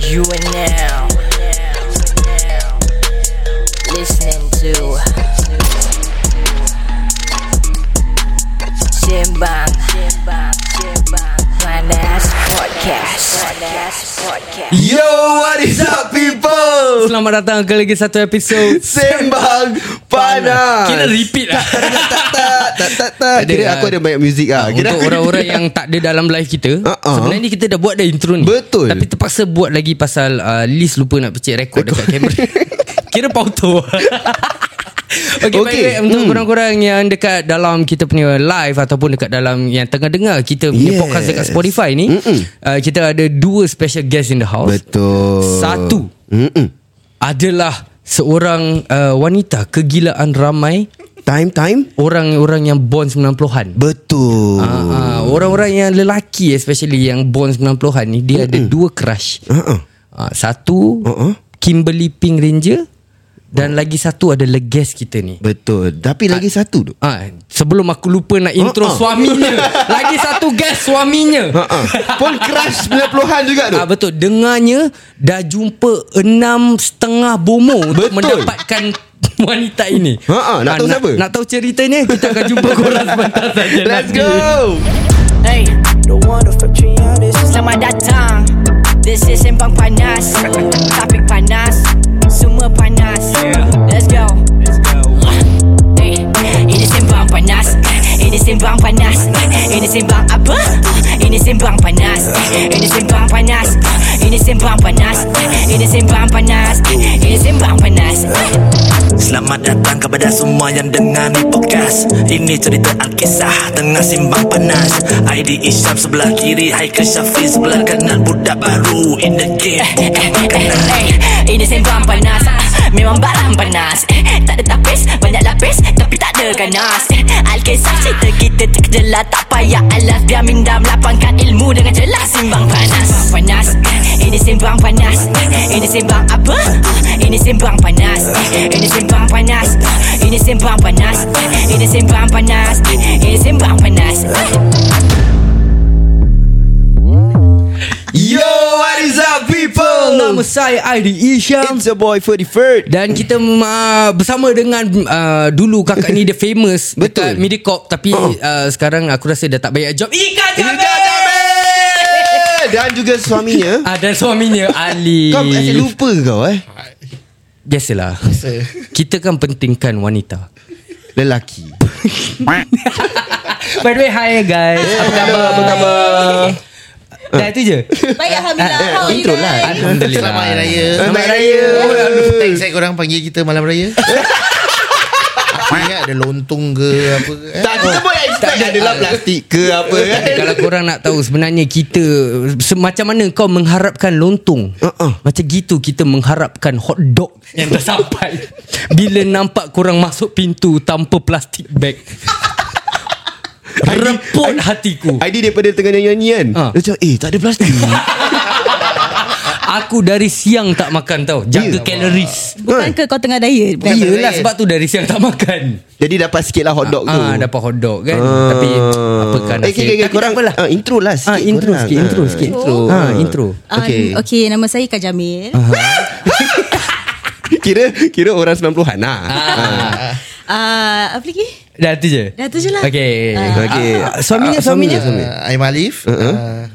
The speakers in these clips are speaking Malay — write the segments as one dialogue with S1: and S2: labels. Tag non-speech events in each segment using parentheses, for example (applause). S1: You are now listening to Simbang Panas Podcast Podcast Podcast
S2: Yo, what is up people?
S3: Selamat datang ke lagi satu episod
S2: Sembang Panas
S3: (laughs) Kira repeat lah
S2: tak, tak, tak, tak, tak.
S3: Tak ada
S2: Kira
S3: lah.
S2: aku ada banyak muzik lah Kira
S3: Untuk
S2: aku-
S3: orang-orang yang tak ada dalam live kita
S2: Ah, ah.
S3: Sebenarnya ni kita dah buat dah intro ni
S2: Betul.
S3: Tapi terpaksa buat lagi pasal uh, Liz lupa nak pecik rekod dekat (laughs) kamera Kira pauto (laughs) Okay, Hmm. okay.
S2: Okay.
S3: Baik, untuk korang-korang yang dekat dalam kita punya live Ataupun dekat dalam yang tengah dengar kita punya
S2: Yes.
S3: podcast dekat Spotify ni uh, Kita ada dua special guest in the house
S2: Betul
S3: Satu
S2: Mm-mm.
S3: adalah seorang uh, wanita kegilaan ramai
S2: Time, time
S3: orang-orang yang born 90-an.
S2: Betul
S3: Ah, ah, orang-orang yang lelaki especially yang born 90-an ni dia ada dua crush.
S2: Uh-uh.
S3: Ah, satu
S2: Uh-uh.
S3: Kimberly Pink Ranger dan lagi satu ada leges kita ni.
S2: Betul Tapi lagi satu tu
S3: Ah, sebelum aku lupa nak intro
S2: Uh-uh. (laughs)
S3: suaminya. lagi satu guest suaminya.
S2: uh-uh. Pun crush 90-an juga tu
S3: Ah betul dengarnya dah jumpa enam setengah bomo untuk
S2: Betul.
S3: mendapatkan (laughs) wanita ini. Ah,
S2: Ha, ha, nak tahu
S3: nak,
S2: siapa?
S3: Nak tahu ceritanya kita akan jumpa korang sebentar saja.
S2: Let's
S3: nanti.
S2: go
S1: Hey
S4: The one of Fabrianis.
S1: Selamat datang This is Sembang Panas Topik panas Semua panas Let's go Hey, Ini Sembang Panas Ini Sembang Panas Ini Sembang apa? Ini Sembang Panas Ini Sembang Panas Ini Sembang Panas Ini Sembang Panas Ini Sembang Panas
S4: Selamat datang kepada semua yang dengar ni podcast Ini cerita Alkisah tengah simbang panas ID Isyam sebelah kiri Haikal Syafiq sebelah kanan Budak baru in the game
S1: Eh, eh, eh, eh, Ini sembang panas Ah, Memang barang panas Eh, Tak ada tapis Banyak lapis Tapi tak ada ganas Eh, Alkisah cerita kita terkejelah Tak payah alas Biar minda melapangkan ilmu Dengan jelas Simbang panas Sembang panas Eh, Ini sembang panas Eh, Ini sembang apa? Ah, Ini sembang panas Eh, Ini sembang panas Ah, Ini sembang panas Eh, Ini sembang panas Eh, Ini sembang panas Eh.
S2: Yo, what is up people?
S3: Oh. Nama saya Aidi Isham
S2: It's your boy 43rd
S3: dan kita uh, bersama dengan uh, dulu kakak ni dia
S2: (laughs)
S3: famous
S2: Betul. Oh.
S3: dekat Mediacorp tapi uh, sekarang aku rasa dah tak banyak job. Ika
S2: Ika
S3: Jamin.
S2: Jamil Dan juga suaminya
S3: Ah dan suaminya Ali.
S2: (laughs) Kau asyik lupa kau eh
S3: Biasalah. Kita kan pentingkan wanita.
S2: Lelaki
S3: (laughs) By the way, hi guys. Apa khabar? Apa khabar? Dah itu je.
S5: Baik Alhamdulillah
S2: Eh,
S5: How are you
S2: intro lah.
S5: guys?
S3: Alhamdulillah.
S6: Selamat Hari Raya
S3: Eh,
S2: Selamat Raya
S6: Oh, aduh, Thanks saya korang panggil kita malam
S3: (laughs)
S6: raya Aku ingat ada lontong ke apa ke eh?
S2: Tak kita
S3: Oh.
S2: boleh expect
S3: lah.
S2: adalah plastik ke
S3: (laughs)
S2: apa kan
S3: Eh, Kalau korang nak tahu sebenarnya kita se- macam mana kau mengharapkan lontong.
S2: Uh-uh.
S3: Macam gitu kita mengharapkan hot dog yang dah (laughs) sampai. Bila nampak korang masuk pintu tanpa plastik (laughs) bag. Reput hatiku.
S2: ID daripada tengah nyanyi kan
S3: Ha.
S2: Dia cakap eh tak ada (laughs) plastik
S3: Aku dari siang tak makan tau. Jaga kaloris.
S5: Bukan ke kau tengah diet Bukan
S6: Ya.
S3: Yelah sebab tu dari siang tak makan.
S2: Jadi dapat sikit lah hotdog tu
S3: Ah, dapat hot dog kan.
S2: Ah.
S3: Tapi apa kan
S2: Eh okay, okay, korang
S3: apalah.
S2: ah, Intro lah sikit
S3: Ah, intro
S2: korang.
S3: sikit, intro
S2: Ah.
S3: sikit.
S2: Intro
S3: Ah, intro.
S2: Okay.
S5: Um, okay nama saya Kak Jamil
S2: (laughs) Kira kira orang 90-an lah Ah.
S5: uh, Apa lagi?
S3: Dah tu je.
S5: Dah tu je lah.
S3: Okey.
S5: Ah.
S2: Okey.
S3: Ah, ah, suaminya
S2: Ah,
S3: suaminya.
S2: suami.
S6: uh, I'm Alif
S3: Uh-huh.
S6: uh,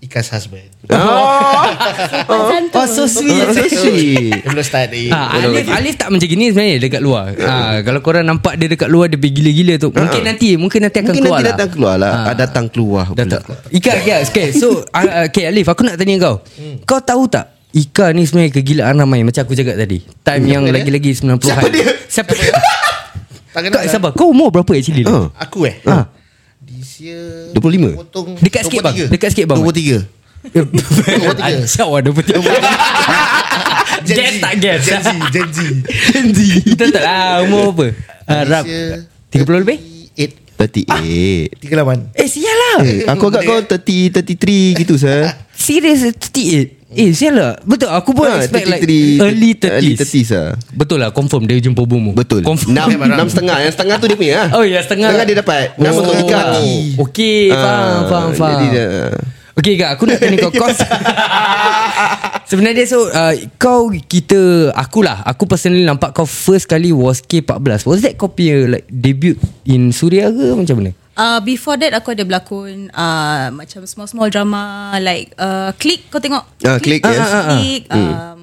S6: Ika's husband
S2: Oh,
S3: (laughs)
S5: Macam tu
S3: Oh so
S2: oh, so
S3: sweet.
S2: sweet.
S6: Dia (laughs) belum start
S2: Eh,
S6: eh. ni
S3: Ah, Alif, Alif tak macam gini sebenarnya dekat luar.
S2: Hmm.
S3: Ah, kalau korang nampak dia dekat luar dia gila-gila tu. Mungkin nanti, mungkin nanti
S2: Ah.
S3: akan
S2: Mungkin
S3: keluar.
S2: nanti
S3: lah.
S2: datang keluar lah
S3: Ah.
S2: Ah, Datang keluar pula.
S3: Datang keluar. Ika, Ika, okay.
S2: (laughs)
S3: So, ah, ah, okay Alif, aku nak tanya kau.
S2: Hmm.
S3: Kau tahu tak? Ika ni sebenarnya kegilaan ramai macam aku cakap tadi. Time yang
S6: dia?
S3: lagi-lagi 90-an.
S2: Siapa dia? (laughs)
S3: Siapa dia?
S6: Tak kenal
S3: Kau
S6: lah.
S3: sabar. Kau umur berapa actually?
S2: Ah.
S3: (laughs) Uh.
S6: Aku eh
S2: Ah.
S6: This year
S2: 25?
S6: potong
S3: Dekat sikit, bang.
S6: 23.
S3: Dekat sikit, bang.
S6: 23
S3: Ancau lah
S2: (laughs)
S3: 23
S6: Gen
S3: Guess
S6: Z.
S3: tak guess
S6: Gen Z Gen Z
S3: (laughs) Gen Z Kita tak lah umur apa Ah, Rap
S6: This year
S3: 30 lebih
S6: 38
S2: 38
S6: 38
S3: Eh sial lah
S2: Eh, Aku agak kau 30 33 gitu sah.
S3: Serius 38 Eh sial lah Betul aku pun
S2: Ah,
S3: expect like
S2: 33,
S3: Early 30s
S2: Early 30s lah
S3: Betul lah confirm dia jumpa bomo
S2: Betul
S3: Confirm
S2: Enam enam setengah Yang setengah tu dia punya lah.
S3: (laughs) Oh ya setengah
S2: Setengah dia dapat Nama oh. tu
S3: Oh,
S2: ikat
S3: Okey faham
S2: Ah,
S3: faham faham
S2: Jadi dia
S3: Okay Kak Aku nak tanya kau Kau
S2: (laughs)
S3: Sebenarnya so uh, Kau kita Akulah Aku personally nampak kau First kali was K14 Was that kau punya like, Debut in Suria ke Macam mana
S5: Uh, before that aku ada berlakon uh, macam small-small drama like uh, Click kau tengok
S2: Ah, Click,
S5: Click,
S2: yes.
S5: ah, ah, ah. Click um,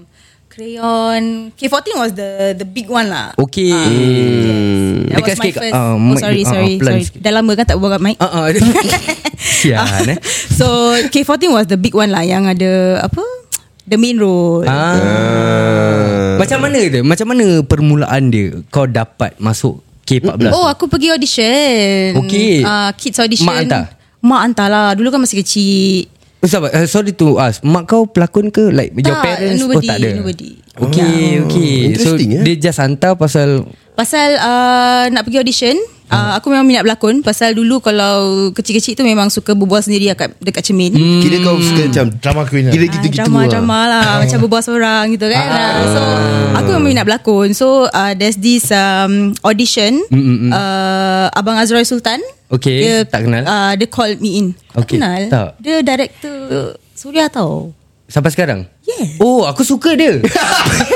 S5: Crayon K14 was the the big one lah
S3: Okay
S5: Ah,
S2: Hmm.
S5: yes. That
S3: Dekat
S5: was my
S3: sikit,
S5: first
S3: ah,
S5: Oh
S3: mic-
S5: sorry
S3: ah, ah,
S5: sorry,
S3: pelan
S5: sorry.
S3: sikit.
S5: Dah lama kan tak berbual kat mic
S3: uh-uh. (laughs)
S5: (laughs)
S3: Sian eh
S5: So K14 was the big one lah Yang ada Apa The main role uh,
S3: Ah. Macam mana dia? Macam mana permulaan dia kau dapat masuk K14?
S5: Oh aku pergi audition
S3: Okey.
S5: uh, Kids audition
S3: Mak hantar?
S5: Mak hantar lah Dulu kan masih kecil
S3: Oh, sabar, uh, sorry to ask. Mak kau pelakon ke like your
S5: Tak,
S3: parents
S5: Ah, nobody,
S3: oh tak ada.
S5: nobody.
S3: Okay, okay. So
S2: Ah. Interesting, eh?
S3: dia just hantar pasal
S5: Pasal uh, nak pergi audition uh, Aku memang minat berlakon Pasal dulu kalau kecil-kecil tu Memang suka berbual sendiri lah kat, dekat cermin hmm.
S2: Kira kau suka macam
S6: Drama queen lah.
S2: Kira
S5: Ah,
S2: gitu-gitu
S5: drama drama lah
S3: Ah.
S5: macam berbual seorang gitu kan ah. so aku memang minat berlakon so uh, there's this um, audition
S3: Hmm,
S5: uh, abang Azrai Sultan
S3: Okay, Eh, tak kenal.
S5: uh, dia called me in Kau
S3: Okay,
S5: tak kenal
S3: tak.
S5: dia director Suria tau
S3: sampai sekarang.
S5: Yes.
S3: Oh, aku suka
S5: (laughs)
S3: dia.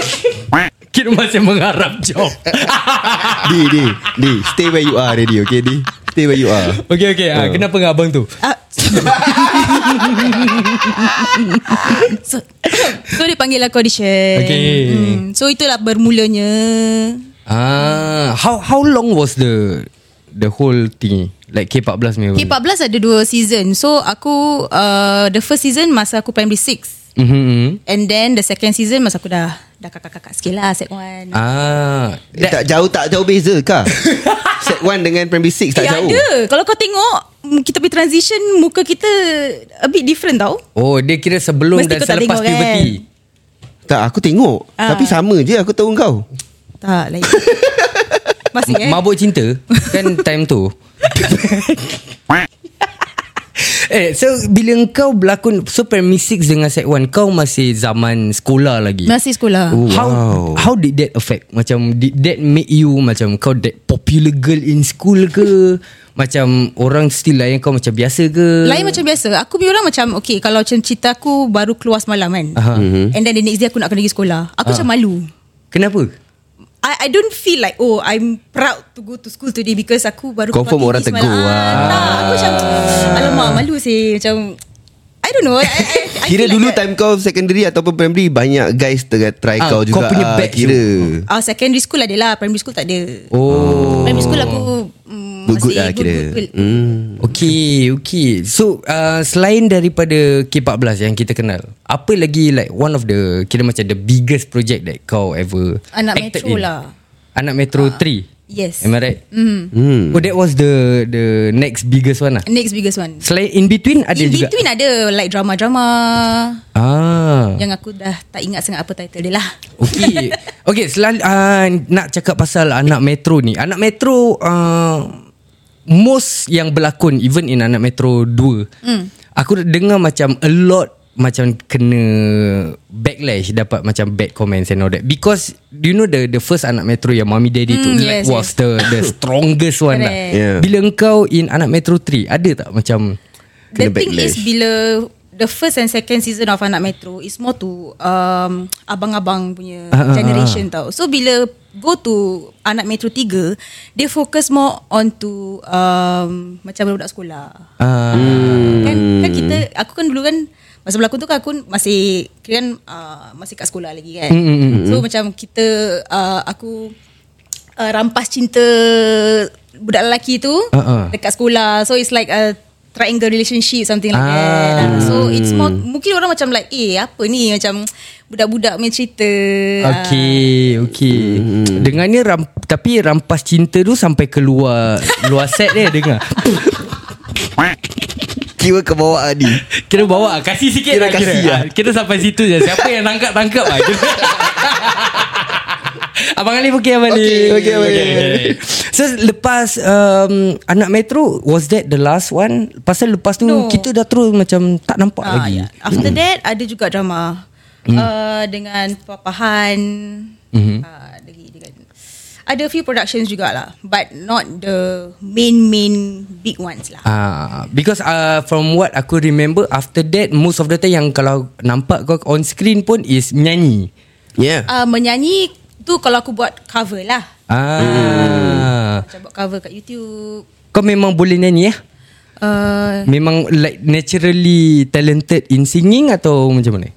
S3: (laughs) Kira masih mengharap job.
S2: Di di di Stay where you are ready Okay di Stay where you
S3: (laughs)
S2: are
S3: okay, okay.
S2: Ah.
S3: Uh. kenapa dengan abang tu?
S5: Ah. so, so dia panggil aku audition
S3: Okay.
S5: hmm. So itulah bermulanya
S3: Ah, how how long was the the whole thing? Like K14 punya.
S5: K14 ada dua season So aku uh, The first season Masa aku primary 6
S3: Mhm.
S5: And then the second season Masa aku dah Dah kakak-kakak sikit lah Set 1
S3: Ah,
S2: Eh, tak jauh tak jauh beza
S3: (laughs)
S2: kah? Set 1 dengan primary 6 tak
S5: Eh,
S2: jauh.
S5: ada Kalau kau tengok mm, Kita pergi transition Muka kita A bit different tau
S3: Oh dia kira sebelum
S5: Mesti
S3: Mesti dan
S5: kau tak
S3: selepas
S5: tengok, kan?
S3: puberty
S2: Tak aku tengok.
S5: Ah.
S2: Tapi sama je aku tahu kau.
S5: Tak
S3: (laughs)
S5: lain Masih
S3: kan?
S5: eh
S3: Mabuk cinta Kan time tu (laughs) Eh so bila kau berlakon So primary 6 dengan set 1 Kau masih zaman sekolah lagi
S5: Masih sekolah
S3: Oh, how
S2: Wow.
S3: how did that affect macam did that make you macam kau that popular girl in school ke macam orang still layan kau macam biasa ke
S5: Lain macam biasa Aku punya orang macam Okay kalau macam cerita aku Baru keluar semalam kan
S3: Aha.
S2: Mhm.
S5: And then the next day Aku nak kena pergi sekolah Aku macam malu
S3: kenapa
S5: I, I don't feel like Oh I'm proud to go to school today Because aku baru
S2: Confirm
S5: keluar
S2: orang
S5: TV
S2: tegur,
S5: semalam.
S2: ah.
S5: ah. Tak aku macam Alamak malu sih Macam I don't know
S2: (laughs)
S5: I, I, I
S2: Kira
S5: feel
S2: dulu
S5: like
S2: time kau secondary ataupun primary banyak guys tengah try
S3: Ah,
S2: kau
S3: kau
S2: juga.
S3: punya
S2: ah,
S3: batch
S2: kira.
S5: that. uh, Secondary school ada lah Primary school tak ada
S3: oh
S5: Primary school aku mm,
S2: Good good
S5: masih
S2: lah kira.
S5: good, good.
S2: Hmm.
S3: Okay, okay. So, uh, selain daripada K14 yang kita kenal, apa lagi like one of the, kira macam the biggest project that kau ever
S5: Anak
S3: acted
S5: Metro
S3: in?
S5: lah. Ah,
S3: Anak Metro 3?
S5: yes. Mm-hmm.
S3: Am I right? Mm. Oh, that was the the next biggest one lah.
S2: Hmm.
S5: Next biggest one
S3: Selain in between ada
S5: In
S3: juga?
S5: between ada Like drama-drama
S3: Ah.
S5: Yang aku dah tak ingat sangat Apa title dia lah
S3: Okay Okay selalu, uh, Nak cakap pasal Anak Metro ni Anak Metro uh, Most yang berlakon Even in Anak Metro 2 mm.
S5: Hmm.
S3: Aku dengar macam A lot Macam kena Backlash Dapat macam bad comments And all that Because Do you know the The first Anak Metro Yang Mami Daddy tu
S5: Mm,
S3: like,
S5: yes,
S3: Was
S5: yes.
S3: the
S5: (laughs)
S3: The strongest one lah
S5: Correct.
S2: Yeah.
S3: Bila engkau In Anak Metro 3 Ada tak macam
S5: The
S2: Kena
S5: thing
S2: backlash.
S5: is bila the first and second season of Anak Metro is more to um, abang-abang punya
S3: Ah, ah,
S5: generation tau. So bila go to Anak Metro 3, they focus more on to um, macam budak sekolah.
S3: uh,
S5: Kan, kan kita aku kan dulu kan masa berlakon tu kan aku masih kira kan uh, masih kat sekolah lagi kan. So macam kita uh, aku uh, rampas cinta budak lelaki tu
S3: ah.
S5: dekat sekolah. So it's like a triangle relationship something like that.
S3: Ah.
S5: So it's more mungkin orang macam like eh apa ni macam budak-budak main cerita. Ah.
S3: Okay, okay.
S2: Mm-hmm.
S3: Hmm. Dengar ni ram, tapi rampas cinta tu sampai keluar luar set dia dengar. (laughs)
S2: Kira ke bawah Adi.
S3: Kira bawa kasih sikit
S2: Kira
S3: lah, kira.
S2: kasih lah.
S3: Ah, Kira sampai situ je. Siapa yang tangkap tangkap lah. Kira. (laughs) Abang Ali okey Abang Ali.
S2: Okey, okey, Abang Ali.
S3: So lepas um, anak metro was that the last one? Pasal lepas tu no.
S5: No.
S3: kita dah terus macam tak nampak
S5: Ah,
S3: lagi. Mm.
S5: ya. After that ada juga drama uh, dengan Papahan mm-hmm. uh, Ah, lagi dengan Ada few productions jugalah But not the main main big ones lah
S3: Ah, because uh, from what aku remember after that most of the time yang kalau nampak kau on screen pun is nyanyi. Ya.
S2: Yeah
S5: uh, Menyanyi tu kalau aku buat cover lah
S3: Ah.
S5: Macam buat cover kat YouTube
S3: Kau memang boleh nyanyi ya?
S5: uh,
S3: Memang like naturally talented in singing atau macam mana?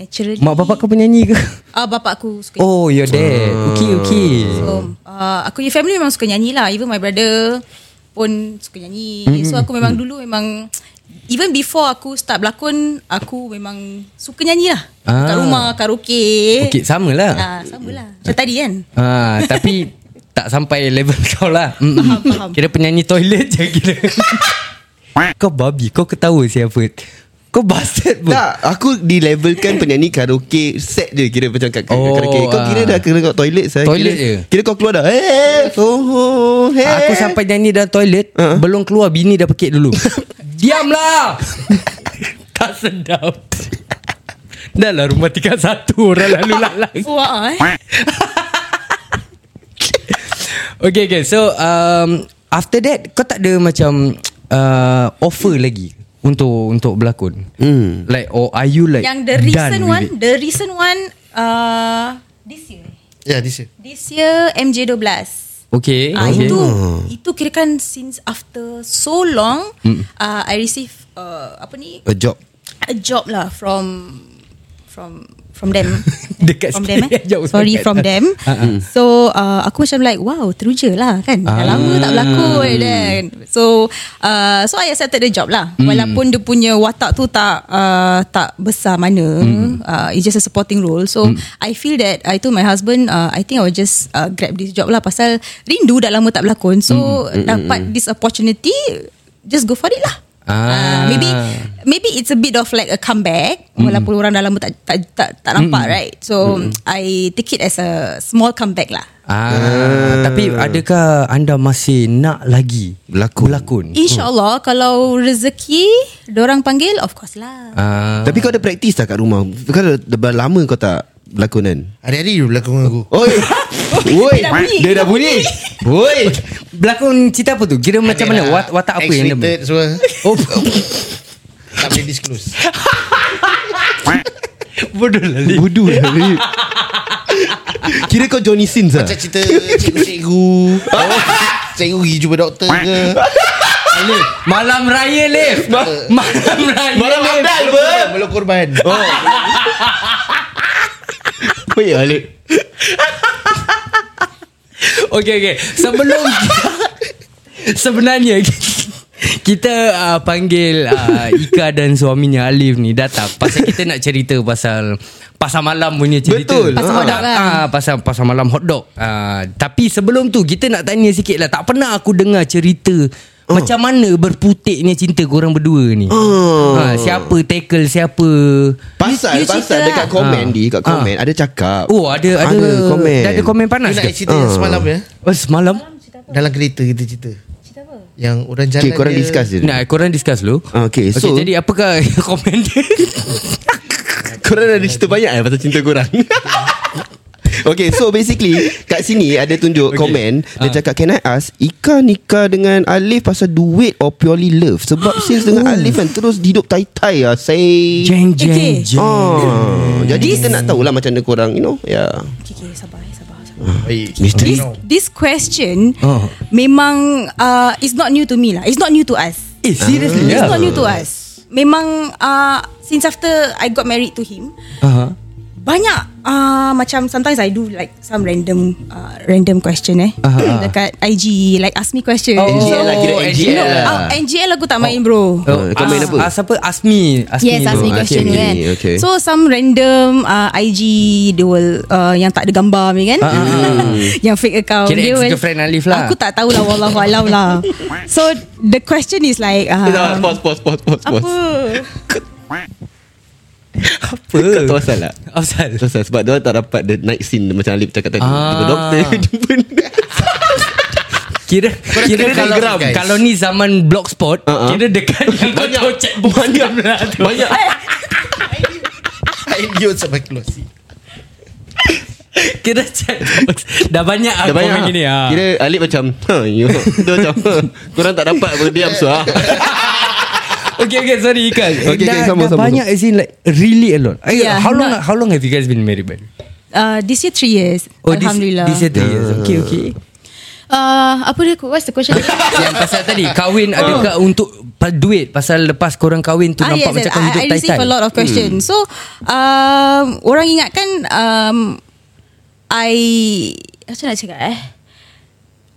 S5: Naturally
S3: Mak bapak kau penyanyi ke?
S5: (laughs) Ah, bapak aku suka
S3: Oh, your dad. Okay, okay.
S5: So, uh, aku punya family memang suka nyanyi lah. Even my brother pun suka nyanyi. Mm-hmm. So aku memang dulu memang even before aku start berlakon, aku memang suka nyanyi lah.
S3: Ah.
S5: Ah. Kat rumah karaoke.
S3: Okay, sama
S5: Ah,
S3: lah.
S5: uh, sama lah. Macam tadi kan.
S3: Ah,
S5: (laughs)
S3: tapi tak sampai level (laughs) kau lah. Mm.
S5: Faham, faham.
S3: Kira penyanyi toilet je
S5: (laughs)
S3: kira. kau babi, kau ketawa siapa? Kau bastard pun.
S2: Tak Aku dilevelkan penyanyi karaoke Set je kira macam kat kat-
S3: Oh,
S2: karaoke Kau kira
S3: ah.
S2: dah kira kat toilet saya
S3: Toilet
S2: kira,
S3: je.
S2: Kira kau keluar dah Hey oh, oh, hey.
S3: Aku sampai nyanyi dalam toilet uh-huh. Belum keluar Bini dah pekik (laughs) dulu Diamlah (laughs) Tak sedap Dah lah rumah tingkat satu Orang lalu lah. lalang
S5: Wah, eh.
S3: (laughs) Okay okay So um, After that Kau tak ada macam uh, Offer lagi Untuk untuk berlakon mm. Like or are you like
S5: Yang the
S3: done
S5: recent
S3: with
S5: one,
S3: it?
S5: the recent one uh, this year.
S6: Ya, this year.
S5: This year MJ12.
S3: Okay,
S5: Ah
S3: okay.
S5: itu
S2: Hmm.
S5: itu kira kan since after so long
S3: Hmm.
S5: mm. uh, I receive uh, apa ni
S2: A job
S5: a job lah from from from them
S3: (laughs) Dekat
S5: from
S3: sikit,
S5: them eh?
S3: jauh
S5: sorry
S3: sangat.
S5: from them
S3: Ah,
S5: so uh, aku macam like wow teruja lah kan dah lama tak berlakon kan so uh, so I accepted the job lah walaupun dia punya watak tu tak uh, tak besar mana uh, it's just a supporting role so I feel that I told my husband uh, I think I will just uh, grab this job lah pasal rindu dah lama tak berlakon so dapat this opportunity just go for it lah
S3: Ah.
S5: Ah, maybe maybe it's a bit of like a comeback mm. walaupun orang dah lama tak tak tak, tak nampak mm. right so mm. I take it as a small comeback lah
S3: Ah, Tapi adakah anda masih nak lagi Berlakon Berlakon
S5: insyaallah kalau rezeki orang panggil of course lah
S3: Ah.
S2: Tapi kau ada practice tak kat rumah Kau dah, dah lama kau tak Berlakon kan
S6: Hari-hari dia berlakon dengan aku.
S2: Oi (laughs) Oi
S5: dah bunyi.
S2: Dia dah bunyi Oi
S3: Berlakon cerita apa tu Kira macam mana wat- Watak apa yang dia
S6: Ya. X-rated semua.
S3: Oh
S6: Tak boleh disclose.
S3: (laughs) Bodoh lah Lee.
S2: Budu lah ni. Kira kau Johnny Sins lah
S6: Macam cerita cikgu-cikgu.
S2: (laughs)
S6: Cikgu pergi jumpa doktor ke.
S3: Lif. Malam raya Lif Malam raya Malam
S6: Abdal
S2: apa?
S6: Belum korban. Oh.
S2: Wait Alip
S3: Okay okay
S2: (laughs)
S3: Sebelum Sebenarnya (laughs) Kita uh, panggil uh, Ika dan suaminya Alif ni datang Pasal kita nak cerita pasal Pasal malam punya cerita
S2: Betul.
S5: Pasal hot dog kan?
S3: Ah, pasal, pasal malam hot dog uh, Tapi sebelum tu Kita nak tanya sikit lah Tak pernah aku dengar cerita
S2: Oh.
S3: Macam mana berputiknya cinta korang berdua ni
S2: Oh.
S3: ha, Siapa tackle siapa
S2: Pasal
S5: You- you cerita
S2: Pasal dekat
S5: lah.
S2: komen
S3: Ah.
S2: di Kat komen Ada cakap
S3: Oh ada Ada,
S2: Ada komen
S3: Dah ada komen
S6: Nak
S3: panas ke?
S6: cerita
S2: Hmm.
S6: yang semalam ya.
S3: Oh, semalam
S6: Dalam kereta kita cerita. Cerita apa? Yang orang jalan
S2: Okay korang
S6: dia-
S2: discuss je Ah,
S3: Nah, korang discuss dulu
S2: Okay, so-
S3: okay, Jadi apakah (laughs) komen dia
S2: Korang ada cerita banyak eh Pasal cinta korang (laughs) Okay so basically Kat sini ada tunjuk okay. komen
S3: Ah.
S2: Dia cakap Can I ask Ika nikah dengan Alif Pasal duit or purely love
S3: (gasps)
S2: Sebab since dengan Alif kan Terus hidup tai-tai lah Say
S3: Oh. Jeng
S5: Okay.
S3: jeng jeng
S2: Oh, jadi kita nak tahulah macam mana korang You know Ya yeah.
S3: Ah.
S5: okay, okay sabar eh, sabar, sabar.
S6: Baik. (laughs)
S5: This this question
S3: Oh.
S5: memang uh, it's not new to me lah. It's not new to us.
S3: Eh
S2: Ah.
S3: seriously
S5: It's
S3: yeah.
S5: not new to us. Memang uh, since after I got married to him,
S3: uh-huh.
S5: banyak uh, macam sometimes I do like some random uh, random question eh
S3: Aha.
S5: dekat IG like ask me question.
S3: Oh,
S2: NGL lah kira NGL
S5: No,
S2: lah
S5: uh, NGL aku tak main bro.
S2: Oh, kau main
S3: ask-
S2: apa?
S3: Ask apa Asmi Asmi
S5: Yes, ask
S3: tu.
S5: me
S2: Ah,
S5: question
S2: okay,
S5: kan.
S2: okay.
S5: So some random uh, IG dia will uh, yang tak ada gambar ni kan. (laughs) yang fake account
S3: Kira
S5: dia will-
S3: ex-girlfriend Alif lah.
S5: Aku tak tahulah wallahu alam lah. So the question is like uh,
S2: Pause pause pause pause
S5: apa?
S2: Apa Kau tahu asal tak
S3: Asal
S2: Selesai sebab dia orang tak dapat the night scene macam Alip cakap tadi.
S3: Ah.
S2: Jumpa doktor, (laughs) jumpa
S3: Kira Kira
S6: kena
S3: kalau
S6: telegram, guys.
S3: Kalau ni zaman blogspot
S2: Uh-uh.
S3: Kira dekat Yang kau tahu cek Banyak
S2: banyak.
S6: Idiot sampai close.
S3: (laughs) Kira chat box. Dah banyak
S2: Dah
S3: Dah
S2: banyak
S3: komen
S2: ah.
S3: gini ah.
S2: Kira Alip macam ha, you. Dia macam ha, Korang tak dapat Berdiam
S3: (laughs)
S2: suah
S3: Okay okay sorry Ika
S2: Okay, okay,
S3: dah,
S2: sama,
S3: dah
S2: sama,
S3: banyak as in like Really a lot Eh,
S5: Yeah,
S3: How long
S5: not-
S3: How long have you guys been married by?
S5: Uh, this year three years.
S3: Oh, this-
S5: Alhamdulillah.
S3: This year three years Okay okay
S5: Uh, apa dia? What's
S3: (laughs)
S5: the question?
S3: Yang pasal tadi Kahwin
S2: Ah.
S3: adakah untuk pa- Duit Pasal lepas korang kahwin tu Nampak macam kau hidup
S5: Ah, I, I
S3: taitan
S5: receive a lot of question. Hmm. So, um, orang ingatkan um, I macam nak cakap eh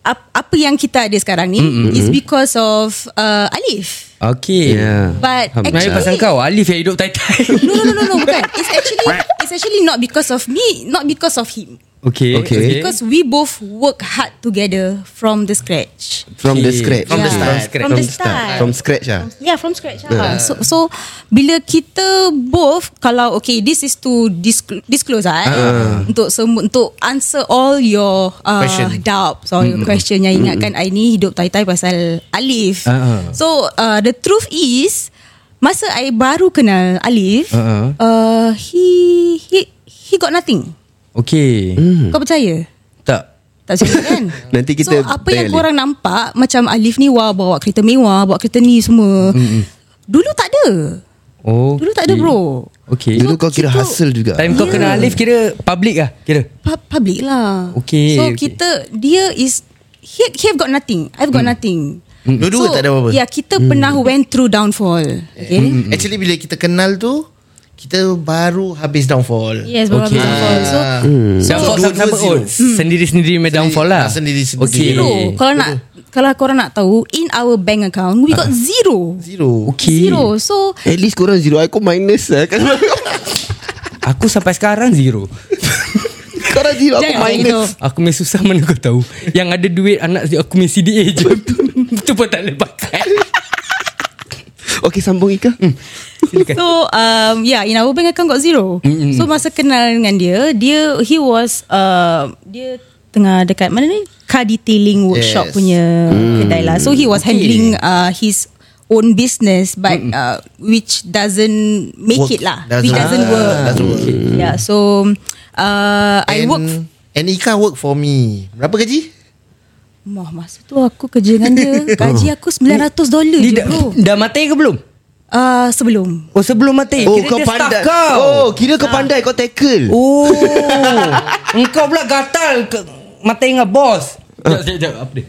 S5: Ap- apa yang kita ada sekarang ni mm-hmm. is because of uh, Alif.
S3: Okay
S2: Yeah.
S5: But
S3: Sebenarnya
S5: actually-
S3: pasal kau Alif yang hidup taitan
S5: No no no no, no bukan. It's actually it's actually not because of me, not because of him.
S3: Okay
S2: Okay.
S5: Because we both work hard together from the scratch.
S2: From the scratch
S3: From the
S5: Yeah.
S3: start
S5: From the start.
S2: From scratch lah
S5: Yeah, from scratch lah. So, so bila kita both kalau okay, this is to disclose, disclose lah eh, untuk semua untuk answer all your uh,
S6: Question.
S5: doubts or your question yang ingatkan I ni hidup tai-tai pasal Alif.
S3: Ah, ah.
S5: So uh, the truth is masa I baru kenal Alif,
S3: Ah, ah.
S5: uh, he he he got nothing.
S3: Okay
S2: Hmm.
S5: Kau percaya?
S3: Tak
S5: Tak percaya kan?
S2: Nanti kita
S5: So apa
S2: tanya
S5: yang
S2: Alif.
S5: korang nampak Macam Alif ni Wah bawa kereta mewah Bawa kereta ni semua mm Dulu tak ada
S3: Oh
S5: Dulu tak ada bro
S3: Okay
S2: Dulu kau kira
S5: Situ-
S2: hustle juga
S3: Time kau kena Alif Kira public lah Kira
S5: Pu- Public lah
S3: Okay,
S5: So
S3: okay.
S5: kita Dia is he, he have got nothing I've got nothing
S6: Dua-dua tak ada apa-apa. Mm.
S5: Ya yeah, kita pernah went through downfall Okay
S6: Actually bila kita kenal tu Kita baru habis downfall Ah.
S5: Yes baru
S3: Okay.
S5: okay. downfall So
S2: Hmm.
S3: So, downfall
S6: dua-dua
S3: sama-sama
S6: zero.
S3: oh, Sendiri-sendiri main downfall lah
S6: ah, sendiri-sendiri.
S5: Hmm. zero Kalau nak Kalau korang nak tahu In our bank account We got zero
S6: Zero
S3: Okay
S5: Zero So
S2: At least korang zero Aku minus lah Kan-
S3: Aku sampai sekarang zero
S2: Korang zero Aku
S5: Jangan
S2: minus
S5: gitu.
S3: Aku main susah mana kau tahu Yang ada duit anak si- Aku main CDA je (laughs) Itu pun tak boleh pakai
S2: Okay sambung Ika
S3: Silakan
S5: So um, yeah, in our bank account got zero. Mm-hmm. So masa kenal dengan dia, dia he was uh, dia tengah dekat mana ni car detailing
S6: Yes.
S5: workshop yes. punya mm. kedai lah. So he was okay. handling uh, his own business but uh, which doesn't make
S6: Work.
S5: it lah.
S6: Doesn't
S5: Doesn't, which doesn't
S6: work.
S5: work.
S6: Doesn't work.
S5: Okay. Yeah, so uh,
S6: And-
S5: I work
S6: And Ika work for me Berapa gaji?
S5: Wah, masa tu aku kerja dengan dia Gaji aku 900 dolar
S3: Dia
S5: je
S3: dah,
S5: bro
S3: dah mati ke belum?
S5: uh, Sebelum
S3: Oh sebelum mati
S2: Oh
S3: Kira
S2: kau
S3: dia staff
S2: pandai
S3: kau.
S2: Oh kira kau pandai Kau tackle
S3: Oh Engkau pula gatal ke, Mata dengan bos Sekejap sekejap, sekejap Apa dia?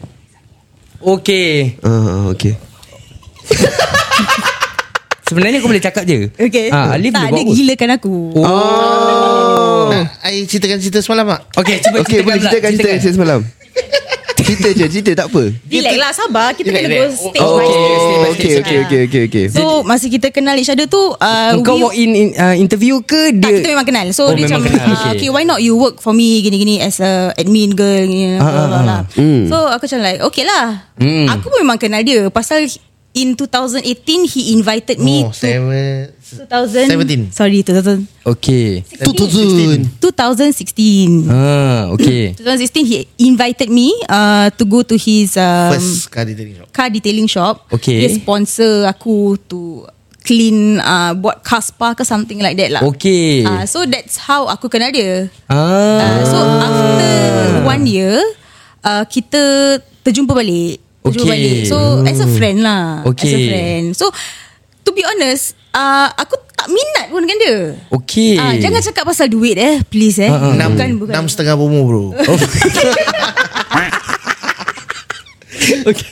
S3: Okay
S2: Ah, Okay
S3: Sebenarnya kau boleh cakap je
S5: Okay
S3: ha, Alif boleh
S5: Tak,
S3: buat
S5: dia
S3: apa?
S5: gilakan aku
S2: Oh
S6: Nak Ah, I ceritakan cerita semalam tak?
S3: Okay cuba
S2: Okay boleh
S3: pula,
S2: ceritakan cerita cerita semalam Cerita je cerita tak apa
S5: Relax lah sabar Kita
S6: Relax,
S5: kena go
S6: relax.
S5: stage
S2: Oh
S5: by stage
S2: okay okay okay okay okay
S5: So masa kita kenal each other tu uh,
S3: Engkau
S5: we-
S3: walk Ah, in, in uh, interview ke
S5: tak,
S3: dia
S5: kita memang kenal So
S3: Oh,
S5: dia
S3: memang
S5: macam
S3: kenal,
S5: uh,
S3: okay.
S5: okay. why not you work for me Gini-gini as a admin girl gini, blah, blah, blah. So aku macam like Okay lah Aku pun memang kenal dia Pasal in 2018 He invited me
S6: Oh,
S5: to
S6: seven, 17
S5: 2017 Sorry 2000
S3: Okay
S5: 2016 2016
S3: Ah, okay
S5: 2016 he invited me uh, to go to his um,
S6: First car detailing shop
S5: car detailing shop.
S3: Okay.
S5: Dia sponsor aku to clean uh, buat car spa ke something like that lah.
S3: Okay
S2: Ah.
S5: Uh, so that's how aku kenal dia.
S3: Ah,
S5: Uh, so after one year uh, kita terjumpa balik. Terjumpa
S3: Okay. Hmm.
S5: balik. So as a friend lah. As a
S3: Okay.
S5: friend. So to be honest, uh, aku tak minat pun dengan dia.
S3: okay. Ah, Hmm.
S5: Ah, jangan
S3: (laughs)
S5: cakap pasal duit eh Please eh uh,
S6: Enam, enam setengah bomo bro
S3: okay.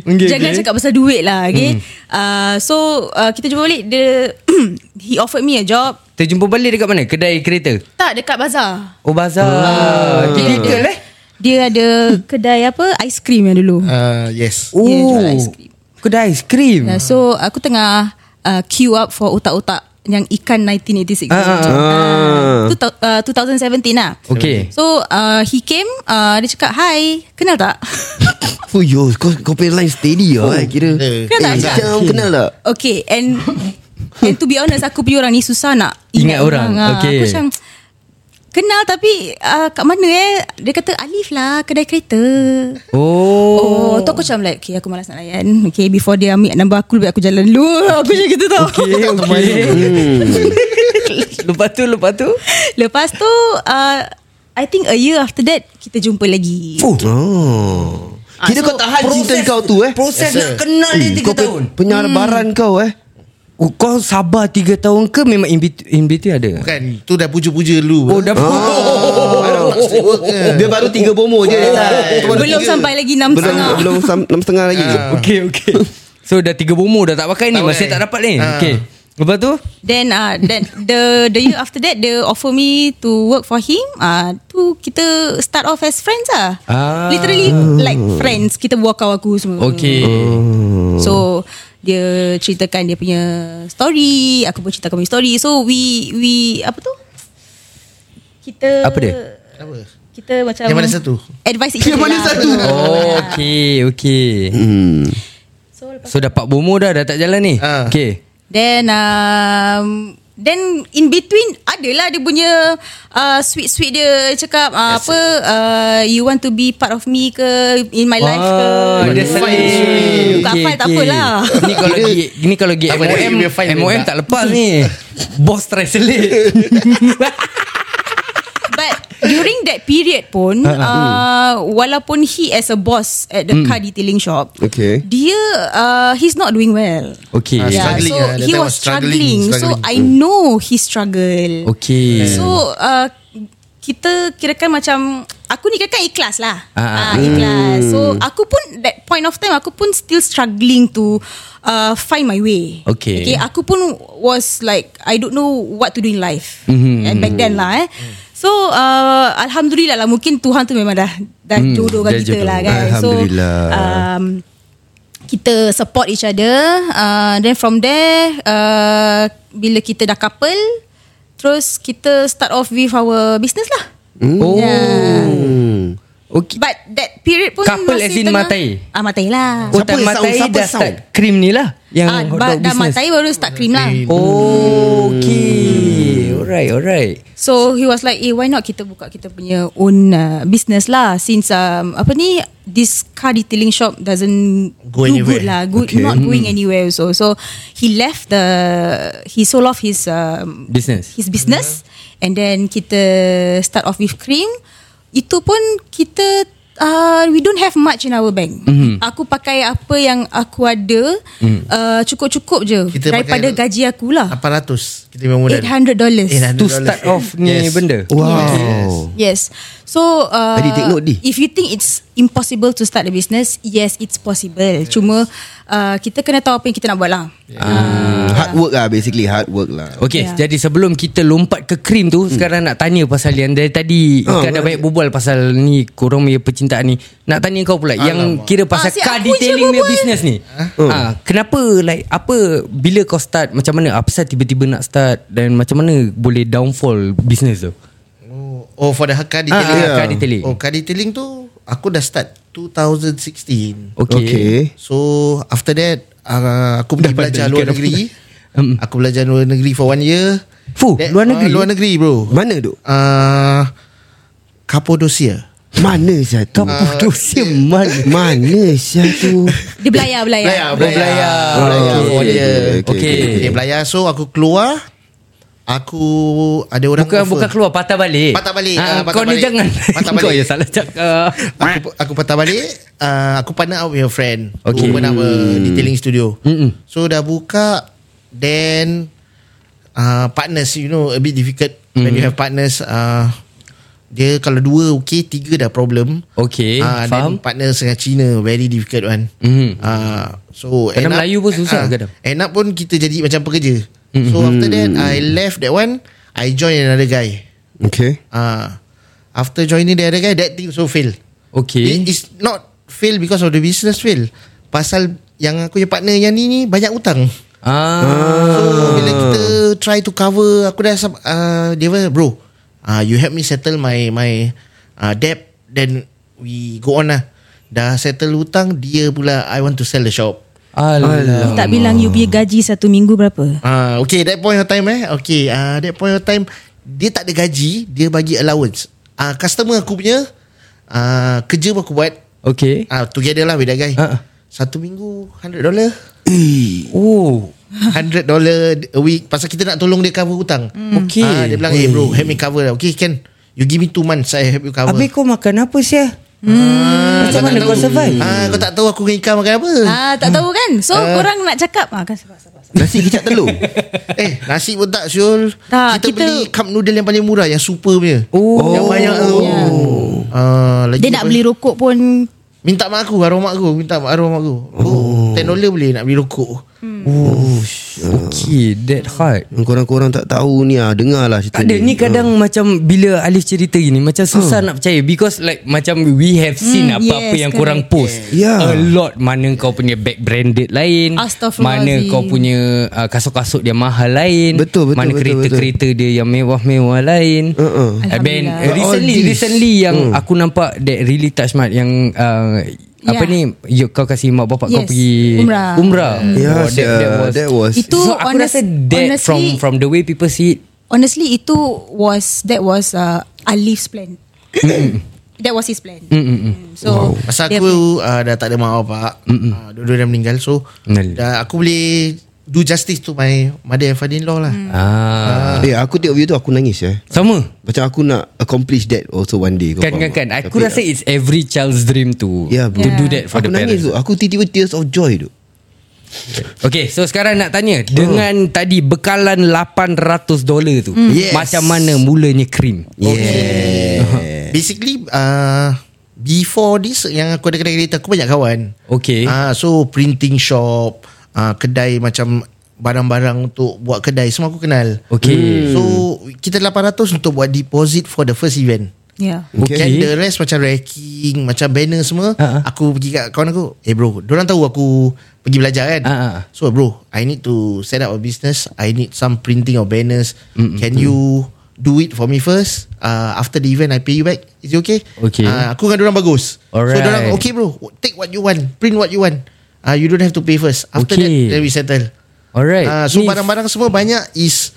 S3: okay.
S5: Jangan cakap pasal duit lah
S3: Hmm.
S5: Okay uh, So uh, Kita jumpa balik Dia (clears throat) He offered me a job
S3: Terjumpa balik dekat mana? Kedai kereta.
S5: Tak dekat bazar
S3: Oh bazar. Ah, Typical eh.
S5: Dia ada Kedai apa Ice cream yang dulu
S6: uh, Yes
S3: Oh.
S5: Dia jual ice cream.
S3: Kedai ice cream.
S5: yeah, Ya, So aku tengah uh, Queue up for otak-otak Yang ikan 1986
S3: Ah, ah, ah.
S5: Uh, tu, ta- uh, 2017 lah
S3: Okay.
S5: So uh, he came uh, Dia cakap Hi Kenal tak? (laughs)
S2: Oh yo Kau, kau punya line steady lah oh, eh, Kira
S6: Eh,
S5: Kenal tak, Jack?
S2: Macam kenal tak
S5: Okay and And to be honest Aku punya orang ni Susah nak
S3: Ingat orang,
S5: Ah,
S3: okay.
S5: Aku macam Kenal tapi uh, Kat mana eh Dia kata Alif lah Kedai kereta
S3: Oh.
S5: Oh, tu aku macam like Okay aku malas nak layan
S6: (laughs)
S5: Okay (laughs)
S2: Hmm.
S5: before dia ambil number aku Lebih aku jalan dulu Aku macam gitu tau
S3: Okay, okay. lepas tu lepas tu.
S5: (laughs) Lepas tu uh, I think a year after that Kita jumpa lagi
S3: Fuh.
S2: Oh.
S5: Ah,
S2: Kira
S5: so
S2: kau tahan cinta kau tu eh.
S3: Proses
S6: Yes,
S3: nak
S6: sir.
S3: kenal dia
S2: Hmm,
S3: 3
S2: kau pe-
S3: tahun.
S2: Penyabaran kau eh.
S3: Eh, Oh, kau sabar 3 tahun ke memang in between, in between ada?
S6: Bukan kan? Ah. Tu dah puja-puja lu
S3: Oh, dah (laughs)
S2: Oh, Dia baru tiga bomo je
S6: Wah.
S2: Belum
S5: Belum sampai lagi Enam
S2: Eh. belum
S5: setengah
S2: belum sam- enam setengah lagi.
S3: Okay, okay. So dah 3 bomo dah tak pakai ni,
S6: Tak
S3: masih
S6: pakai.
S3: tak dapat ni.
S6: Ah. Hmm.
S3: Okay. Lepas tu?
S5: Then uh, then the the year after that they offer me to work for him. Ah uh, tu kita start off as friends ah.
S3: Ah.
S5: Literally like friends. Kita buat kau aku semua.
S3: Okay. Hmm.
S5: So dia ceritakan dia punya story, aku pun ceritakan punya story. So we we apa tu? Kita
S3: Apa dia?
S6: Apa
S5: Kita macam
S6: Yang mana satu?
S5: Advice each
S2: Yang
S5: other
S2: mana
S5: lah.
S2: satu?
S3: Oh, okay, okay.
S2: Hmm.
S5: So lepas
S3: So dapat bomo dah, dah tak jalan ni?
S6: Ah.
S3: Okay.
S5: Then um, Then in between Adalah dia punya uh, Sweet-sweet dia Cakap uh, Apa uh, You want to be part of me ke In my life Eh, ke
S3: Oh, dia
S5: Buka
S3: selit.
S5: Buka
S3: Okey,
S5: file tak
S3: okey.
S5: apalah
S3: (laughs) Ni kalau pergi ni kalau pergi
S6: Tak apa, dia
S3: MOM
S6: punya file dia
S3: MOM
S6: tak.
S3: tak lepas
S6: (laughs)
S3: ni. Bos try (laughs) selit.
S5: But During that period pun uh, Walaupun he as a boss At the car detailing shop
S2: Okay.
S5: Dia uh, He's not doing well
S3: Okay.
S6: Ah,
S5: Yeah,
S6: Struggling
S5: so
S6: lah. That
S5: he
S6: time
S5: was
S6: was struggling,
S5: struggling, So
S6: struggling.
S5: I know he struggle
S3: Okay.
S5: So uh, kita kirakan macam aku ni kirakan ikhlas lah.
S3: Ah, ah.
S5: Ah, ikhlas. So aku pun that point of time aku pun still struggling to uh, find my way.
S3: Okay.
S5: Okay, aku pun was like I don't know what to do in life.
S3: Mhm,
S5: And back then lah eh. So uh, alhamdulillah lah mungkin Tuhan tu memang dah dah
S3: Hmm,
S5: jodohkan
S3: dah
S5: kita
S3: jodoh.
S5: lah kan.
S2: Alhamdulillah.
S5: So um, kita support each other uh, then from there uh, bila kita dah couple terus kita start off with our business lah
S3: Oh.
S5: yeah.
S2: Hmm.
S3: Okay.
S5: but that period pun
S3: Couple
S5: masih
S3: as in
S5: tengah-
S3: matai?
S5: ah matai lah
S3: Oh,
S2: Siapa
S3: tak
S2: sound?
S3: matai
S2: Siapa
S3: dah
S2: sound?
S3: start krim ni lah yang
S5: ah,
S3: hot
S5: ba-
S3: dog
S5: dah
S3: business.
S5: matai baru start cream lah
S3: Oh, okay.
S6: Hmm.
S3: Alright, alright.
S5: So he was like, eh, why not kita buka kita punya own uh, business lah. Since um, apa ni, this car detailing shop doesn't
S6: Go
S5: do
S6: anywhere.
S5: good lah. Good,
S2: Okay.
S5: not going anywhere also. So he left the, he sold off his um,
S3: Business.
S5: His business, and then kita start off with cream. Itu pun kita Uh, we don't have much in our bank. Mm-hmm. Aku pakai apa yang aku ada mm. uh, cukup-cukup je
S6: Kita pakai
S5: daripada gaji aku
S3: Ah.
S5: lah.
S6: 800 Kita memang mudah
S5: $800.
S3: To start off ni
S6: Yes.
S3: benda.
S2: Wow.
S5: Yes. So uh,
S2: Adi, take note, Di.
S5: if you think it's impossible to start a business, yes, it's possible. Yes. Cuma uh, kita kena tahu apa yang kita nak buat lah.
S2: Hmm, hard work lah basically hard work lah.
S3: Okay, yeah.
S5: Yeah.
S3: jadi sebelum kita lompat ke krim tu, hmm. sekarang nak tanya pasal yang dari tadi
S2: Ah,
S3: oh, kan dah
S2: baik.
S3: banyak berbual pasal ni korang punya percintaan ni. Nak tanya kau pula Alamak. yang kira pasal
S5: Ah, si
S3: car
S5: aku je
S3: detailing punya
S5: berbual.
S3: business ni. Ha?
S6: Hmm.
S3: kenapa like apa bila kau start macam mana? Apa pasal tiba-tiba nak start dan macam mana boleh downfall business tu?
S6: Oh, oh for the car
S3: Ah,
S6: detailing.
S3: ah, car detailing.
S6: Oh, car detailing tu aku dah start 2016.
S3: Okay.
S2: Okay.
S6: So after that uh, aku pergi belajar luar negeri.
S3: (laughs) Hmm.
S6: Aku belajar luar negeri for one year.
S3: Fuh, luar
S6: ah,
S3: negeri?
S6: luar negeri bro.
S2: Mana tu?
S6: Uh, Cappadocia.
S2: Mana saya tu?
S3: Kappadocia mana?
S2: Mana saya tu?
S5: Dia belayar, belayar.
S6: Belayar.
S2: Oh,
S6: Belayar
S2: okay.
S6: for one year.
S2: Okay, okay,
S3: okay.
S6: Okay, Belayar. So aku keluar Aku Ada orang
S3: Bukan
S6: offer.
S3: bukan keluar patah balik.
S6: Patah balik,
S3: Ah,
S6: ah, patah
S3: kau ni
S6: balik.
S3: jangan. (laughs)
S6: Patah
S3: Kau
S6: balik.
S3: ya salah cakap.
S6: (laughs) aku, aku patah balik uh, Aku partner up with a friend
S3: Okay.
S6: okay. Open up a detailing studio
S3: Mm-mm.
S6: So dah buka Then uh, Partners You know A bit difficult mm. When you have partners uh, Dia kalau dua Okay Tiga dah problem
S3: Okay, Eh,
S6: Ah,
S3: faham.
S6: Then partner dengan Cina Very difficult one
S3: Mhm.
S6: uh, So
S3: Kadang
S6: end up-
S3: Melayu pun susah
S6: ah,
S3: kadang. Mhm. Hmm.
S6: End up pun kita jadi macam pekerja So after that I left that one I join another guy
S2: Okay.
S6: Ah, after joining the other guy, that thing so fail.
S3: Okay.
S6: It is not fail because of the business fail. Pasal yang aku punya partner yang ni ni banyak utang.
S3: Ah.
S6: So bila kita try to cover, aku dah sam- ah, dia kata, bro, ah, you help me settle my my ah, debt, then we go on lah. Dah settle hutang, dia pula I want to sell the shop.
S3: Alah.
S5: Tak bilang you punya gaji satu minggu berapa.
S6: Ah, okay, that point of time eh. Okay, ah, that point of time dia tak ada gaji, dia bagi allowance. Ah, customer aku punya ah, kerja pun aku buat
S3: Okay.
S6: ah, together lah with that guy.
S3: Ah.
S6: Satu minggu $100.
S3: Oh.
S6: $100 a week Pasal kita nak tolong dia cover hutang
S3: Okay.
S6: Ah, Dia bilang Hey bro help me cover lah Okay can You give me two months I help you cover
S3: Habis kau makan apa sih? Hmm. Macam mana kau survive?
S6: Ah, kau tak tahu aku dengan Ika makan apa
S2: Hmm.
S5: Ah, tak tahu kan? So uh, korang nak cakap ah kan sabar sabar. sabar.
S2: Nasi kicap telur
S6: Eh nasi pun tak Syul kita,
S5: Tak, kita-
S6: beli cup noodle yang paling murah Yang super punya
S3: Oh.
S6: Yang banyak tu
S5: Ya.
S6: Ah, lagi
S5: Dia nak
S6: apa?
S5: beli rokok pun
S6: Minta mak aku Arwah mak aku Minta mak arwah mak aku oh. $10 boleh nak beli rokok
S3: Okay, that hard.
S2: Hmm, Korang-korang tak tahu ni ah Dengarlah cerita
S3: Tak ada ni kadang macam bila Alif cerita gini macam susah nak percaya because like macam we have seen
S5: Hmm,
S3: apa-apa
S5: yes,
S3: yang
S5: correct.
S3: korang post.
S2: Yeah.
S3: A lot mana kau punya bag branded lain, mana
S5: Astaghfirullahalazim.
S3: kau punya uh, kasut-kasut dia mahal lain,
S2: Betul, betul,
S3: mana
S2: betul,
S3: kereta-kereta dia yang mewah-mewah lain.
S2: Uh-uh.
S3: And then
S5: Alhamdulillah. Hmm.
S3: uh, recently
S2: All this.
S3: recently yang aku nampak that really touch my yang uh, apa
S5: Yeah.
S3: ni you, kau kasih mak bapak kau
S5: Yes,
S3: pergi
S5: umrah. Hmm.
S3: umrah.
S2: Ya
S3: Oh, that, that was,
S2: That was
S5: Itu
S3: so aku
S5: honest-
S3: rasa that
S5: honestly-
S3: from from the way people see it
S5: honestly itu was that was uh, Alif's
S2: (coughs)
S5: plan. that was his plan.
S2: Hmm,
S5: Mm, So
S6: Pasal
S5: dia-
S6: aku uh, dah tak ada mak bapak uh, Dua-dua dah meninggal So
S3: Nel.
S6: dah, Aku boleh Do justice to my Mother and father-in-law
S5: Hmm.
S3: ah
S6: lah
S2: Eh aku tengok video tu Aku nangis eh
S3: sama
S2: Macam aku nak accomplish that also one day kau
S3: Kan
S2: faham tak?
S3: kan kan Aku
S2: Tapi
S3: rasa
S6: ah.
S3: it's every child's dream to
S6: Ya,
S2: Yeah, bro.
S3: To
S2: Yeah.
S3: do that for
S2: Aku
S3: the
S2: nangis
S3: parents
S2: tu Aku tiba-tiba tears of joy tu
S3: Okay so sekarang nak tanya
S6: Hmm.
S3: Dengan tadi Bekalan 800 dolar tu
S2: Yes.
S3: Macam mana mulanya krim
S2: Yeah
S6: Basically uh, Before this Yang aku ada kedai kereta Aku banyak kawan
S3: Okay
S6: Ah, So printing shop uh, Kedai macam Barang-barang untuk Buat kedai Semua aku kenal
S3: Okay.
S6: So Kita 800 untuk buat deposit For the first event
S5: yeah.
S3: Okay.
S6: Okay. And the rest macam racking Macam banner semua
S3: Ha, ha.
S6: uh-huh. Aku pergi kat kawan aku Eh bro Diorang tahu aku Pergi belajar kan
S3: Ha, ha.
S6: So bro I need to set up a business I need some printing of banners mm Can you Do it for me first uh, After the event I pay you back Is it okay?
S3: Okay.
S6: uh, Aku dengan diorang bagus So
S3: Alright.
S6: diorang okay bro Take what you want Print what you want uh, You don't have to pay first After
S3: Okay.
S6: that Then we settle
S3: Alright
S6: uh,
S3: Ni
S6: So barang-barang semua banyak Is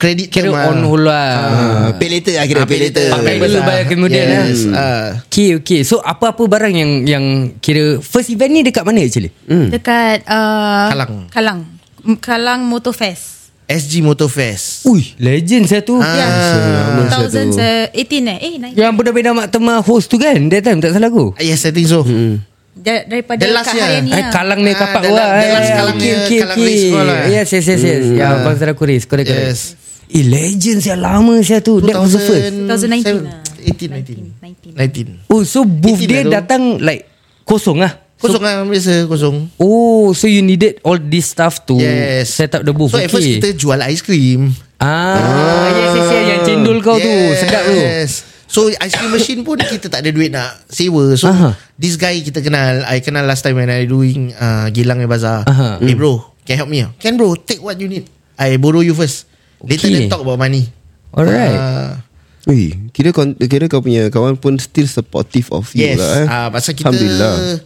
S6: Credit
S3: Kira
S6: term ah.
S3: on hold lah
S2: Uh, pay later lah kira
S6: Ah,
S2: pay later
S3: Pakai dulu
S6: Ah,
S3: bayar kemudian lah.
S6: yes, ah.
S3: Okay okay So apa-apa barang yang Yang kira First event ni dekat mana actually
S2: Hmm.
S6: Hmm.
S5: Dekat uh,
S6: Kallang.
S5: Kalang. Kalang Motor Fest.
S6: SG Motor Fest
S3: Ui legend saya tu
S6: Ah.
S5: Yeah.
S2: lama satu.
S5: 2018 Ya. eh. Eh, naik.
S3: Yang benda-benda mak tema host tu kan That time tak salah aku
S6: Ah, Yes I think so hmm.
S5: Da- daripada
S6: The last
S5: Kak
S6: year.
S5: Haryani.
S3: Eh,
S5: lah.
S3: kalang ni
S6: Ah,
S3: kapak
S6: dalam-
S3: wah.
S6: dalam
S3: eh.
S6: kalang
S3: Okey,
S6: dia,
S3: okey,
S6: kalang
S3: okey.
S6: race kau lah.
S3: Yes, yes, yes, yes. Ya, abang saudara aku race. Correct, correct.
S6: Yes.
S3: Eh, legend saya lama saya tu. That was the first.
S5: 2019 lah.
S6: 18 19 19
S3: Oh, so booth dia
S6: 18 dah lah tu.
S3: datang like kosong lah.
S6: Kosong lah biasa kosong
S3: Oh, so you needed all this stuff to
S6: Yes
S3: Oh, set up the booth.
S6: So at first
S3: Okay.
S6: kita jual ice cream
S3: Ah, yes, yes, yes. Yang cendol kau tu. Sedap tu.
S6: So ice cream machine pun Kita tak ada duit nak Sewa So
S3: Aha.
S6: This guy kita kenal I kenal last time When I doing uh, Gilang Bazaar
S3: Aha. mm.
S6: Hey bro Can help me ah? Can bro Take what you need I borrow you first Later
S3: Okay.
S6: then talk about money
S3: Alright.
S6: Ah,
S2: Ui, kira kau, kira kau punya kawan pun still supportive of you
S6: Yes
S2: lah eh.
S6: ah uh, Pasal kita
S2: Alhamdulillah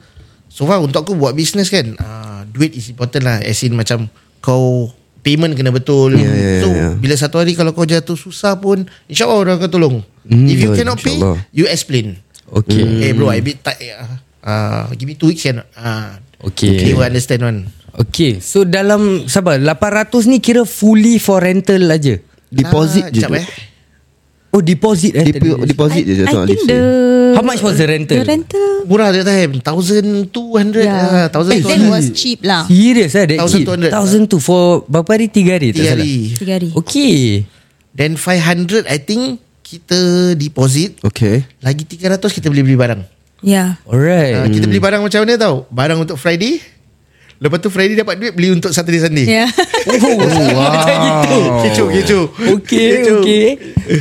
S6: So far untuk aku buat business kan uh, Duit is important lah As in macam Kau Payment kena betul yeah,
S2: yeah,
S6: So
S2: yeah.
S6: bila satu hari Kalau kau jatuh susah pun InsyaAllah orang akan tolong mm, If you
S2: betul,
S6: cannot pay
S2: Hmm, insyaAllah.
S6: You explain
S3: Okay.
S6: Hey bro I bit tight ah. uh, Give me two weeks kan uh,
S3: Okay.
S6: You understand one
S3: Okay, so dalam sabar 800 ni kira fully for rental aja.
S2: Deposit
S6: Ah,
S2: je
S6: jap,
S2: tu
S6: eh.
S3: Oh, deposit eh.
S2: Depo-
S3: tadi.
S2: Deposit je
S5: I, I
S2: Tuan Alif
S5: think
S2: say.
S5: the
S3: How much was the rental?
S5: The rental
S6: Murah dia time 1200 yeah. uh,
S5: Yeah. That
S6: 1200
S2: (laughs)
S5: was cheap lah.
S3: Serius lah that
S6: 1,200.
S3: 1200 tu For berapa hari 3 hari tak
S6: Tiga
S3: salah
S6: hari
S5: Tiga
S3: Oh.
S5: hari.
S3: Okay
S6: Then 500 I think Kita deposit
S2: Okay
S6: Lagi 300 kita boleh beli barang
S5: Yeah.
S6: Uh,
S3: Alright
S6: kita beli barang macam mana tau Barang untuk Friday Lepas tu Friday dapat duit Beli untuk Saturday Sunday
S5: Yeah.
S6: Ah,
S3: Oh wow
S6: Kecoh kecoh
S3: (laughs) Okay okay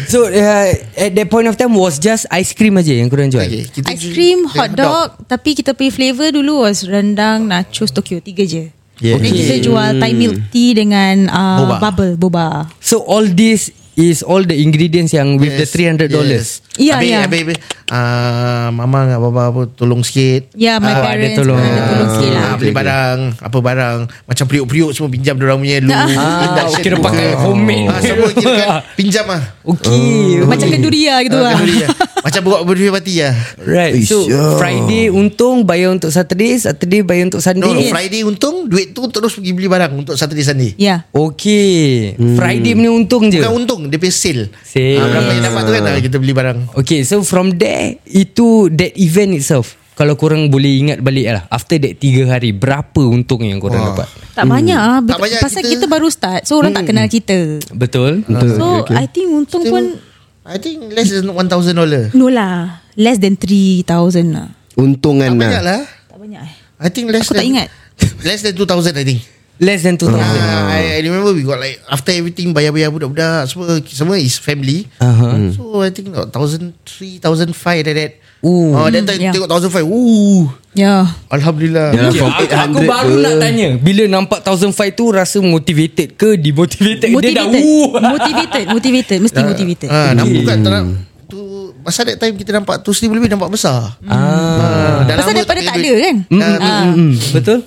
S3: So uh, at that point of time Was just ice cream aja Yang korang jual
S6: Okay,
S5: (laughs)
S6: kita
S5: Ice
S6: ju-
S5: cream, hot dog, Tapi kita pay flavour dulu Was rendang, nachos, Tokyo Tiga je
S3: Yeah.
S5: Then
S3: Okay.
S5: kita jual Thai milk tea Dengan uh,
S6: Boba.
S5: boba. bubble Boba
S3: So all this Is all the ingredients Yang with
S6: Yes,
S3: the $300
S6: yes.
S5: Ya,
S6: Habis-
S5: ya.
S6: habis- habis, uh, mama dengan baba apa tolong sikit.
S5: Ya,
S3: Ah,
S5: my
S3: ada
S5: parents
S3: tolong.
S5: Ada tolong sikit
S6: Ah,
S5: lah
S6: beli
S2: Okay, okay.
S6: barang Apa barang Macam periuk-periuk Semua pinjam Diorang punya lu
S3: Ah,
S6: induction
S3: kira
S6: tu.
S3: pakai homemade.
S6: ah, Semua kira
S5: (laughs)
S6: kan Pinjam lah
S3: Okay.
S5: Macam kenduri lah
S3: Oh,
S5: gitu
S6: Ah,
S5: lah
S6: kenduri lah. Macam buat berdua parti lah
S3: Right.
S2: Ish,
S3: So
S2: ya.
S3: Friday untung bayar untuk Saturday, Saturday bayar untuk Sunday.
S6: No, Friday untung Duit tu terus pergi beli barang Untuk Saturday Sunday
S5: (laughs) Ya
S3: Okay. Friday punya untung je.
S6: Bukan untung Dia pay sale
S3: Sale.
S6: Ah, Berapa yang dapat tu kan ah, Kita beli barang
S3: Okay, so from there itu that event itself. Kalau korang boleh ingat balik lah After that 3 hari Berapa untung yang korang
S6: Wah.
S3: dapat
S5: Tak banyak lah
S6: Tak banyak
S5: Pasal
S6: kita-
S5: kita baru start So orang tak kenal kita
S3: Betul
S5: So I think untung pun
S6: I think less than $1,000 dollar.
S5: No lah Less than 3,000 lah
S2: Untungan
S6: Banyak
S2: lah
S6: lah
S5: Tak banyak eh
S6: I think less
S5: Aku tak
S6: than
S5: ingat.
S6: (laughs) Less than 2,000 I think
S3: Less than 2,000
S6: Ah, I, I remember we got like After everything Bayar-bayar budak-budak Semua semua is family
S3: Aha. Hmm.
S6: So I think about 1,000 3,000 5 like that
S3: Ooh.
S6: Oh, that time
S5: Hmm, yeah.
S6: tengok 1,005 Ooh
S5: Ya
S6: Alhamdulillah
S2: Yeah.
S3: Okay,
S2: From
S3: aku, aku
S2: 800
S3: baru
S2: ke?
S3: nak tanya Bila nampak 1,005 tu Rasa motivated ke Demotivated Dia dah
S5: Motivated
S3: Ooh.
S5: (laughs) Motivated Motivated Mesti motivated
S6: Ah,
S3: Hmm.
S6: nampak kat tanah tu masa that time kita nampak tu seribu lebih nampak besar.
S3: Hmm.
S6: Ah. dah
S5: Pasal
S6: lama
S5: daripada
S6: pegang
S5: tak ada
S6: duit.
S5: kan
S6: Dah,
S5: Ah.
S3: (laughs) Mm, Betul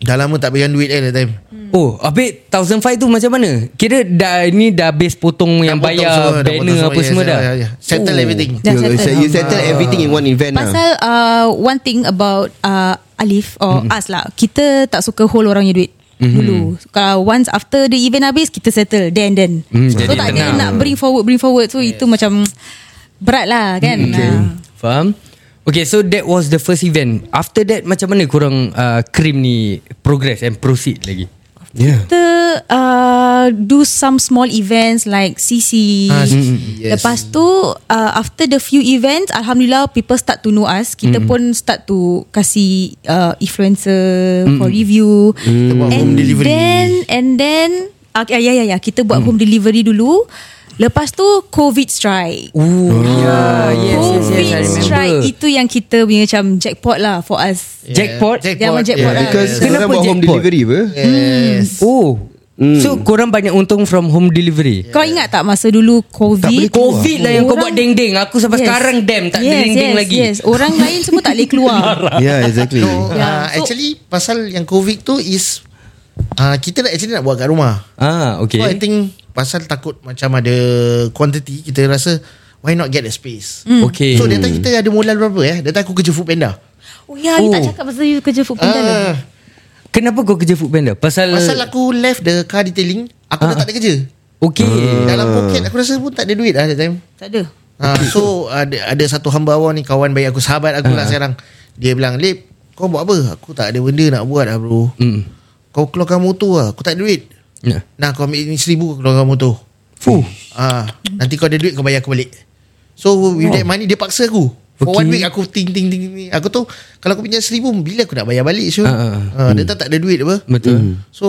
S6: dah lama tak pegang duit eh that time.
S3: Oh Habis 1,005 tu macam mana Kira dah Ni dah base potong Yang
S6: Dah potong
S3: bayar
S6: semua, dah
S3: Banner
S6: potong
S3: apa semua dah
S6: Ya, ya, ya. Settle
S3: Oh.
S6: everything.
S5: Dah
S2: You,
S5: settle.
S2: you settle everything in one event lah
S5: Pasal uh, one thing about uh, Alif or mm-hmm. us lah, kita tak suka hold orang punya duit. Mm-hmm. Dulu Kalau once after the event habis Kita settle Then then
S3: Hmm,
S5: So
S3: jadi
S5: tak
S3: tenang.
S5: ada nak bring forward Bring forward So itu macam Berat lah kan okay.
S3: Faham? Okay, so that was the first event. After that, macam mana korang uh, krim ni progress and proceed lagi?
S2: Yeah
S5: Kita uh, Do some small events Like CC
S6: Ah, CC, yes.
S5: Lepas tu uh, After the few events Alhamdulillah People start to know us Kita mm. pun start to Kasih uh, Influencer mm. For review
S6: Kita buat home
S5: And
S6: delivery.
S5: then And then uh, Ya ya ya Kita buat home delivery dulu Lepas tu Covid strike
S3: Ooh, yeah,
S5: Covid strike Itu yang kita punya Macam jackpot lah For us
S6: Yeah.
S3: Jackpot?
S5: Jackpot, jackpot lah.
S2: Because Kenapa
S3: Kenapa
S2: buat home
S3: jackpot?
S2: delivery apa
S6: Yes.
S3: Oh,
S5: Hmm.
S3: so korang banyak untung from home delivery?
S5: Kau ingat tak Masa dulu
S2: boleh
S5: Covid
S2: keluar.
S3: COVID lah yang kau buat deng-deng. Aku sampai sekarang dam, tak ada deng-deng
S5: yes,
S3: lagi.
S5: Yes. Orang lain semua tak boleh keluar.
S2: Yeah exactly
S6: So,
S5: Hmm. Yeah.
S6: ah,
S5: So-
S6: actually pasal yang covid tu is ah, kita nak actually nak buat kat rumah.
S3: Ah,
S6: So Oh,
S3: okay.
S6: I think pasal takut macam ada quantity kita rasa why not get a space.
S5: Hmm.
S3: Okay.
S6: So data kita ada modal berapa eh? Data aku kerja Foodpanda.
S5: Oh ya, you tak
S3: Oh.
S5: cakap pasal you kerja food panda lah.
S6: Ah,
S3: Kenapa kau kerja Foodpanda? Pasal...
S6: pasal lah- aku left the car detailing, aku dah tak ada kerja. Ah.
S3: Okay.
S6: Dalam poket aku rasa pun tak ada duit lah that time.
S5: Tak ada.
S6: Ah, so ada ada satu hamba awal ni kawan baik aku sahabat aku lah sekarang. Dia bilang, "Lip, kau buat apa? Aku tak ada benda nak buat lah bro.
S3: Mm.
S6: Kau keluarkan motor lah, aku tak ada duit."
S3: Yeah.
S6: Nah, kau ambil ni seribu kau keluarkan motor.
S3: Ya. Fuh.
S6: Ah, nanti kau ada duit kau bayar aku balik. So with that money dia paksa aku.
S3: Oh.
S6: For
S3: Okay.
S6: okay. one week aku ting ting ting ting. Aku tu kalau aku pinjam seribu bila aku nak bayar balik Syul?
S3: Ah, ah,
S6: Ah, dia tak, tak ada duit apa. Hmm.
S3: Betul.
S6: So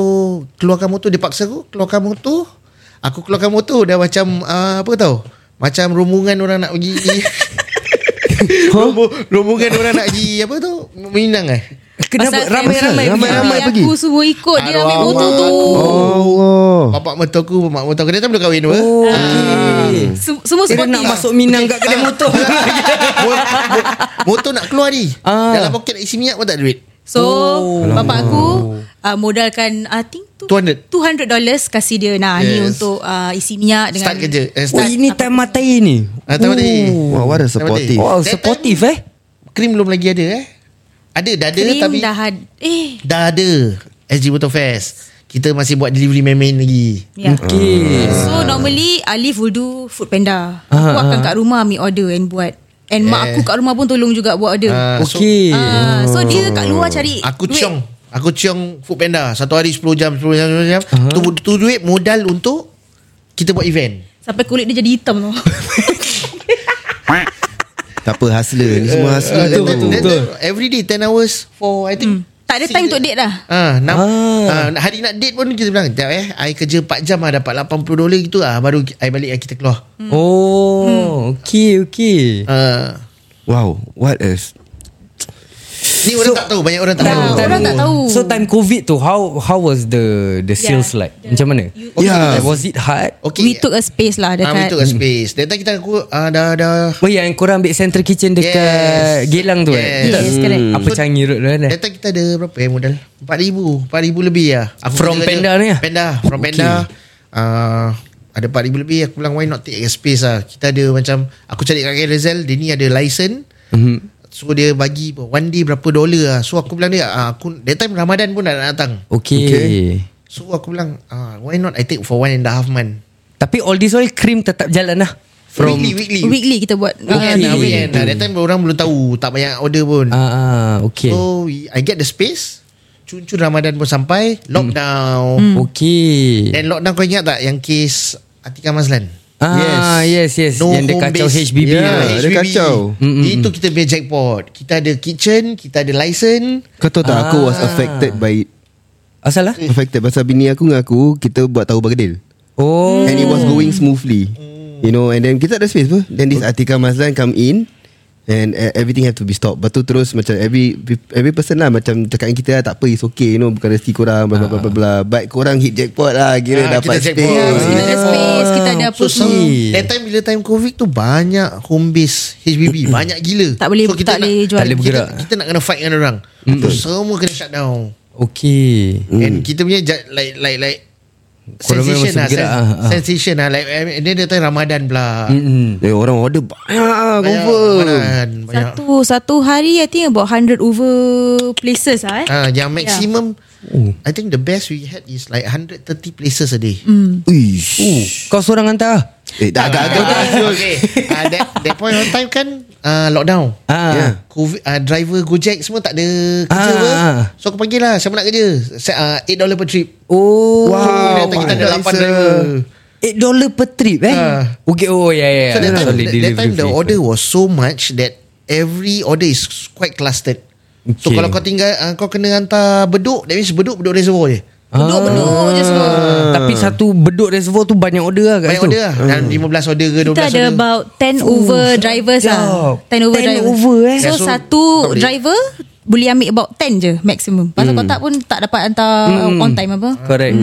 S6: keluarkan motor dia paksa aku keluarkan motor. Aku keluarkan motor dah macam ah, apa tau? Macam rombongan orang nak
S3: (laughs)
S6: pergi Rombo- rombongan orang nak pergi apa tu? Minang eh.
S3: Kenapa?
S5: Pasal
S3: Ramai-ramai.
S5: family
S2: ramai-ramai pergi.
S5: Aku semua ikut dia ambil
S6: Arwah
S5: motor tu.
S6: Oh.
S2: Allah
S6: Bapak mertua aku, mak mertua aku dia tak belum kahwin apa. Ah.
S3: Oh, okay.
S5: Sem- Semua
S3: Kira
S5: support
S3: nak masuk Minang kat kedai motor.
S6: Mo- mo- motor nak keluar ni.
S3: Ah.
S6: Dalam poket nak isi minyak pun tak ada duit.
S5: So,
S3: Oh.
S5: bapak aku uh, modalkan I think tu
S6: 200.
S5: dollars kasih dia. Nah, ni
S6: Yes.
S5: untuk uh, isi minyak dengan
S6: Start kerja. Eh,
S3: Oh,
S6: start.
S3: ini time matai ni.
S6: Ah, tahu tadi.
S2: Wah, what a supportive.
S3: Wow,
S6: That
S3: supportive
S6: time-
S3: eh.
S6: Krim belum lagi ada eh. Ada, dah ada
S5: Krim
S6: tapi
S5: dah
S6: dah,
S5: had- eh
S6: dah ada. SG Motor Fest. Kita masih buat delivery main-main lagi.
S5: yeah.
S3: Okay.
S5: ya. So normally Alif will do food panda.
S3: Ah,
S5: Aku akan
S3: ah.
S5: kat rumah ambil order and buat. And mak aku kat rumah pun tolong juga buat order.
S6: Ah, so,
S3: Okay.
S5: Ah, so dia kat luar cari
S6: Oh. Aku
S5: duit.
S6: ciong. Aku ciong food panda. Satu hari 10 jam, 10 jam, 10 jam. Tu, tu duit modal untuk kita buat event.
S5: Sampai kulit dia jadi hitam
S6: (laughs)
S5: tu.
S2: Tak apa hustler Ni semua lah, hustler tu.
S6: Then- then- then-
S3: betul.
S6: Every day 10 hours for I think
S5: tak ada time untuk date lah. dah.
S6: Ah, enam,
S3: Ah.
S6: ah. hari nak date pun kita bilang, "Jap eh, I kerja 4 jam ah dapat 80 dolar gitu ah baru I balik ah, kita keluar."
S3: Hmm. Oh, okay, okay.
S6: Ah.
S2: Wow What else
S6: Ni orang tak tahu, banyak orang tak tahu.
S5: orang tak tahu.
S3: So time COVID tu How how was the The sales like Macam mana
S6: Yeah.
S3: Was it hard
S6: Okay.
S5: We took a space
S6: ah,
S5: lah
S6: we
S5: dekat
S6: took a space. That time kita aku ah, dah dah
S3: Oh yang korang ambil central kitchen Dekat
S6: Yes.
S3: Geylang tu eh
S6: Yes.
S5: Yes,
S3: Hmm.
S5: correct.
S3: Apa
S6: So-
S3: canggih road tu kan eh?
S6: That time kita ada berapa eh modal? 4000. 4000 lebih lah. Aku
S3: From
S6: kerja-
S3: Panda ni ah?
S6: Panda, from
S3: Okay.
S6: Panda. Uh, ada 4000 lebih aku bilang why not take a space lah. Kita ada macam aku cari kat Carousel, dia ni ada license.
S3: Hmm.
S6: Mm-hmm. So dia bagi one day berapa dolar lah. So aku bilang dia ah, aku that time Ramadan pun dah nak datang.
S3: Okay.
S6: So aku bilang ah, why not I take for one and a half month.
S3: Tapi all this all Cream tetap jalan lah From
S6: weekly weekly.
S5: Weekly kita buat
S6: Weekend,
S3: Okay.
S6: ah, weekend. Ah, that time orang belum tahu, tak banyak order pun.
S3: Ah, ah, Okay
S6: So we- I get the space Cun-cun Ramadan pun sampai
S3: Hmm.
S6: Lockdown
S3: Okay
S6: Then lockdown kau ingat tak Yang kes Atika Mazlan
S3: Ah, yes, yes.
S6: No
S3: Yang dia
S6: home
S3: kacau
S6: base. Ya,
S3: HBB
S2: Yeah,
S3: tu.
S2: dia
S6: HBB.
S2: kacau.
S3: Hmm,
S6: Mm-mm. Itu kita punya jackpot Kita ada kitchen Kita ada license
S2: Kau tahu tak aku was
S3: Ah.
S2: affected by
S3: Asal lah
S2: affected pasal bini aku dengan aku kita buat tahu bergedil.
S6: Hmm.
S3: Oh
S2: And it was going smoothly. You know and then kita ada space pun. Then this Atika Mazlan come in and uh, everything have to be stopped. Lepas tu terus macam every every person lah macam cakap dengan kita lah tak apa it's okay you know bukan rezeki korang bla bla bla bla, bla. But korang hit jackpot lah kira
S6: Ah,
S2: dapat space.
S6: kita jackpot.
S5: Kita ada space Kita ada
S6: Oh.
S5: apa
S6: So, so
S5: semua
S6: That time bila time covid tu Banyak home base HBB Banyak gila
S5: Tak boleh-
S6: so, kita
S5: tak boleh
S3: Hmm.
S5: jual.
S3: Tak boleh bergerak. Hmm.
S6: kita, kita nak kena fight dengan orang So, Semua kena shut down
S3: Okay
S6: mm. And kita punya ja- Like like like
S3: Hmm. Korang memang
S6: Sensation lah
S3: bergerak,
S6: sen-
S3: ah, Hmm, ah.
S6: Sensation lah Like I mean, Dia datang Ramadan pula
S3: Mm-mm.
S2: Eh, orang order banyak lah
S6: Banyak
S2: confirm.
S6: Ramadan, Banyak
S5: Satu satu hari I think about 100 over places lah eh
S6: Ah, yang maximum
S3: Oh.
S6: yeah. I think the best we had is like 130 places a day.
S2: Ish.
S3: Kau seorang hantar
S2: Eh, dah agak-agak.
S6: okay. Ah, that, that point on time kan uh, lockdown.
S3: Ah.
S6: Yeah. COVID, uh, driver Gojek semua tak ada kerja
S3: Ah.
S6: apa. So aku panggil lah siapa nak kerja. Sa- Uh, 8 dollar per trip.
S3: Oh
S6: Wow, kita, kita ada
S2: wow.
S6: 8 driver.
S3: 8 dollar per trip eh
S6: Ah.
S3: Okay oh ya yeah, ya yeah.
S6: So that time,
S3: Solid
S6: that, that time the
S3: delivery.
S6: order was so much that every order is quite clustered. So
S3: Okay.
S6: kalau kau tinggal uh, kau kena hantar beduk that means beduk beduk reservoir je.
S3: Ah.
S6: Ah.
S5: Beduk-beduk je semua
S3: Tapi satu beduk reservoir tu banyak order lah kat
S6: Banyak
S3: situ.
S6: order lah Dalam 15 order ke 12
S5: Kita ada
S6: order
S5: about 10 over drivers lah
S3: sedap.
S5: 10 over
S3: 10
S5: driver
S3: over, eh.
S5: So
S6: Oh. Yeah, so, tak
S5: satu
S6: boleh. Hmm.
S5: driver Boleh ambil about 10 je Maximum Pasal kau tak pun Tak dapat hantar On time apa
S3: Correct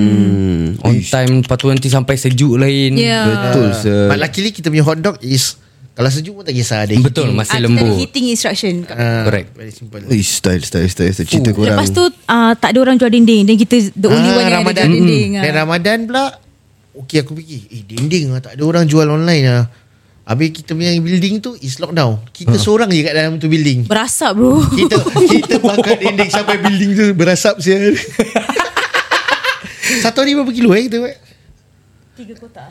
S3: On time Lepas tu nanti sampai sejuk lain
S5: Yeah.
S6: Ah.
S2: Betul sir.
S6: But luckily kita punya hot dog is Kalau sejuk pun tak kisah ada
S3: Betul
S5: Ah,
S3: masih
S5: kita ada
S3: lembut
S5: hitting instruction
S6: Ah,
S3: Correct.
S6: Very simple
S2: Ish, style, style, style, style. Cerita korang.
S5: Lepas tu uh, Tak ada orang jual dinding Then kita The only one yang ada
S6: Ah, Ramadan
S5: jual dinding
S6: Dan
S5: ah.
S6: Ramadan pula Okay aku fikir Eh dinding lah Tak ada orang jual online lah Habis kita punya building tu Is lockdown Kita seorang je kat dalam tu building
S5: Berasap bro
S6: Kita kita bakar dinding Sampai building tu Berasap sial Satu hari berapa kilo eh kita buat
S5: Tiga kotak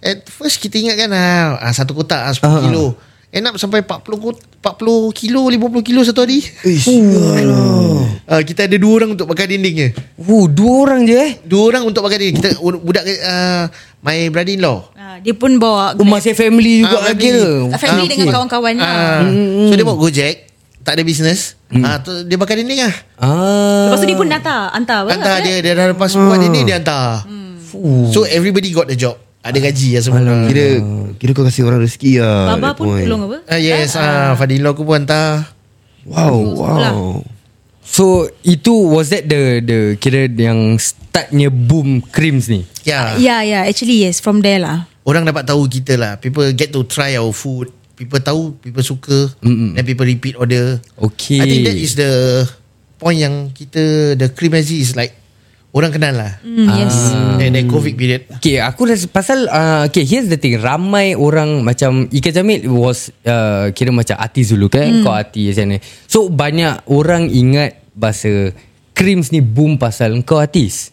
S6: At first kita ingat kan ah, ah, Satu kotak ah, 10 uh-huh. kilo End up sampai 40, kot- 40 kilo 50 kilo satu hari
S2: Ish.
S6: uh, Kita ada dua orang untuk pakai dindingnya
S3: Wuh, Dua orang je eh
S6: Dua orang untuk pakai dinding Kita budak uh, My brother-in-law
S5: (laughs) Ah, Dia pun bawa
S3: Oh, Masih family juga
S6: Ah,
S3: lagi ke
S6: Ah,
S5: Family dengan
S6: okay.
S5: kawan-kawan lah.
S6: Ah. So dia buat Gojek Tak ada bisnes ah, tu, Dia pakai dinding lah
S3: Ah,
S5: Lepas tu dia pun hantar Hantar apa
S6: Hantar
S5: apa?
S6: dia Dia dah lepas buat dinding Dia hantar So everybody got the job Ada gaji lah semua
S2: Kira kira kau kasih orang rezeki lah.
S5: Baba
S2: that
S5: pun
S2: point.
S5: tolong apa
S6: Ah, Yes ah, Fadil aku pun hantar
S2: Wow,
S5: Sekolah.
S2: wow.
S3: So itu was that the the kira yang startnya boom creams ni.
S6: Ya
S5: Ah,
S6: yeah.
S5: Yeah, yeah. Actually, yes. From there lah.
S6: Orang dapat tahu kita lah People get to try our food People tahu People suka And people repeat order
S3: Okay.
S6: I think that is the Point yang kita The cremazi is like Orang kenal lah
S5: Mm, yes.
S6: uh. And the covid period
S3: Okay aku rasa pasal uh, Okay here's the thing Ramai orang macam Ika Jamil was uh, Kira macam artis dulu kan mm. Kau artis macam ni So banyak orang ingat Bahasa Creams ni boom pasal Kau artis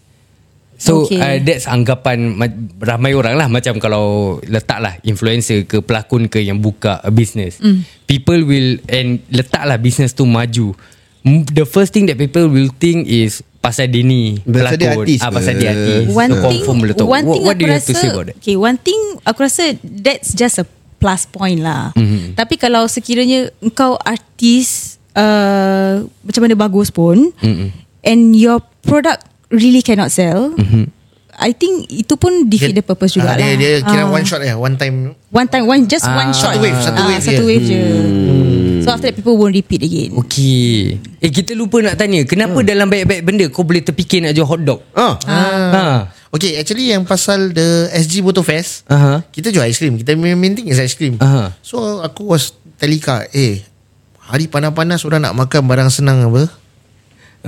S3: So okay.
S5: Okay.
S3: uh, that's anggapan ma- Ramai orang lah Macam kalau Letaklah influencer ke Pelakon ke yang buka a business mm. People will And letaklah business tu maju M- The first thing that people will think is Pasal dia ni
S2: Pasal dia
S3: pelakon.
S2: artis
S3: ah, Pasal
S2: ke?
S3: dia artis
S5: One
S3: So
S5: thing,
S3: confirm meletup.
S5: one
S3: What-
S5: thing
S3: what
S5: aku
S3: do you have
S5: rasa,
S3: to say about that?
S5: Okay, one thing aku rasa that's just a plus point lah. Mm-hmm. Tapi kalau sekiranya engkau artis uh, macam mana bagus pun mm-hmm. and your product really cannot sell, mm-hmm. I think itu pun defeat the purpose
S6: Ah,
S5: juga
S6: dia,
S5: lah.
S6: dia kira
S5: Ah.
S6: one shot ya One time
S5: One time one just
S3: Ah.
S5: one shot.
S6: Satu wave, satu
S5: Ah,
S6: wave je.
S5: satu wave je. So after that people won't repeat again.
S3: Okey. Eh kita lupa nak tanya, kenapa hmm. dalam baik-baik benda kau boleh terfikir nak jual hotdog?
S2: Ah.
S3: Ah.
S6: Okay actually yang pasal The SG Motor Fest
S3: Aha.
S6: Kita jual ice cream Kita main main thing is ice cream
S3: Aha.
S6: So aku was Telika Eh Hari panas-panas Orang nak makan barang senang apa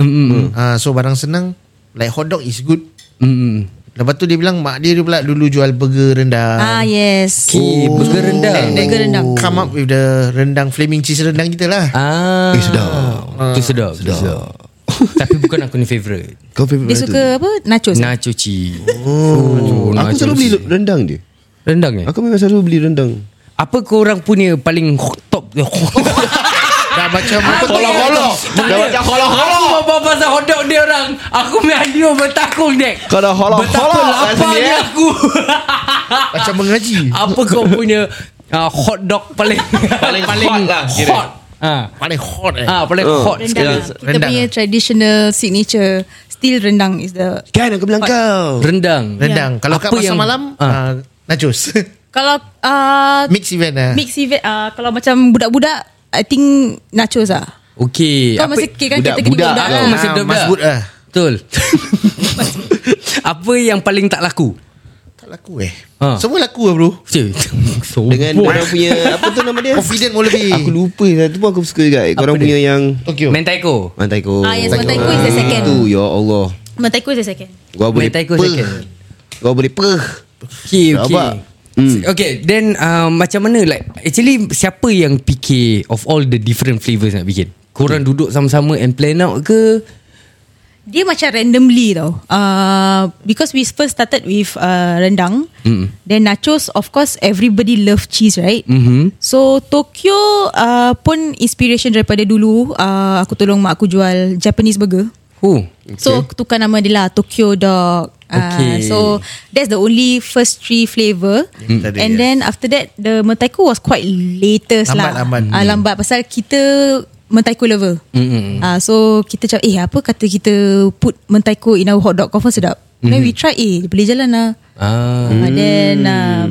S3: Ha. Hmm.
S6: Ah, So barang senang Like hotdog is good
S3: Hmm.
S6: Lepas tu dia bilang Mak dia, dia pula dulu jual burger rendang
S5: Ah yes.
S3: Okey, oh. burger rendang.
S6: Then, then
S5: Burger rendang.
S6: Come up with the Rendang flaming cheese rendang kita lah
S3: Ah.
S2: Eh, sedap.
S3: Tu sedap. Sedap. Tapi bukan aku ni favorite.
S5: (laughs)
S2: Kau favorite
S5: Dia suka apa? Nachos. Nah.
S3: Nacho cheese. Oh.
S2: Aku selalu beli rendang dia
S3: rendang eh.
S2: Aku memang selalu beli rendang
S3: Apa kau orang punya paling top? (laughs)
S6: Dah
S3: Ah,
S6: macam apa tu?
S3: Dah macam kolok-kolok Aku berbual pasal hotdog dia orang Aku mengadu bertakung dek
S2: Kau dah holok-holok kat
S3: Betapa
S2: sini,
S3: laparnya
S2: eh. (laughs)
S3: aku
S6: Macam mengaji
S3: Apa kau punya uh, hot dog paling Paling,
S2: hot lah, kira.
S3: Hot Ah,
S6: Paling hot eh
S3: ah paling
S2: Oh.
S3: hot
S5: Rendang.
S3: sekali.
S5: lah. Kita punya traditional signature still rendang is the
S2: Kan aku bilang kau
S3: Rendang.
S6: Rendang Kalau kat
S3: Apa
S6: pasar
S3: yang-
S6: malam
S3: Ah.
S6: ah, Nachos (laughs)
S5: kalau uh,
S6: Mix event lah
S5: mix event uh, kalau macam budak-budak I think nachos ah.
S3: Okey. Eh,
S5: Kau
S3: apa-
S5: masih kira kan
S2: budak-
S5: kategori
S2: budak
S5: budak, budak
S2: tau.
S5: lah.
S3: Kau masih
S6: Ah,
S3: budak-budak.
S6: masbud lah.
S3: Betul. (laughs) apa yang paling tak laku?
S6: Tak laku eh
S5: Ha.
S3: Ah.
S6: Semua laku lah bro
S3: Cik, sombong.
S2: Dengan orang punya Apa tu nama dia
S6: Confident more lebih
S2: Aku lupa Satu pun aku suka juga Korang
S3: dia?
S2: punya yang
S6: Tokyo
S3: Mentaiko.
S2: Mantaiko
S5: Ah, yes, Mentaiko is the second.
S2: Itu ya Allah
S5: Mentaiko is the second.
S2: Gua boleh
S3: Mentaiko
S2: peh.
S3: second.
S2: Gua boleh peh
S3: Okay, okay.
S2: Rabak. Mm.
S3: Okay, Hmm. then uh, macam mana like actually siapa yang fikir of all the different flavours nak bikin? Korang duduk sama-sama and plan out ke?
S5: Dia macam randomly tau uh, Because we first started with uh, rendang mm. Then nachos Of course everybody love cheese right mm-hmm. So Tokyo uh, pun inspiration daripada dulu uh, Aku tolong mak aku jual Japanese burger
S3: Who?
S5: So aku tukar nama dia lah Tokyo Dog
S3: Okay.
S5: Uh, so that's the only first three flavour
S6: Mm. Tadi,
S5: and
S6: yes.
S5: then after that the mentaiko was quite latest
S6: Lambat,
S5: lah
S6: lambat.
S5: Ah, lambat pasal kita mentaiko lover mm-hmm. uh, so kita cakap eh apa kata kita put mentaiko in our hot dog confirm sedap mm-hmm. then we try eh boleh jalan lah
S3: Ah,
S5: mm. then um,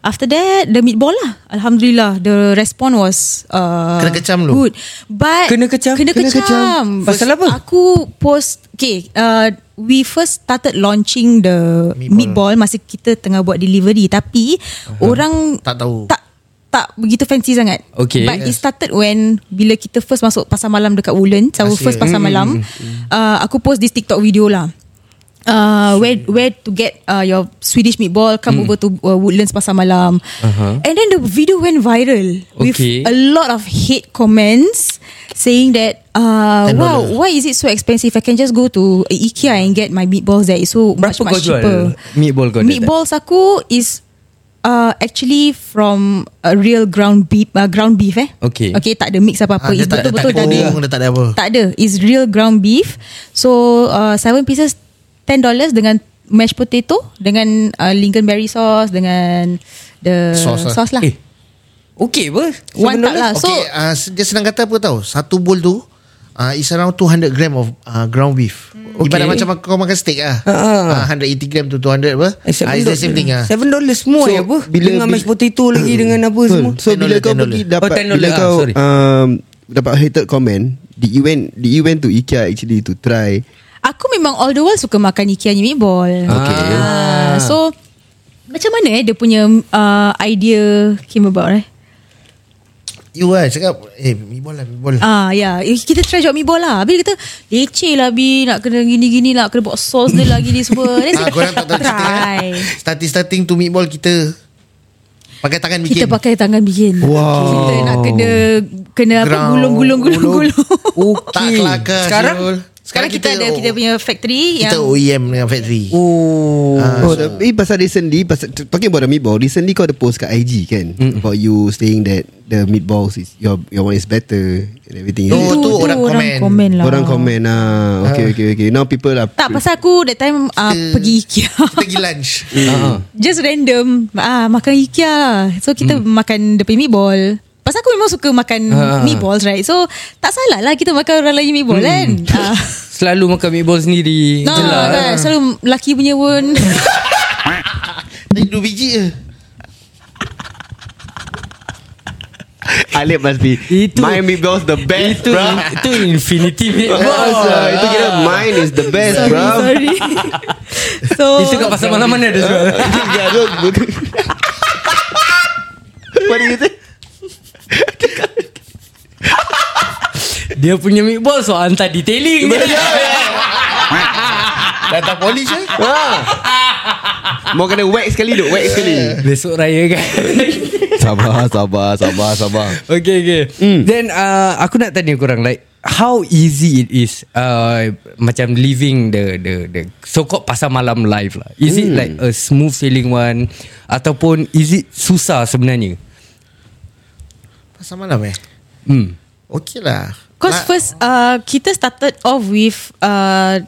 S5: after that the meatball lah alhamdulillah the response was uh,
S6: Kena kecam lu.
S5: good but
S3: Kena kecam?
S5: kena,
S3: Kena
S5: kecam.
S3: kecam. Pasal apa?
S5: aku post okay uh, we first started launching the meatball. meatball masa kita tengah buat delivery tapi uh-huh. orang
S6: Tak tahu.
S5: tak tak begitu fancy sangat
S3: Okay.
S5: But it started when Bila kita first masuk Pasar malam dekat Woodlands Our
S6: Asyik.
S5: first
S3: Hmm.
S5: pasar malam uh, Aku post this TikTok video lah Uh, where where to get uh, your Swedish meatball
S3: Hmm.
S5: come over to uh, Woodlands pasar malam uh-huh. and then the video went viral with
S3: Okay.
S5: a lot of hate comments saying that uh,
S6: $10.
S5: wow why is it so expensive I can just go to IKEA and get my meatballs there it's so
S3: Berapa
S5: much much
S3: kau jual
S5: cheaper
S3: meatball kau dia
S5: meatballs aku is uh, actually from a real ground beef uh, ground beef eh
S3: Okay.
S5: okay tak ada mix apa
S6: Ah,
S5: apa
S6: dia
S5: It's
S6: tak ada
S5: betul-betul
S6: tak ada
S5: daging
S6: daging, dia tak ada apa.
S5: tak ada It's real ground beef So uh, Seven pieces Ten dollars dengan Mashed potato Dengan uh, Lingonberry sauce Dengan The
S6: Sauce lah.
S5: Sauce lah
S3: Eh, okay apa?
S5: One tak lah So
S6: okay, uh, dia senang kata apa tahu? Satu bowl tu uh, is around 200 gram of uh, ground beef.
S5: Hmm.
S6: Okay. Ibarat
S3: Okay.
S6: macam kau makan steak ah.
S5: Ha,
S3: Ah, ah.
S6: Uh, 180 gram to 200 apa?
S5: Eh,
S6: Uh, it's the same thing ah.
S3: Seven dollars semua
S2: So,
S3: ya apa?
S2: bila-
S3: dengan mashed
S2: bila-
S3: potato lagi
S6: Hmm.
S3: dengan apa semua.
S2: So bila
S6: $10,
S2: kau
S6: $10.
S2: pergi dapat
S3: Oh, $10,
S2: Bila
S3: ah,
S2: kau
S3: sorry.
S2: um, Dapat hated comment Did you went Did you went to Ikea actually To try
S5: Aku memang all the while Suka makan Ikea ni meatball
S3: Okay.
S5: Ah, So Macam mana eh Dia punya uh, Idea Came about eh
S6: You ah cakap eh meatball lah meatball. lah.
S5: Ah ya yeah. Kita try jual meatball lah Habis dia kata Leceh lah Bi Nak kena gini-gini lah Kena buat sauce dia lagi ni semua
S6: (laughs)
S5: Then
S6: Ah,
S5: saya
S6: korang tak tahu cerita
S5: (laughs)
S6: eh?
S5: try
S6: Starting-starting tu meatball kita Pakai tangan bikin
S5: Kita pakai tangan bikin
S2: Wow.
S5: Kita nak kena Kena apa
S6: Ground,
S5: Gulung-gulung-gulung
S6: (laughs)
S3: Okay.
S6: Tak kelakar
S3: Sekarang?
S6: Syul. oh,
S5: Sekarang kita, ada Kita punya factory
S6: Kita
S5: yang
S6: OEM dengan factory
S3: Oh.
S2: Oh, tapi pasal recently pasal, Talking about the meatball Recently kau ada post kat IG kan mm. About you saying that The meatballs is Your your one is better And everything
S6: No,
S2: is it?
S6: tu orang komen.
S5: lah
S2: Orang komen ah. Okay okay okay Now people are
S5: Tak
S2: (laughs)
S5: pasal aku That time uh,
S6: Kita-
S5: Pergi IKEA
S6: (laughs) Kita pergi lunch uh-huh.
S3: Ah.
S5: Just random ah Makan IKEA lah So kita
S3: Hmm.
S5: makan Dia punya meatball Pasal aku memang suka makan
S3: Ah.
S5: meatballs right So tak salah lah kita makan orang lain
S3: Hmm.
S5: meatball
S3: (laughs)
S5: kan ah.
S3: Selalu makan meatball sendiri.
S5: Nah,
S3: Jelas.
S5: kan, selalu laki punya pun
S6: Tadi dua biji je
S2: Alif must be
S3: Itu-
S2: My meatballs the best
S3: Itu Ah.
S2: bruh.
S3: Itu
S6: (laughs)
S3: infinity
S2: Meatballs
S3: meatballs
S2: lah. Itu kira Mine is the best
S5: Sorry,
S2: bro
S5: sorry. (laughs) so
S3: Oh. Itu kat pasar malam mana ada jual
S6: (laughs)
S2: Yeah, look, look. (laughs) What do you think
S3: Dia punya meatball Soalan tadi detailing
S6: Datang polis eh
S2: Mau kena wax sekali duk Wax sekali
S3: Besok raya kan
S6: (laughs)
S2: Sabar Sabar Sabar Sabar
S3: Okay okay
S6: Hmm.
S3: Then uh, Aku nak tanya korang Like How easy it is uh, Macam living the the, the So called pasar malam life lah Is
S6: Hmm.
S3: it like a smooth sailing one Ataupun Is it susah sebenarnya
S6: Pasal malam eh
S3: Hmm
S6: Okay lah
S5: Cause
S6: Ma-
S5: first uh, Kita started off with uh,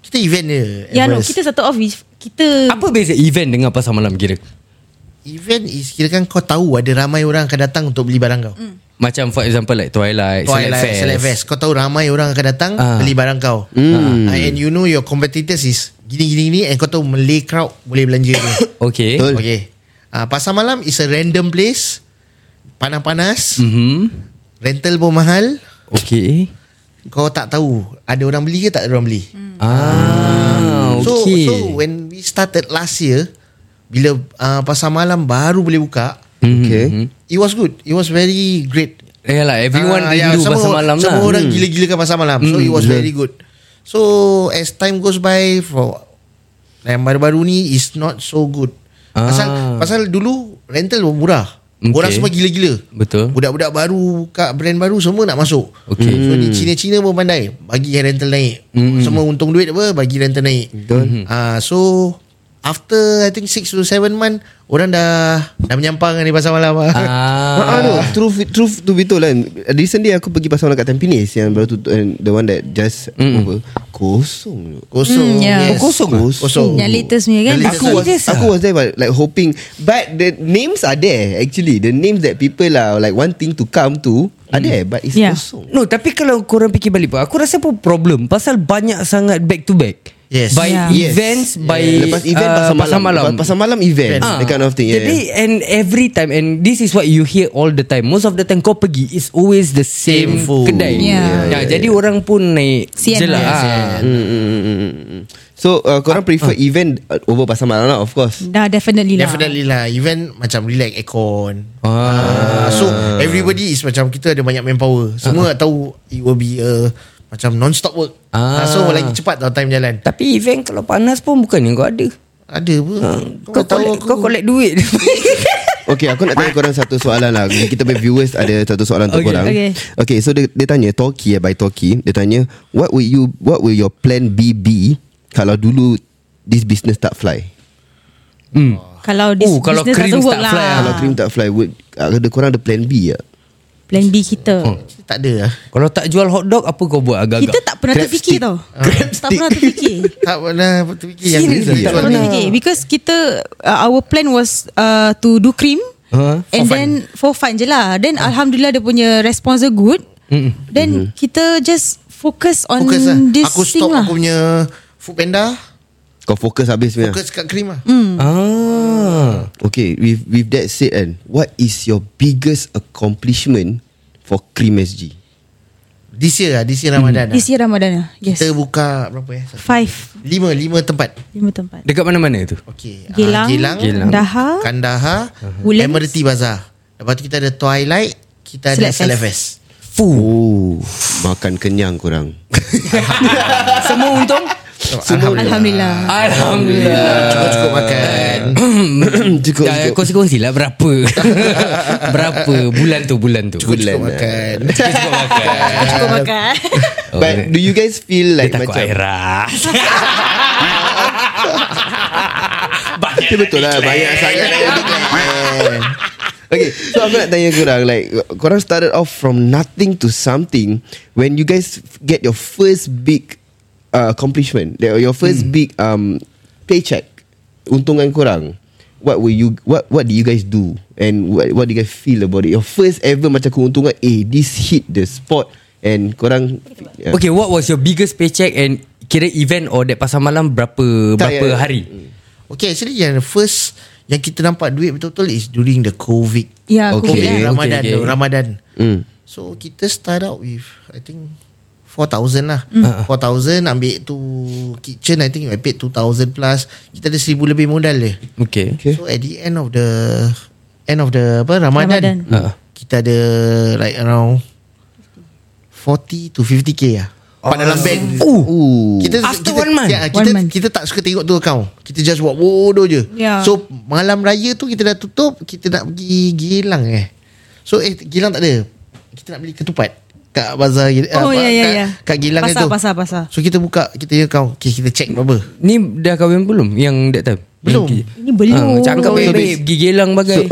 S6: Kita event dia
S5: Ya no
S6: Everest.
S5: Kita started off with
S6: Hmm.
S5: Kita
S3: Apa beza event dengan pasar malam kira
S6: Event is Kira kan kau tahu Ada ramai orang akan datang Untuk beli barang kau mm.
S3: Macam for example like Twilight, Twilight Select Fest,
S6: Select Fest Kau tahu ramai orang akan datang
S3: Ah.
S6: Beli barang kau mm. And you know Your competitors is Gini gini gini And kau tahu Malay crowd Boleh belanja dia
S3: Okay
S2: Betul.
S6: Okay uh, Pasar malam is a random place Panas-panas mm.
S3: mm-hmm.
S6: Rental pun mahal
S3: Okay
S6: Kau tak tahu Ada orang beli ke tak ada orang beli mm.
S3: Ah
S6: so,
S3: Okay
S6: so when we started last year Bila uh, pasar malam Baru boleh buka
S2: Okay
S6: It was good It was very great
S3: Mm-hmm. Yalah everyone uh,
S6: Ah,
S3: rindu
S6: semua-
S3: pasar malam
S6: Semua
S3: lah Hmm,
S6: orang gila-gilakan pasar malam So it was very good So as time goes by For Yang baru-baru ni Is not so good
S3: Ah.
S6: Pasal Pasal dulu Rental pun murah
S3: Okay.
S6: Orang semua gila-gila
S3: Betul.
S6: Budak-budak baru Kat brand baru Semua nak masuk
S3: Okay. Hmm.
S6: So ni Cina-Cina pun pandai Bagi yang rental naik Semua untung duit apa Bagi rental naik Betul So After I think 6 to 7 month Orang dah Dah menyampang ni pasar malam
S3: Ah,
S2: Ah, no, truth, truth to be told kan Recently aku pergi pasar malam kat Tampines Yang baru tutup and The one that just mm. over Kosong
S6: Kosong
S5: Hmm, ya.
S6: yes.
S2: Oh, kosong ah?
S6: Kosong
S5: Yang latest punya kan
S6: Yang latest
S2: Aku
S6: Aku
S2: was, aku was there but, Like hoping But the names are there Actually The names that people are Like wanting to come to Are there But it's
S5: Yeah.
S2: kosong
S3: No tapi kalau korang fikir balik pun Aku rasa pun problem Pasal banyak sangat back to back
S6: Yes.
S3: By
S5: Yeah.
S2: Yes.
S3: events By
S2: Lepas event
S3: uh,
S2: pasar malam, Pasar malam event
S3: Ah.
S2: That kind of thing yeah.
S3: Jadi and every time And this is what you hear all the time Most of the time kau pergi It's always the same
S6: Same food.
S3: kedai
S5: Yeah.
S3: yeah, yeah, Jadi orang pun naik je
S5: Sian
S3: lah
S5: lah.
S3: Ah.
S2: Mm, mm, mm, mm, mm, mm. So uh, korang prefer event uh, Over pasar malam lah of course
S5: Dah definitely lah
S6: Definitely lah Even macam relax aircon
S3: Ah.
S6: Ah, So everybody is macam Kita ada banyak manpower Semua tahu It will be a Macam non-stop work
S3: Ah.
S6: ah. So lagi cepat tau time jalan
S3: Tapi event kalau panas pun Bukan yang kau ada
S6: Ada pun
S3: Ah. Kau, collect, kau collect
S2: (laughs)
S3: duit
S2: Okay aku nak tanya korang Satu soalan lah Kita punya viewers Ada satu soalan untuk
S3: Okay.
S2: korang
S5: Okay.
S2: okay so dia, dia tanya Toki eh, By Toki Dia tanya What will you What will your plan B be Kalau dulu This business tak fly
S3: Hmm.
S5: Kalau this
S3: Oh, kalau
S5: business
S3: cream
S5: doesn't work
S3: start
S5: lah
S3: fly,
S2: Kalau dream tak fly would, ah, Ada korang ada plan B tak
S5: Plan B kita
S3: Oh,
S6: Tak ada lah
S3: Kalau tak jual hot dog Apa kau buat agak-agak
S5: Kita tak pernah
S2: Crab
S5: terfikir
S2: stick.
S5: tau
S2: Crab
S5: Tak pernah
S2: stick.
S3: (laughs)
S5: terfikir
S6: Tak pernah terfikir yang
S3: Serious
S6: ni
S2: tak
S6: jual
S5: pernah
S6: ni.
S5: terfikir Because kita uh, Our plan was uh, To do cream
S3: Huh?
S5: And then For fun je lah Then
S6: Hmm.
S5: Alhamdulillah Dia punya response dia good Then kita just Focus on
S6: Fokus Hmm. lah
S5: this
S6: Aku
S5: thing
S6: stop
S5: lah
S6: aku punya Food panda
S2: Kau fokus habis punya
S6: Fokus kat krim lah
S5: Hmm.
S3: Ah.
S2: Okay with, with that said kan What is your biggest accomplishment For Cream SG
S6: This year lah This year Ramadan lah
S5: This year Ramadan lah Yes
S6: Kita buka Berapa eh Satu,
S5: Five
S6: Lima Lima tempat
S5: Lima tempat
S3: Dekat mana-mana tu
S6: Okay ah,
S5: Geylang, Geylang. Dahar,
S6: Kandahar
S5: Woodlands.
S6: Admiralty Bazaar Lepas tu kita ada Twilight Kita ada
S5: Select Fest.
S6: Select Fest
S3: Fuh
S2: Oh Makan kenyang korang
S3: (coughs) Semua untung
S5: Alhamdulillah
S3: Alhamdulillah
S6: Cukup-cukup makan
S2: Cukup
S3: Dah
S2: Cukup
S3: kongsi-kongsi lah Berapa (laughs) Berapa Bulan tu bulan tu
S6: Cukup
S2: Bulan lah.
S6: makan
S3: Cukup makan
S6: Eh.
S5: Cukup
S6: (laughs)
S5: makan
S2: But do you guys feel
S3: Dia
S2: like
S3: takut air
S2: macam (laughs)
S3: ras
S2: Itu betul lah Banyak sangat Eh. Okay So aku nak tanya korang Like Korang started off From nothing to something When you guys Get your first big uh, Accomplishment like Your first big um, Paycheck Untungan korang What will you What What do you guys do And what, what do you guys feel about it Your first ever Macam keuntungan Eh this hit the spot And korang yeah.
S3: Okay what was your biggest paycheck And kira event or that pasar malam Berapa
S2: Tak,
S3: Berapa
S2: ya.
S3: hari
S6: Okay actually yang first yang kita nampak duit betul-betul is during the COVID.
S5: Ya,
S2: Okay.
S6: COVID
S5: COVID lah.
S2: okay,
S6: Ramadan,
S3: okay.
S6: okay, Ramadan.
S2: Hmm.
S6: So kita start out with I think 4,000 lah mm. 4,000 ambil tu Kitchen I think I paid 2,000 plus Kita ada 1,000 lebih modal je
S3: Okay.
S2: Okay.
S6: So at the end of the End of the apa, Ramadan,
S5: Ramadan.
S3: Ha.
S6: Ramadan. Kita ada Like around 40 to 50k lah Pak dalam bank
S3: Oh.
S2: Ooh.
S6: kita,
S3: After
S6: kita,
S3: one month?
S6: ya,
S5: One
S6: kita,
S5: month.
S6: kita tak suka tengok tu account Kita just buat bodoh je
S5: Ya.
S6: So malam raya tu Kita dah tutup Kita nak pergi Gilang eh So eh Gilang tak ada Kita nak beli ketupat Kat bazar Gil-
S5: Oh,
S6: Eh, apa,
S5: ya, ya,
S6: kat,
S5: ya.
S6: kat Gilang
S5: Pasar,
S6: tu
S5: pasar,
S6: (laughs)
S5: pasar.
S6: So kita buka Kita punya account Okay kita check berapa
S3: Ni dah kahwin belum Yang Ah, that time
S6: Belum.
S5: Ini belum.
S3: Cakap baik baik Pergi gelang bagai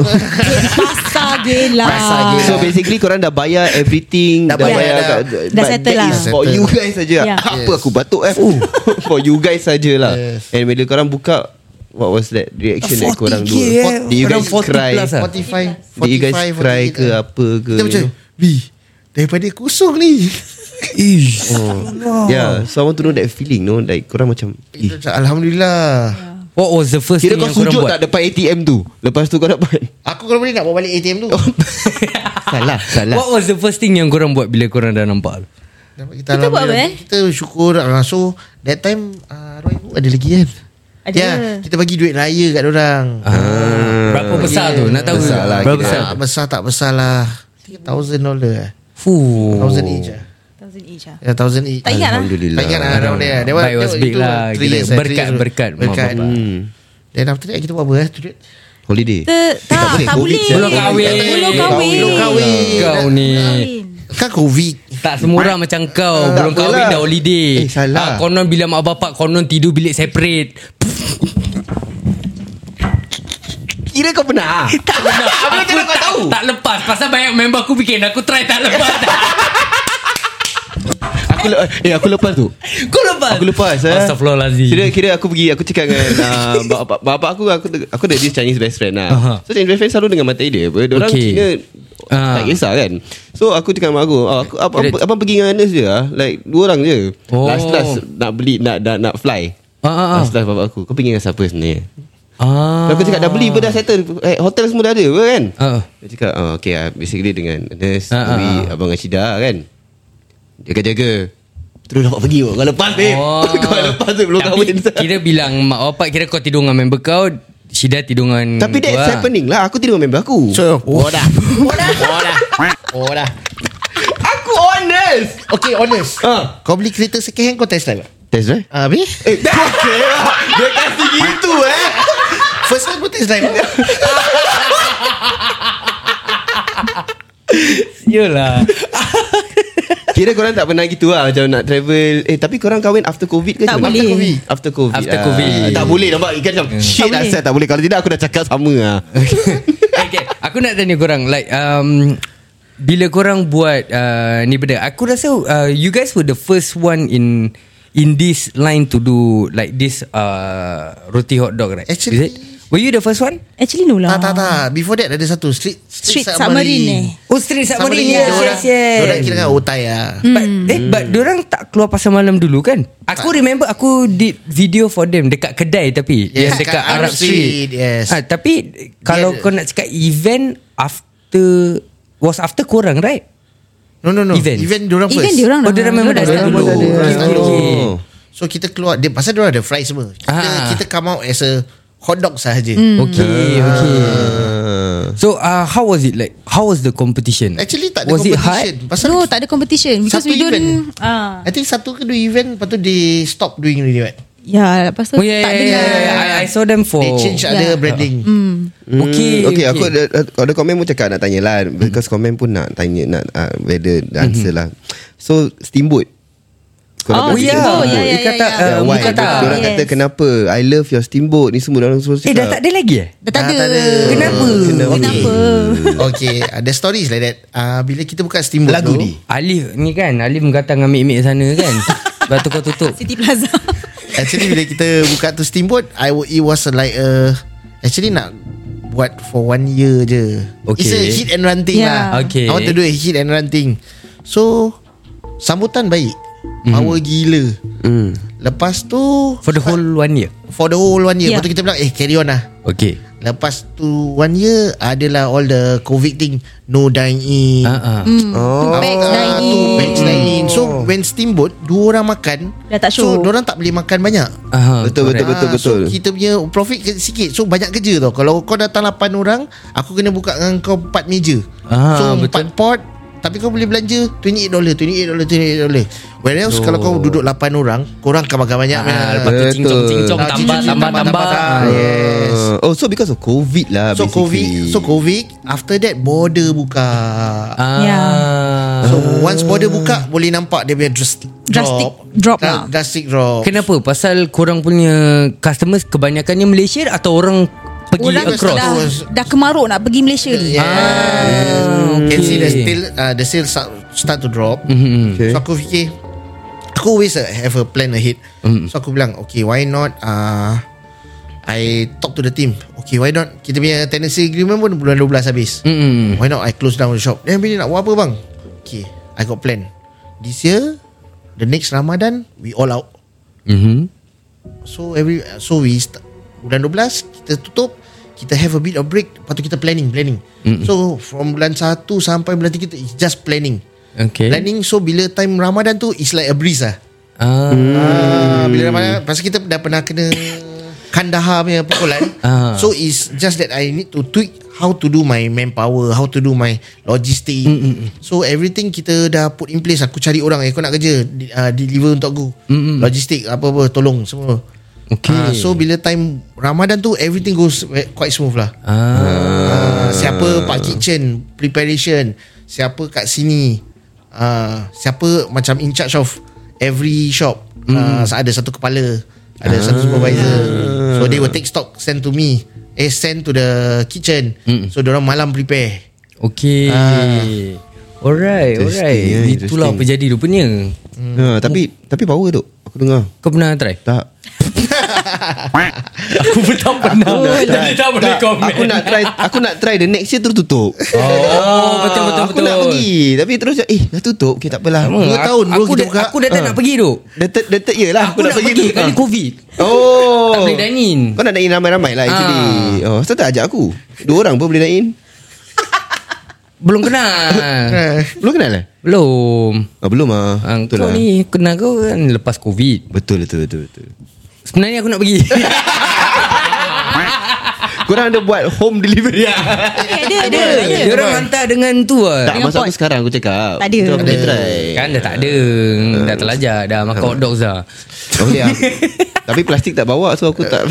S5: Pasar gila.
S6: Pasar gila.
S2: So basically korang dah bayar everything Dah,
S6: Dah
S2: dah
S6: bayar
S2: bayar
S6: dah.
S2: kat-
S5: Dah
S2: but
S5: settle
S2: that
S5: lah.
S2: is For
S6: Settle.
S2: you guys saja.
S5: Yeah.
S2: Apa aku batuk eh (laughs) For you guys sajalah
S6: Yes.
S2: And bila korang buka What was that reaction that korang
S3: 40K
S2: dulu
S3: eh.
S2: Did you
S3: Orang
S2: guys
S3: 40
S2: cry
S5: lah.
S3: plus ah.
S6: 45
S2: Did you guys
S6: 45,
S2: cry
S6: 48,
S2: ke
S6: eh.
S2: apa ke,
S6: Kita macam
S2: you
S6: B Daripada kosong ni (laughs)
S3: Ish
S2: Yeah So I want to know that feeling no Like korang macam
S6: Kita
S2: eh.
S6: macam, Alhamdulillah
S3: (laughs)
S5: Ya.
S3: What was the first
S2: Kira kau
S3: thing yang korang
S2: sujud
S3: buat
S2: tak depan ATM tu Lepas tu kau dapat
S6: Aku kalau boleh nak bawa balik ATM
S3: Oh.
S6: tu
S2: Salah Salah
S3: What was the first thing yang korang buat Bila korang dah nampak tu
S6: Dapat
S5: Kita
S6: Kita, alhamdulillah.
S5: buat apa, eh?
S6: Kita syukur ah, So that time uh, Arwah ibu ada lagi kan
S5: Ada.
S6: Ya, kita bagi duit raya kat orang.
S3: Ah, Berapa besar tu Nak tahu
S2: Besar lah kira.
S3: Berapa besar
S6: Tak besar tak besar lah. 3000 dollar.
S3: Fuh
S6: 1000 each.
S2: eh?
S6: ah.
S5: 1000 each lah.
S6: Ya, 1000 each.
S5: Tak
S2: ah?
S5: ingat lah.
S6: Tak ingat lah around there. That
S3: Baik was big lah, gila. Berkat, berkat, mak
S6: eh, Berkat.
S3: bapak.
S6: Hmm. Then after that kita buat apa eh? Tu duit.
S2: Holiday
S5: Kita
S6: Eh,
S5: tak,
S2: boleh,
S5: tak
S2: COVID
S5: boleh.
S2: je.
S3: Belum kahwin
S5: Belum kahwin.
S6: Belum kahwin.
S3: Kau ni
S6: Kan covid.
S3: tak semua orang macam kau
S2: Tak
S3: Belum kahwin
S2: apalah.
S3: dah holiday
S2: Eh, salah.
S3: Ah, Konon bila mak bapak Konon tidur bilik separate
S2: Kira kau pernah (laughs) Tak pernah Apa macam mana kau tahu
S3: Tak lepas Pasal banyak member aku bikin Aku try tak lepas
S2: Aku le- eh aku lepas tu.
S3: Kau lepas
S2: Aku lepas eh.
S3: Astaghfirullahalazim.
S2: Kira kira aku pergi aku cakap
S3: (laughs)
S2: dengan uh, bapak, bapak aku aku aku ada this Chinese best friend lah.
S3: Aha.
S2: So Chinese best friend selalu dengan mata dia. Apa orang
S3: Okay.
S2: okay. Cina
S3: Ah.
S2: tak kisah kan. So aku cakap dengan mak aku, oh, aku abang,
S3: Kira-
S2: abang pergi dengan Anas je lah. Like dua orang je.
S3: Oh.
S2: Last last nak beli nak nak, nak fly.
S3: Ah, ah, ah.
S2: Last last bapak aku. Kau pergi dengan siapa sebenarnya?
S3: ah.
S2: Ah. Aku cakap dah beli pun dah settle eh, Hotel semua dah ada apa kan
S3: Ah.
S2: Dia cakap oh, Okay ah, basically dengan Anas
S3: Ah, ah,
S2: Dewi
S3: ah.
S2: Abang Ashida kan Jaga-jaga Terus dapat pergi kot. Kau lepas babe
S3: Oh.
S2: Eh, (laughs) Kau lepas tu belum
S3: Tapi
S2: kahwin
S3: Kira bilang mak bapak Kira kau tidur dengan member kau Syida tidur dengan
S2: (laughs) Tapi that's
S3: gua.
S2: happening lah Aku tidur dengan member aku
S6: So,
S3: (laughs)
S6: oh dah. Oh dah. Oh dah. Oh dah.
S2: Aku honest
S6: Okay, honest.
S2: Ah.
S6: Kau beli kereta second hand kau test drive tak?
S2: Test drive
S6: Ah, Habis?
S2: Eh (laughs) kau kira Dia kasih gitu eh
S6: First time pun
S3: (laughs)
S6: test drive
S3: Yelah
S2: Kira korang tak pernah gitu lah Macam nak travel Eh tapi korang kahwin after covid ke
S5: Tak
S2: macam mana?
S5: boleh. Hmm.
S2: After covid
S3: After
S2: ah.
S3: Covid.
S2: Tak boleh nampak Ikan macam Shit
S5: boleh.
S2: asal tak boleh Kalau tidak aku dah cakap sama lah
S3: okay, Aku nak tanya korang Like um, Bila korang buat uh, Ni benda Aku rasa uh, You guys were the first one in In this line to do Like this uh, Roti hot dog right
S6: Actually-
S3: Is it? Were you the first one?
S5: Actually no
S6: Tak
S5: lah.
S6: tak tak Before that ada satu Street
S5: Street Submarine eh.
S3: Oh street submarine
S6: Submarine,
S3: yes,
S6: diorang-
S3: yes, yes.
S6: Diorang kira kan otai lah
S3: But, eh, but diorang tak keluar pasal malam dulu kan? Aku
S6: Ah.
S3: remember aku did video for them dekat kedai tapi
S6: Yes,
S3: yang dekat
S6: kat
S3: Arab
S6: Arab
S3: Street.
S6: Street, yes.
S3: Ah, tapi eh, kalau
S6: Dia-
S3: kau nak cakap event after was after korang right?
S6: No no no
S3: Event.
S6: Event Event diorang
S5: Event
S6: first
S5: diorang
S3: Oh,
S5: dah-
S3: diorang memang dah start
S5: diorang dah
S3: dulu.
S2: ada.
S3: Okay,
S6: Diorang dah
S3: okay.
S2: dulu.
S6: So kita keluar dia, Pasal diorang ada fry semua Kita
S3: Ah.
S6: kita come out as a Hot dog sahaja
S5: Hmm.
S6: mm.
S3: Okay, okay. So uh, how was it like? How was the competition?
S6: Actually tak ada
S3: was
S6: competition
S3: It hard?
S6: Pasal
S5: No, tak ada competition because
S6: satu
S5: we
S6: event
S5: don't ah.
S6: I think satu ke dua event Lepas tu they stop doing really right
S5: Ya, lepas tu
S3: Oh yeah,
S5: tak
S3: yeah, yeah,
S5: dengar.
S6: ya,
S3: yeah, yeah. I, I saw them for
S6: They change other
S5: Yeah. Hmm.
S6: branding
S3: Okay,
S2: okay, okay, Hmm. aku
S3: okay.
S2: ada, ada komen pun cakap nak tanya lah Because komen pun nak tanya nak uh, Whether the answer lah So steamboat
S5: Oh,
S2: bagi
S5: steamboat.
S2: steamboat.
S5: Ya,
S3: Dia
S5: ya, ya,
S3: kata
S5: ya.
S2: Yeah,
S3: uh,
S2: why?
S3: muka tak.
S2: Dia eh, orang
S5: Yes.
S2: kata kenapa I love your steamboat Ni semua orang semua
S3: Eh
S2: cakap
S3: dah tak ada lagi eh?
S5: Dah tak
S6: Ah,
S5: ada.
S6: tak ada.
S3: Kenapa?
S5: Kenapa? Kenapa?
S6: (laughs) Okay Ada stories like that uh, Bila kita buka steamboat
S2: Lagu
S6: tu,
S2: ni
S3: Alif ni kan Alif menggatang dengan mik-mik sana (laughs) kan Lepas tu kau tutup
S5: City Plaza.
S6: Actually bila kita buka tu steamboat I wa- it was like a actually nak buat for one year je.
S3: Okay.
S6: It's a hit and run thing
S5: Yeah.
S6: lah.
S3: Okay.
S6: I want to do a hit and run thing. So sambutan baik. Power gila. Lepas tu
S3: Mm. For the whole one year
S6: for the whole one year.
S5: Yeah.
S6: Lepas tu kita bilang eh carry on lah.
S3: Okay
S6: Lepas tu one year adalah all the COVID thing, no dine in.
S3: Ah, ah.
S5: Oh. Back
S6: Ah, tu
S3: Hmm.
S5: dining.
S6: batch dine in.
S3: Oh.
S6: So when steamboat dua orang makan,
S5: Dah tak
S6: So
S5: show.
S6: orang tak boleh makan banyak.
S3: Ah,
S2: Betul betul
S3: correct.
S2: betul
S6: Ah,
S2: betul.
S6: So kita punya profit ke- sikit So banyak kerja tau Kalau kau datang 8 orang Aku kena buka dengan kau 4 meja
S3: Ah,
S6: So
S3: betul.
S6: 4 pot Tapi kau boleh belanja $28 $28 $28 Whereas kalau kau duduk 8 orang Korang akan makan banyak
S3: Oh. Ah,
S6: man.
S3: lepas tu
S2: Betul.
S3: cincong-cincong
S6: Ah,
S3: tambah
S6: cincong-cincong
S3: tambah tambah.
S6: tambah. Yes.
S2: Oh, so because of COVID lah
S6: So COVID
S2: basically.
S6: So COVID After that border buka
S3: Ah.
S5: Ya.
S6: So once border buka Boleh nampak dia punya drastic
S5: Drastic drop
S6: drop
S5: lah.
S6: Dra- Drastic drop
S3: Kenapa? Pasal korang punya customers kebanyakannya Malaysia atau orang pergi
S5: Orang
S3: across?
S5: dah, dah kemaruk nak pergi Malaysia
S6: Yes.
S5: ni.
S6: Ah,
S3: okay.
S6: Can see the still uh, the sales start, start to drop. Mm-hmm.
S2: Okay.
S6: So aku fikir aku always uh, have a plan ahead. So aku bilang okay why not uh, I talk to the team. Okay why not kita punya tenancy agreement pun bulan 12 habis.
S3: Mm-mm.
S6: Why not I close down the shop. Then bila nak buat apa bang? Okay I got plan. This year the next Ramadan we all out.
S3: Mm-hmm.
S6: So every so we start, bulan 12 kita tutup, kita have a bit of break, lepas tu kita planning, planning. Mm-hmm. So from bulan 1 sampai bulan 3 kita it's just planning.
S3: Okay.
S6: Planning so bila time Ramadan tu it's like a breeze lah.
S3: Ah.
S2: Hmm.
S6: Ah, bila Ramadan pasal kita dah pernah kena (coughs) Kandahar punya pukulan.
S3: (coughs) Ah.
S6: So it's just that I need to tweak how to do my manpower, how to do my logistic. Mm-mm. So everything kita dah put in place. Aku cari orang, eh kau nak kerja, di- ah, deliver untuk aku. Mm-mm. Logistik apa-apa tolong semua.
S3: Okay.
S6: Ah, so bila time Ramadan tu everything goes ve- quite smooth lah.
S3: Ah.
S6: Ah, siapa pak kitchen preparation, siapa kat sini, ah, siapa macam in charge of every shop.
S3: Hmm.
S6: Ah, ada satu kepala, ada satu
S3: Ah.
S6: supervisor. So they will take stock send to me, eh send to the kitchen.
S3: Hmm.
S6: So diorang malam prepare.
S3: Okay. Alright,
S2: Ah. Interesting,
S3: alright.
S2: ya,
S3: Itulah apa
S2: interesting.
S3: jadi rupanya.
S2: Ha, tapi tapi power dok. Aku dengar.
S3: Kau pernah
S2: (laughs)
S3: try?
S2: Tak.
S3: Aku pun tak pernah. Jadi tak boleh komen.
S2: Aku nak try aku nak try the next year terus tutup.
S3: Oh, betul betul
S2: Aku
S3: betul.
S2: nak pergi Tapi terus Eh dah tutup Okay takpelah
S3: Sama,
S2: Dua
S3: aku-
S2: tahun bro
S3: aku
S2: kita
S3: dah,
S2: buka Ha. Ah.
S3: Aku dah tak nak pergi tu.
S2: The third, the third year lah
S3: Aku, nak pergi,
S2: tu.
S3: kali
S2: Ha.
S3: COVID.
S2: Oh
S3: Tak boleh dine in.
S2: Kau nak dine in ramai-ramai lah actually
S3: Ah.
S2: Oh Kenapa tak ajak aku Dua orang pun boleh dine in
S3: Belum kenal.
S2: Belum kenal lah
S3: Belum.
S2: oh, Belum lah
S3: Ah,
S2: Betul
S3: kau
S2: lah
S3: ni kenal kau kan lepas COVID.
S2: Betul betul betul, betul.
S3: Sebenarnya aku
S2: (laughs)
S3: nak pergi.
S2: Korang ada buat home delivery ah? yeah.
S5: Eh, ada, ada, ada.
S3: Dia orang hantar dengan tu lah.
S2: Ya. Tak
S5: Dengan
S2: masa aku
S5: pot.
S2: sekarang aku cakap
S5: Tak ada.
S2: Kita boleh try
S3: Kan dah tak ada Dah terlajak Dah makan hot dogs dah
S2: Okay ah. (laughs) Tapi plastik tak bawa So aku tak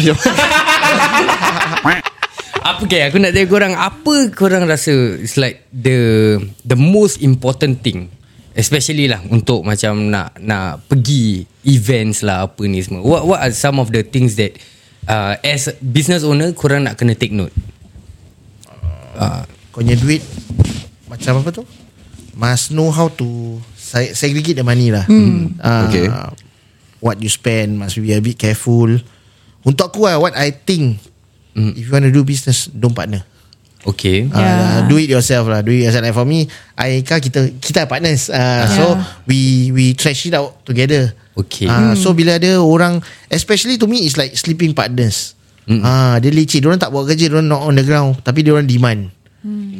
S2: (laughs)
S3: Apa ke Aku nak tanya korang Apa korang rasa It's like The The most important thing Especially lah Untuk macam nak Nak pergi Events lah Apa ni semua What what are some of the things that uh, As business owner Korang nak kena take note uh,
S6: Kau punya duit Macam apa tu Must know how to se- Segregate the money lah hmm. uh,
S2: Okay.
S6: What you spend Must be a bit careful Untuk aku lah What I think hmm. If you want to do business Don't partner
S3: Okay
S6: yeah. uh, Do it yourself lah Do it yourself Like for me I Ika kita Kita are partners uh, yeah. So We we trash it out together
S3: Okay.
S6: uh, So bila ada orang Especially to me It's like sleeping partners mm. uh, Dia licik Diorang tak buat kerja Diorang not on the ground Tapi diorang demand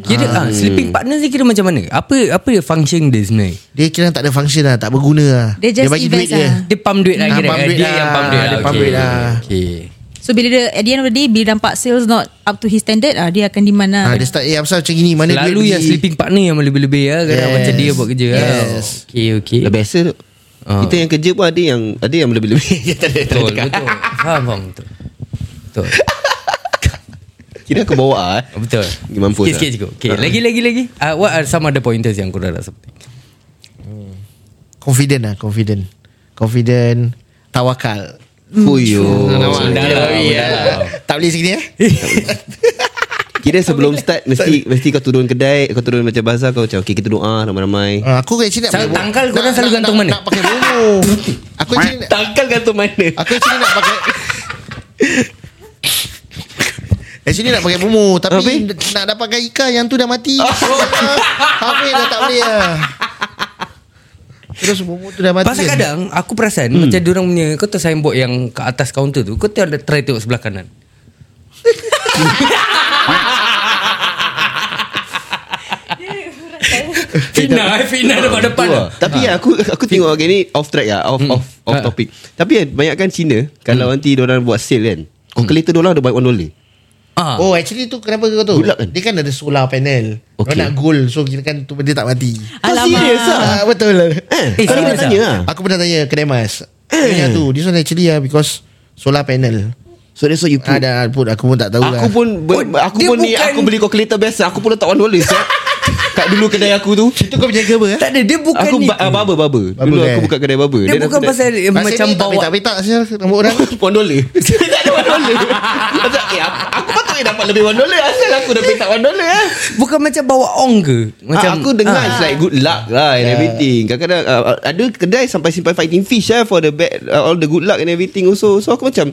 S3: Kira ah, Sleeping partner ni kira macam mana Apa apa dia function dia sebenarnya
S6: Dia kira tak ada function lah Tak berguna lah
S5: Dia just invest lah.
S3: Dia pump duit lah
S6: Ah,
S3: kira
S6: pump
S3: kan?
S6: duit
S3: Dia
S6: lah.
S3: yang pump duit lah
S6: Dia pump
S3: okay.
S6: duit lah.
S3: okay.
S5: So bila dia at the end of the day bila nampak sales not up to his standard ah dia akan demand lah.
S6: ha, Dia start Eh pasal macam gini Mana
S3: Lalu
S6: duit
S3: yang sleeping partner Yang lebih-lebih lah Kadang
S6: Yes.
S3: macam dia buat kerja yes. lah
S6: Yes.
S3: Okay okay
S2: Dah Eh, biasa dok.
S3: Ah.
S2: Kita yang kerja pun ada yang Ada yang lebih-lebih (laughs) Tak ada- tak ada
S3: Betul
S2: cakap.
S3: betul Faham faham betul Betul
S2: Kira aku bawa eh.
S3: Betul
S2: Mampus lah.
S3: Sikit-sikit cukup okay. Lagi lagi lagi uh, What are some other pointers Yang korang rasa penting
S6: Confident lah Confident Confident Tawakal
S2: Fuyo
S3: Dah lah ya.
S6: Tak boleh segini eh
S2: Kira sebelum start Mesti mesti kau turun kedai Kau turun macam bazar Kau macam Okay kita doa lah, ramai-ramai
S6: Ah, Aku actually nak
S3: Selalu
S6: pakai-
S3: tangkal, korang
S6: nak-
S3: selalu
S6: nak-
S3: gantung
S6: nak-
S3: mana?
S6: Nak pakai bomo Aku actually nak-
S2: Tangkal gantung mana
S6: Aku actually nak pakai Actually nak pakai bomo Tapi nak dapatkan Ika Yang tu dah mati
S3: Oh.
S6: Habis dah tak boleh lah Terus bomo tu dah mati kan?
S3: Pasal kadang Aku perasan hmm. Macam diorang punya Kau tahu signboard yang Ke atas kaunter tu Kau tahu ada try tengok sebelah kanan Fitnah eh Fitnah depan-depan
S2: Tua. Tapi ya aku aku tengok okay, ni off track lah, off off off
S3: Ha.
S2: topic. Tapi ya, banyakkan Cina kalau
S3: Hmm.
S2: nanti orang buat sale kan. Calculator hmm. dia buy one dollar.
S3: ah.
S6: Oh actually tu kenapa kau tahu
S2: Good luck kan?
S6: Dia kan ada solar panel okay. Kau
S2: Okay.
S6: nak gold So kira kan tu benda tak mati
S5: Alamak.
S6: ah, Betul eh,
S2: Eh, kau nak
S3: serious ah?
S2: tanya lah.
S6: Aku pernah tanya ke Demas Tanya tu This one actually ah, Because solar panel
S2: So that's why you put.
S6: Ada pun Aku pun tak tahu lah.
S2: Aku pun ber,
S3: Oh,
S2: aku
S3: dia
S2: pun ni
S3: bukan-
S2: aku beli calculator biasa, aku pun letak one dollar.
S3: (laughs)
S2: siap. Kat dulu kedai aku tu.
S6: Itu kau punya apa eh
S3: Tak ada Dia bukan
S2: Aku
S3: ni
S2: ba- ah, barber barber. Dulu
S6: Barber,
S2: aku
S6: eh?
S2: buka kedai barber.
S3: Dia
S2: Then
S3: bukan
S2: aku-
S3: pasal eh,
S6: Masa
S3: Macam
S6: ni
S3: bawa
S6: Tak petak sial Rambut orang Ah,
S2: One dollar (laughs) Tak ada one dollar Macam, eh, aku, aku patutnya dapat lebih one dollar Asal aku dah minta one dollar eh?
S3: Bukan macam bawa ong ke Macam
S2: Macam, aku dengar
S3: ah.
S2: It's like good luck lah And everything Kadang-kadang uh, Ada kedai sampai simpan fighting fish lah For the bad, uh, All the good luck and everything also So aku macam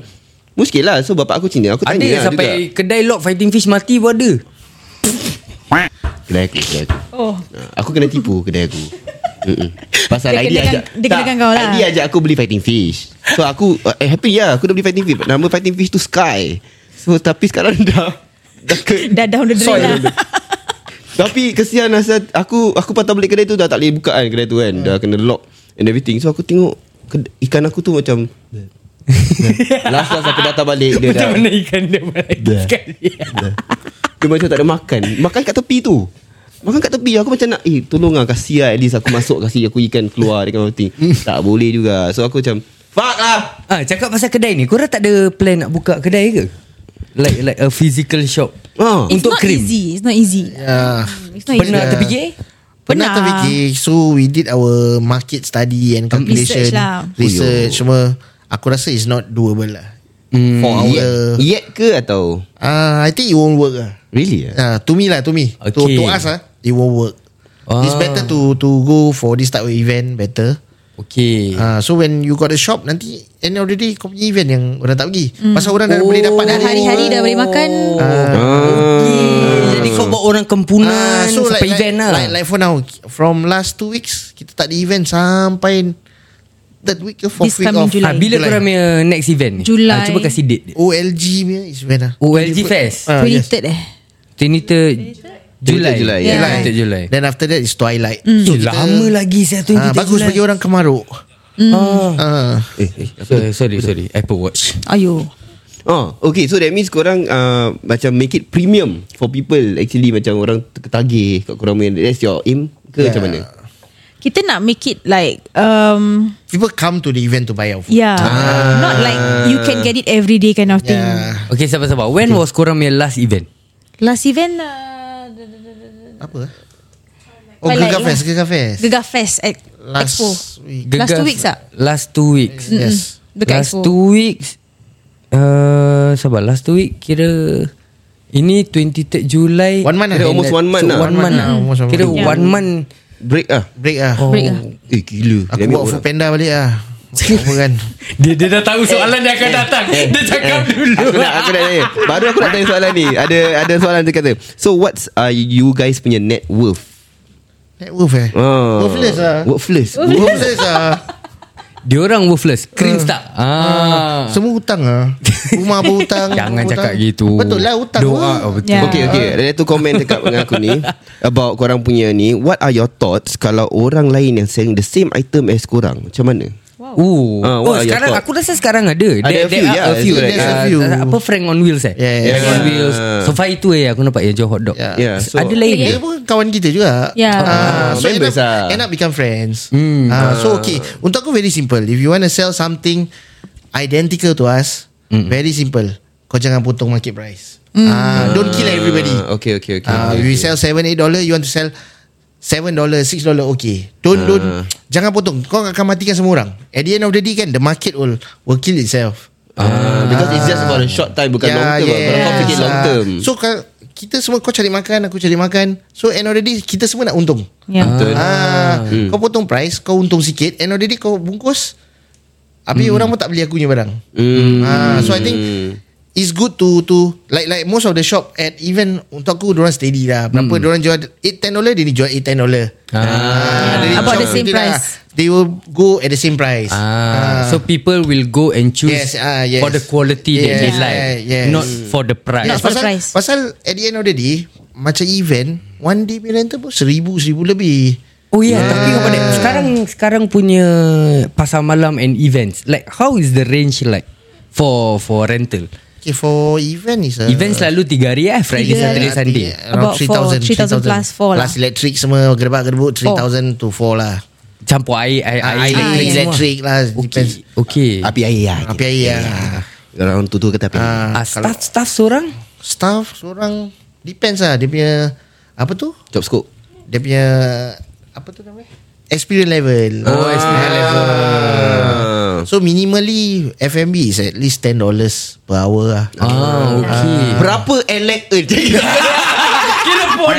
S2: Muskil lah So bapak aku Cina Aku
S3: Ada
S2: tanya lah
S3: sampai Kedai lock fighting fish mati pun ada
S2: juga. Kedai aku Kedai aku
S5: Oh.
S2: Ah, Aku kena tipu kedai aku Mm-mm. Pasal ID
S5: Dia kenakan-
S2: ajak
S5: dia kenakan kau lah.
S2: ID ajak aku beli fighting fish So aku uh, eh, Happy lah Aku dah beli fighting fish Nama fighting fish tu Sky So tapi sekarang (laughs) dah Dah ke
S5: Dah down the drain
S2: Soil.
S5: lah.
S2: Tapi kesian Asal aku Aku patah balik kedai tu Dah tak boleh buka kan Kedai tu kan Dah kena lock And everything So aku tengok ked- Ikan aku tu macam Last last aku datang balik Dia
S3: Macam
S2: dah
S3: mana ikan dia mati sekali
S2: Dia macam tak ada makan Makan kat tepi tu Makan kat tepi Aku macam nak Eh tolong lah Kasih lah at least Aku masuk kasih Aku ikan keluar Dengan everything Tak boleh juga So aku macam Fuck lah
S3: Ah, cakap pasal kedai ni, korang tak ada plan nak buka kedai ke? Like like a physical shop.
S2: Ah.
S5: It's
S3: Untuk
S5: not
S3: krim.
S5: easy. It's not easy.
S6: Ya
S5: It's not
S3: Pernah
S5: easy.
S3: terfikir?
S6: Pernah
S5: Pernah.
S6: terfikir So we did our Market study And calculation
S5: Research lah.
S6: Research semua Aku rasa is not doable lah
S2: mm,
S6: For
S2: yet,
S6: our
S2: yet ke atau
S6: Ah, I think it won't work lah
S2: Really lah
S6: Ah, to me lah, to me. To,
S3: Okay.
S6: to us lah, it won't work.
S3: Ah.
S6: It's better to to go for this type of event better.
S3: Okay.
S6: Ah, so when you got a shop nanti end of the day kau punya event yang orang tak pergi.
S5: Hmm.
S6: Pasal orang dah boleh
S3: Oh,
S6: dapat
S5: Dah
S6: dari
S5: Oh, hari-hari dah boleh makan. Ah,
S3: Okay. Jadi kau buat orang kempunan
S6: Ah, so like,
S3: sampai
S6: like,
S3: event lah.
S6: like, like for now From last two weeks Kita tak ada event Sampai Third week ke fourth
S5: This
S6: week
S5: coming
S6: of
S5: July.
S3: ah, bila July. korang punya next event ni?
S5: Julai.
S3: Ah, cuba kasih date dia.
S6: OLG punya is when lah
S3: OLG Fest.
S6: Ah, yes.
S5: 23rd eh.
S3: 23 Julai.
S2: 23 Julai,
S5: ya.
S3: Julai. 23 Julai.
S6: Then after that is Twilight
S5: Hmm.
S3: So, Eh, lama lah lagi saya tu.
S6: ah, Bagus bagi orang kemaruk
S5: Hmm.
S3: Ah.
S6: ah.
S2: Eh, eh
S3: Sorry, sorry, sorry. Apple Watch.
S5: Ayo.
S6: Ah.
S2: Oh, okay. So that means korang uh, macam make it premium for people actually macam orang terketagih kat korang punya. That's your aim ke yeah. macam mana?
S5: Kita nak make it like um
S6: People come to the event to buy our food
S5: yeah, not like you can get it every day kind of thing.
S6: Ah. Yeah.
S3: Okay, sabar-sabar. When was korang punya last event?
S5: Last event uh,
S6: Apa? Oh
S5: Twilight
S6: Gegar
S5: lah.
S6: Fest Gegar Fest
S5: Gegar Fest at
S6: Last
S5: Expo.
S6: week.
S5: Last
S3: Gegar-
S5: two weeks ah.
S3: Last two weeks.
S6: Yes
S5: Dekat
S3: last
S5: Expo.
S3: two weeks uh, Sabar Last two week Kira Ini 23rd Julai
S6: One month lah.
S2: Kira almost one month
S3: so,
S2: lah.
S3: One month lah
S6: Almost one month.
S3: Kira
S6: Yeah.
S3: one month
S2: Break ah.
S6: Break lah
S3: Oh.
S5: Break ah.
S2: Eh gila.
S6: Aku
S2: Dia ambil
S6: bawa food
S2: orang.
S6: panda balik lah Apa kan
S3: dia, dia dah tahu soalan dia akan datang
S6: Eh.
S3: Dia cakap
S2: (laughs) Aku nak, aku nak tanya. Baru aku nak tanya soalan ni. Ada ada soalan dia kata. So what's uh, you guys punya net worth?
S6: Net worth eh
S2: Oh.
S6: Worthless lah
S2: Worthless.
S6: (laughs) Worthless lah
S3: Dia orang worthless Cringe
S5: Eh.
S3: tak ah.
S6: Eh. Semua hutang lah Rumah berhutang
S3: Jangan
S6: hutang.
S3: cakap gitu
S6: Betul lah hutang
S3: Doa oh,
S6: lah.
S3: betul.
S5: Yeah.
S2: Okay okay Ada tu komen cakap dengan aku ni About korang punya ni What are your thoughts Kalau orang lain yang selling The same item as korang Macam mana
S3: Ooh.
S2: Ah,
S3: oh
S2: what are your
S3: sekarang
S2: thoughts?
S3: aku rasa sekarang ada. There,
S2: Ada a few,
S3: are
S2: yeah,
S3: a few.
S2: there's
S6: a
S3: Uh,
S6: few.
S3: apa Frank on Wheels eh?
S6: Yeah, yeah,
S3: Frank on
S2: yeah.
S3: Wheels. So far itu eh aku nampak yang jual hot dog.
S6: Yeah.
S2: Yeah, so-
S3: ada lain.
S6: Dia
S3: Yeah.
S6: pun kawan kita juga
S5: Yeah.
S6: Ah, So end
S2: Members
S6: up,
S2: lah. Hmm.
S6: end up become friends Ah, So okay Untuk aku very simple If you want to sell something Identical to us Very simple Kau jangan potong market price Ah, Don't kill everybody
S2: Mm. Ah, Okay okay okay,
S6: Ah,
S2: okay,
S6: you
S2: okay.
S6: sell seven eight dollar, you want to sell seven dollar, six dollar, okay. Don't don't
S2: Ah.
S6: jangan potong. Kau akan matikan semua orang. At the end of the day kan, the market will will kill itself.
S2: Ah, because it's just for a short time
S6: Ya,
S2: bukan long term. Yeah. Kalau kau fikir long term.
S6: So ka- kita semua kau cari makan, aku cari makan. So end of the day kita semua nak untung.
S5: Yeah.
S2: Betul.
S6: Ah,
S2: Hmm.
S6: kau potong price, kau untung sikit. End of the day kau bungkus. Habis orang pun tak beli aku punya barang.
S2: Hmm.
S6: Ah, so I think It's good to to like like most of the shop at even untuk aku diorang steady lah.
S2: Hmm.
S6: Berapa diorang jual 8 10 dollar dia ni jual 8 10 dollar. Ah, dia ni
S5: About
S6: shop
S5: the same
S6: gitu lah.
S5: price.
S6: They will go at the same price.
S3: Ah, so people will go and choose
S6: Yes, ah, yes.
S3: for the quality that they
S6: Yes,
S3: like,
S6: yes.
S3: not for the price.
S5: Not
S6: Yes,
S5: for
S6: pasal,
S5: price.
S6: Pasal at the end of the day Macam event One day punya rental pun Seribu, seribu lebih
S3: Oh yeah, yeah. tapi kepada sekarang sekarang punya pasar malam and events, like how is the range like for for rental?
S6: Okay for event is
S3: Uh,
S6: a,
S3: events selalu tiga hari eh, Friday,
S5: Tiga
S3: Saturday,
S6: I think
S3: Sunday.
S6: Around
S5: About four,
S6: 3,000
S5: 3,000 plus four lah.
S6: Plus electric semua Gerbak-gerbuk 3,000 to 4 lah
S3: Campur air, air, air,
S6: Ah,
S3: electric,
S6: Electric, electric lah
S3: Okay,
S6: Depends
S3: okay.
S2: Api air lah
S6: Api air lah.
S2: Orang tu tu kata api air
S6: Ah,
S3: Ah, staff staff seorang?
S6: Staff seorang Depends lah Dia punya Apa tu
S2: Job scope
S6: Dia punya Apa tu namanya Experience level Oh experience level So minimally F&B is at least $10 per hour lah
S3: Ah, okay.
S2: Berapa elect earn
S3: Kira (laughs) pun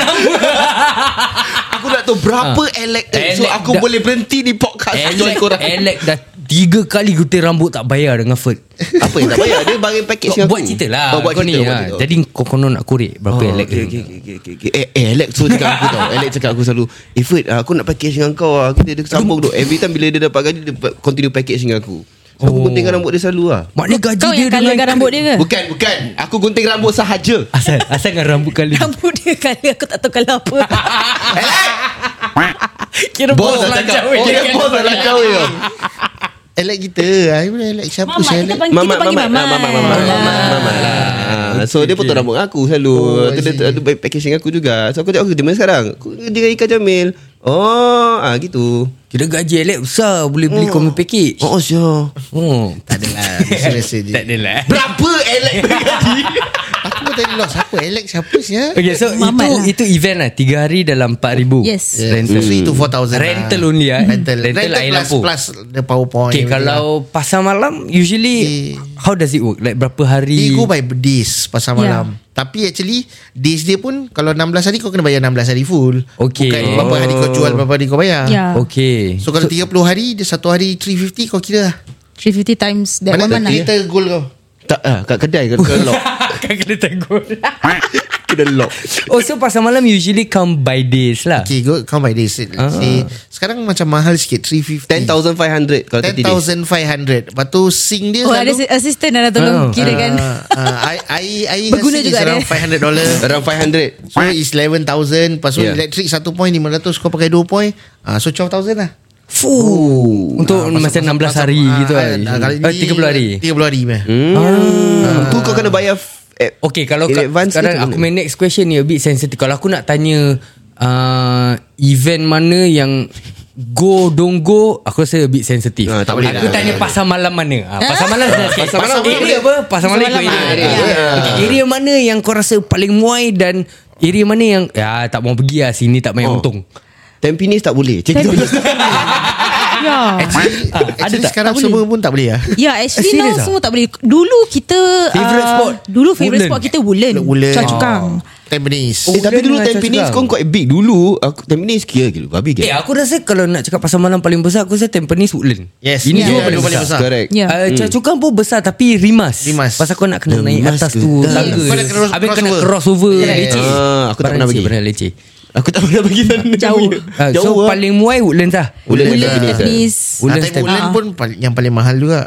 S2: Aku nak tahu Berapa elect earn So
S3: Elect
S2: aku
S3: Ah. dah-
S2: boleh berhenti Di podcast Join
S3: Alex,
S2: korang
S3: Alex dah tiga kali gutir rambut tak bayar dengan
S2: (laughs)
S3: Ferd.
S2: Apa yang tak payah Dia barang package
S3: Kau
S2: dengan
S3: buat
S2: aku.
S3: cerita lah
S2: Oh, buat
S3: Kau
S2: cerita,
S3: ni
S2: buat
S3: ha.
S2: cerita.
S3: Jadi kau konon nak korek Berapa oh, Alex
S2: okay, okay, okay, okay, okay. Eh, eh, Alex selalu cakap aku tau Alex cakap aku selalu Eh Ferd aku nak package dengan kau lah. Aku dia, dia sambung tu Every time bila dia dapat gaji Dia pa- continue package dengan aku So aku
S3: Oh.
S2: gunting rambut dia selalu lah
S3: Maknanya gaji
S5: Kau
S3: dia
S5: yang kala dengan rambut dia ke?
S2: Bukan bukan Aku gunting rambut sahaja
S3: (laughs) Asal Asal dengan rambut kali
S5: (laughs) Rambut dia kala Aku tak tahu kala
S6: (laughs)
S5: apa
S3: Kira
S2: Bos dah cakap Oh dia bos dah lancar weh tau.
S6: Elect kita Ah, I boleh elect siapa
S5: Mamat
S6: saya
S5: kita
S6: elect.
S5: panggil Kita panggil
S2: mamat,
S5: mamat
S2: mamat, mamat, mamat, mamat lah. Ah, So dia potong rambut aku selalu
S6: Oh,
S2: Tu
S6: I
S2: dia
S6: see.
S2: tu packaging aku juga So aku cakap aku di mana sekarang Aku Dia Ika Jamil Oh ah gitu
S3: Kira gaji Alex besar Boleh beli
S5: Hmm.
S3: komen package
S2: Oh sure
S3: Oh (laughs) Tak
S6: Ah, Rasa-rasa je
S3: Tak adalah
S2: Berapa Alex bergaji
S6: Aku pun tadi lost Siapa elect siapa sia
S3: Okay so
S5: Mamat
S3: itu
S5: lah.
S3: itu event lah Tiga hari dalam 4,000
S5: Yes.
S6: Yes.
S3: Rental
S6: So itu 4,000
S3: Rental
S6: lah.
S3: only, eh?
S6: Rental
S3: Rental
S6: Rental,
S3: air
S6: plus,
S3: lampu.
S6: plus The powerpoint lah.
S3: Okay kalau Pasar malam Usually
S6: Eh.
S3: How does it work Like berapa
S6: Dia
S3: hari
S6: go by days Pasal
S5: Yeah.
S6: malam Tapi actually Days dia pun Kalau 16 hari Kau kena bayar 16 hari full
S3: Okay. Oh.
S6: Bukan berapa hari kau jual Berapa hari kau bayar
S5: Yeah.
S3: Okay (laughs)
S6: So kalau 30 hari Dia satu hari 350 Kau kira lah
S5: 350 times That
S6: Mana
S5: one mana
S6: kita goal kau
S2: Tak ah, kat kedai kena (laughs)
S5: (laughs)
S2: kena lock
S3: Kan kena tegur (laughs)
S2: Kena lock
S3: Oh so pasar malam Usually come by days lah
S6: Okay go Count by days
S3: Ah.
S6: Let's say Sekarang macam mahal sikit 350
S2: 10,500 Kalau 30 days
S6: 10,500 Lepas tu sing dia
S5: Oh
S6: selalu-
S5: ada si- assistant Ada tolong
S3: Ah.
S5: kira kan
S6: Ah, ah, air air
S5: Berguna
S6: rasa
S5: juga
S6: is around
S5: dia.
S3: (laughs)
S6: 500 dollar.
S2: Around 500
S6: So is 11,000 Lepas tu
S2: Yeah.
S6: yeah. elektrik 1 point 500 Kau pakai 2 point ah, So 12,000 lah
S3: Fuh. Untuk
S6: Ah,
S3: macam 16 hari
S6: ah,
S3: gitu
S6: ah,
S3: lah
S6: ah, kali
S3: Eh, 30 hari
S6: 30 hari meh.
S2: Hmm. Tu kau kena bayar f- eh,
S3: Okay kalau
S2: in
S3: ka,
S2: advance
S3: sekarang
S2: ke tu
S3: aku
S2: kena?
S3: main next question ni a bit sensitive Kalau aku nak tanya uh, event mana yang go don't go Aku rasa a bit sensitive
S2: Ah, tak boleh
S3: Aku
S2: lah.
S3: tanya pasar malam mana ah, Pasar malam dah sikit Pasar malam area apa? Pasar malam ikut area
S2: area.
S3: Ah. Okay, Area mana yang kau rasa paling muai dan Area mana yang Ya tak mau pergi lah sini tak main
S2: Oh.
S3: untung
S2: Tempinis tak boleh Cik tu
S5: (laughs) Ya
S6: Actually,
S3: Ah, ada
S6: actually
S3: tak?
S6: sekarang
S3: Tak boleh.
S6: semua pun tak boleh lah
S5: Ya actually
S3: Serious
S5: now
S3: ah?
S5: semua tak boleh Dulu kita
S3: Favourite
S5: ah,
S3: spot?
S5: Dulu
S3: Woodland.
S5: favourite spot kita Woodland
S6: Ulan
S5: Choa Chukang
S6: Tampines
S3: Oh,
S2: Eh tapi dulu
S3: Ulan dengan
S2: Tempinis
S3: Choa
S2: kau quite big Dulu aku Tempinis kira gila Babi
S3: Eh
S2: gila
S3: aku rasa kalau nak cakap pasar malam paling besar Aku rasa Tampines Woodland
S6: Yes
S3: Ini
S6: Yeah.
S3: dua
S6: Yeah.
S3: paling
S6: Dua
S3: besar,
S6: paling besar.
S2: Correct
S5: Ya.
S3: Yeah. Uh, Choa Chu Kang pun besar Tapi rimas
S6: Rimas.
S3: Pasal kau nak
S2: Hmm.
S3: kena
S2: Rimas
S3: naik atas
S2: ke?
S3: tu
S2: Dah.
S3: tangga
S6: Kau nak kena cross-
S3: Habis kena
S6: crossover.
S3: crossover
S6: Yeah.
S3: Leceh
S2: Ah, aku tak
S3: Barang
S2: pernah
S3: leceh,
S2: pergi.
S3: Barang leceh
S2: Aku tak pernah pergi sana
S5: Jauh.
S2: Ah,
S3: uh, So
S2: Jauh paling
S3: paling muai Woodlands lah
S2: Ulan
S5: Woodland
S2: dengan Tempinis eh?
S5: Tampines
S6: Ah,
S3: Ulan
S6: tapi
S3: Tampines.
S6: Ulan pun pal- yang paling mahal juga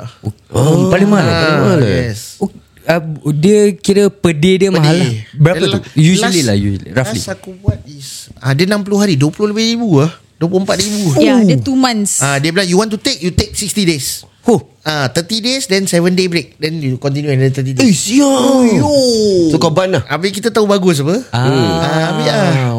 S3: oh, Paling mahal
S6: Ah,
S3: paling mahal.
S6: yes.
S3: Oh, ah, Dia kira per day dia mahal lah Berapa
S6: Dia
S3: tu?
S6: la-
S3: Usually
S6: last-
S3: lah usually, Roughly
S6: Last aku buat is ah, Dia 60 hari 20 lebih ribu lah 24 ribu
S3: Oh.
S5: Ya dia two months
S6: Ah, Dia bilang you want to take You take 60 days
S3: Oh
S6: Ah, 30 days Then 7 day break Then you continue Another 30
S2: Eh
S6: days
S2: siap So kau ban lah
S6: Habis kita tahu bagus apa ah, Habis ah.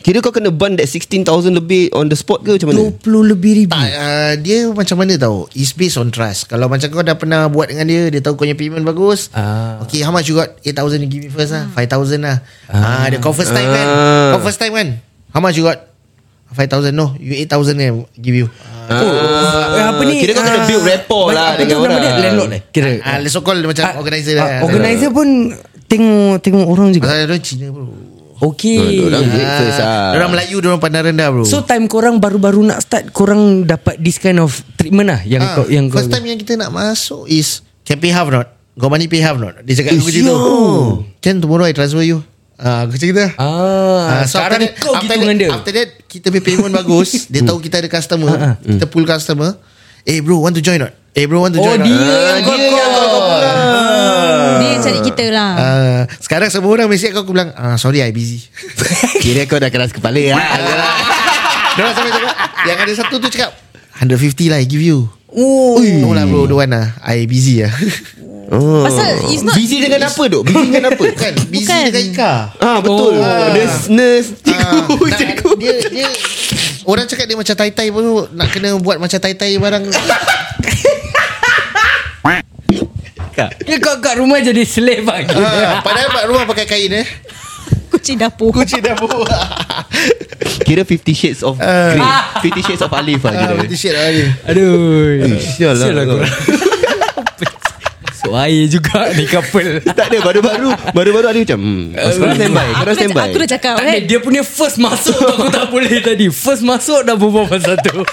S2: Kira kau kena ban that 16,000 lebih On the spot ke macam mana
S3: 20 lebih ribu
S6: Tak, ah, Dia macam mana tahu It's based on trust Kalau macam kau dah pernah Buat dengan dia Dia tahu kau punya payment bagus
S3: Ah.
S6: Okay how much you got 8,000 you give me first lah 5,000 lah ah. Dia kau first time kan
S2: Ah.
S6: Kau first time kan How much you got 5,000 no You 8,000 kan Give you
S3: Eh, apa ni?
S2: Kira kau kena
S3: Ah,
S2: build rapport
S3: banyak-
S2: lah
S3: betul,
S2: Dengan
S3: berapa
S2: orang
S3: dia? Landlord eh Kira
S6: ah, Let's so call Macam organizer
S3: ah,
S6: lah
S3: Organizer pun Tengok tengok orang juga
S6: Pasal dia orang Cina bro Ah.
S3: Okay
S2: Ah. Orang duit first lah
S6: Dia orang Melayu Dia orang pandang rendah bro
S3: ah. So time korang baru-baru nak start Korang dapat this kind of treatment lah Yang
S6: Ah,
S3: kau yang
S6: First
S3: kau,
S6: time yang kita nak masuk is Can pay half or not Got money pay half not Dia cakap
S2: Eh,
S6: aku macam tu
S2: siao.
S6: Then tomorrow I transfer you Ah, Aku cakap kita
S3: Ah, sekarang kau gitu dengan dia.
S6: After that Kita pay payment bagus Dia tahu kita ada customer Kita pull customer Eh bro want to join not Eh bro want to
S3: Oh
S6: join
S3: dia
S6: not
S3: yang kau call
S5: Dia cari kita lah
S6: Ah, Sekarang semua orang mesti aku, aku bilang ah, Sorry I busy
S2: (laughs)
S6: (laughs)
S2: Kira kau dah keras kepala ya.
S6: Diorang sampai cakap Yang ada satu tu cakap 150 lah I give you Oh, no lah bro, don't want lah I busy lah
S2: Oh.
S5: Pasal it's not
S2: Busy dengan apa dok? Busy (laughs) dengan apa?
S6: Bukan, Kan? busy
S5: Bukan.
S6: dengan Ika
S2: Ah betul.
S6: Oh.
S2: Nurse nurse (laughs) cikgu
S6: nak-
S2: cikgu.
S6: dia, dia, Orang cakap dia macam tai-tai pun Nak kena buat macam tai-tai barang
S3: Dia kau kat rumah jadi slave lah
S6: Ah, Padahal mak rumah pakai kain eh
S5: kucing dapur
S6: Kucing dapur
S2: Kira 50 shades of
S5: Ah.
S2: grey. 50 shades of Alif lah kira.
S6: Ah, Betul shit lah ni
S3: Aduh
S2: sial lah kau.
S3: (laughs) korang. Masuk air juga Ni couple
S2: Tak ada baru-baru Baru-baru ada macam hmm, Korang standby Korang
S5: Uh, Aku dah,
S2: standby
S5: aku dah cakap
S3: Tak ada,
S5: kan
S3: Dia punya first masuk tu Aku tak boleh tadi First masuk dah berbual pasal tu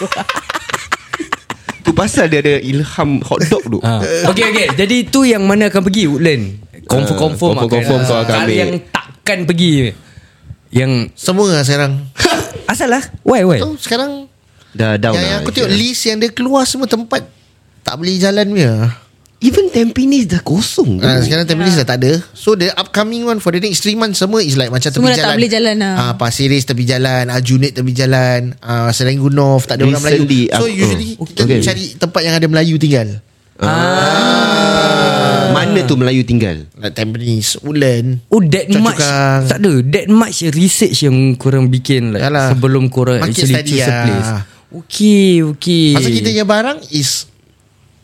S2: Tu pasal dia ada ilham hot dog tu
S5: Ah.
S3: ha. Okay okay Jadi tu yang mana akan pergi Woodland Confirm-confirm
S2: Ah, confirm-confirm kau akan
S3: Kalau
S2: ambil.
S3: yang takkan pergi Yang
S6: Semua lah sekarang
S3: Asal lah Why why
S6: Tu sekarang
S2: Dah down
S6: Yang, yang
S2: lah
S6: aku tengok list yang dia keluar Semua tempat Tak boleh jalan punya
S2: Even Tampines dah kosong
S6: Ah, sekarang Tampines
S5: Ya.
S6: dah tak ada So the upcoming one For the next 3 months Semua is like macam tepi
S5: Semua dah tak
S6: jalan
S5: boleh jalan lah.
S6: ah, Pasir Ris tepi jalan ah, Junid tepi jalan ah, Serenggu North Tak ada orang Melayu
S2: Recently,
S6: So
S2: aku-
S6: usually
S2: oh,
S6: Kita
S2: okay.
S6: cari tempat yang ada Melayu tinggal
S2: Ah, Mana tu Melayu tinggal
S6: Like Tampines Ulan
S3: Oh that
S6: Cucuk
S3: much
S6: Kang.
S3: Tak ada That much research Yang korang bikin like,
S6: Yalah.
S3: Sebelum korang
S6: Market
S3: Actually
S6: study
S3: choose a
S6: lah.
S3: place Okay okay
S6: Pasal kita punya barang Is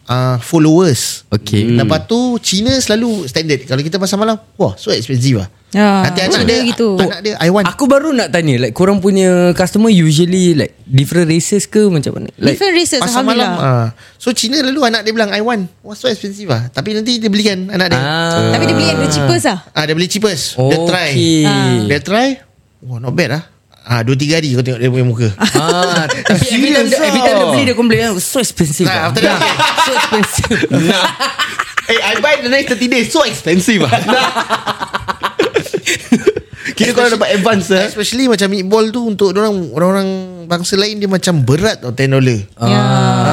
S6: uh, Followers
S3: Okay.
S6: hmm. Lepas tu Cina selalu standard Kalau kita pasal malam Wah so expensive lah
S5: Ah,
S6: Nanti anak
S5: ada
S6: dia
S5: gitu.
S6: Anak dia I want
S3: Aku baru nak tanya Like korang punya Customer usually Like different races ke Macam mana Like
S5: Different races
S6: Pasal malam ah.
S5: Alhamdulillah
S6: So Cina lalu anak dia bilang I want Wah so expensive lah Tapi nanti dia belikan Anak dia
S3: Ah.
S5: Tapi dia beli yang the cheapest lah
S6: Ah dia beli cheapest.
S3: Okay.
S6: Dia try. Dia try. Wah, not bad lah. Ah, dua tiga hari kau tengok dia punya muka.
S3: Ah,
S6: (laughs)
S3: tapi every time,
S6: Serious
S3: every time dia
S6: ah.
S3: beli dia complain so expensive.
S6: Nah,
S3: ah."
S6: after that, okay.
S3: (laughs) so expensive.
S2: (laughs) Eh I buy the next 30 days So expensive lah (laughs) Kira korang dapat advance lah
S6: Especially macam meatball tu untuk orang orang bangsa lain dia macam berat tau 10 dollar.
S5: Ya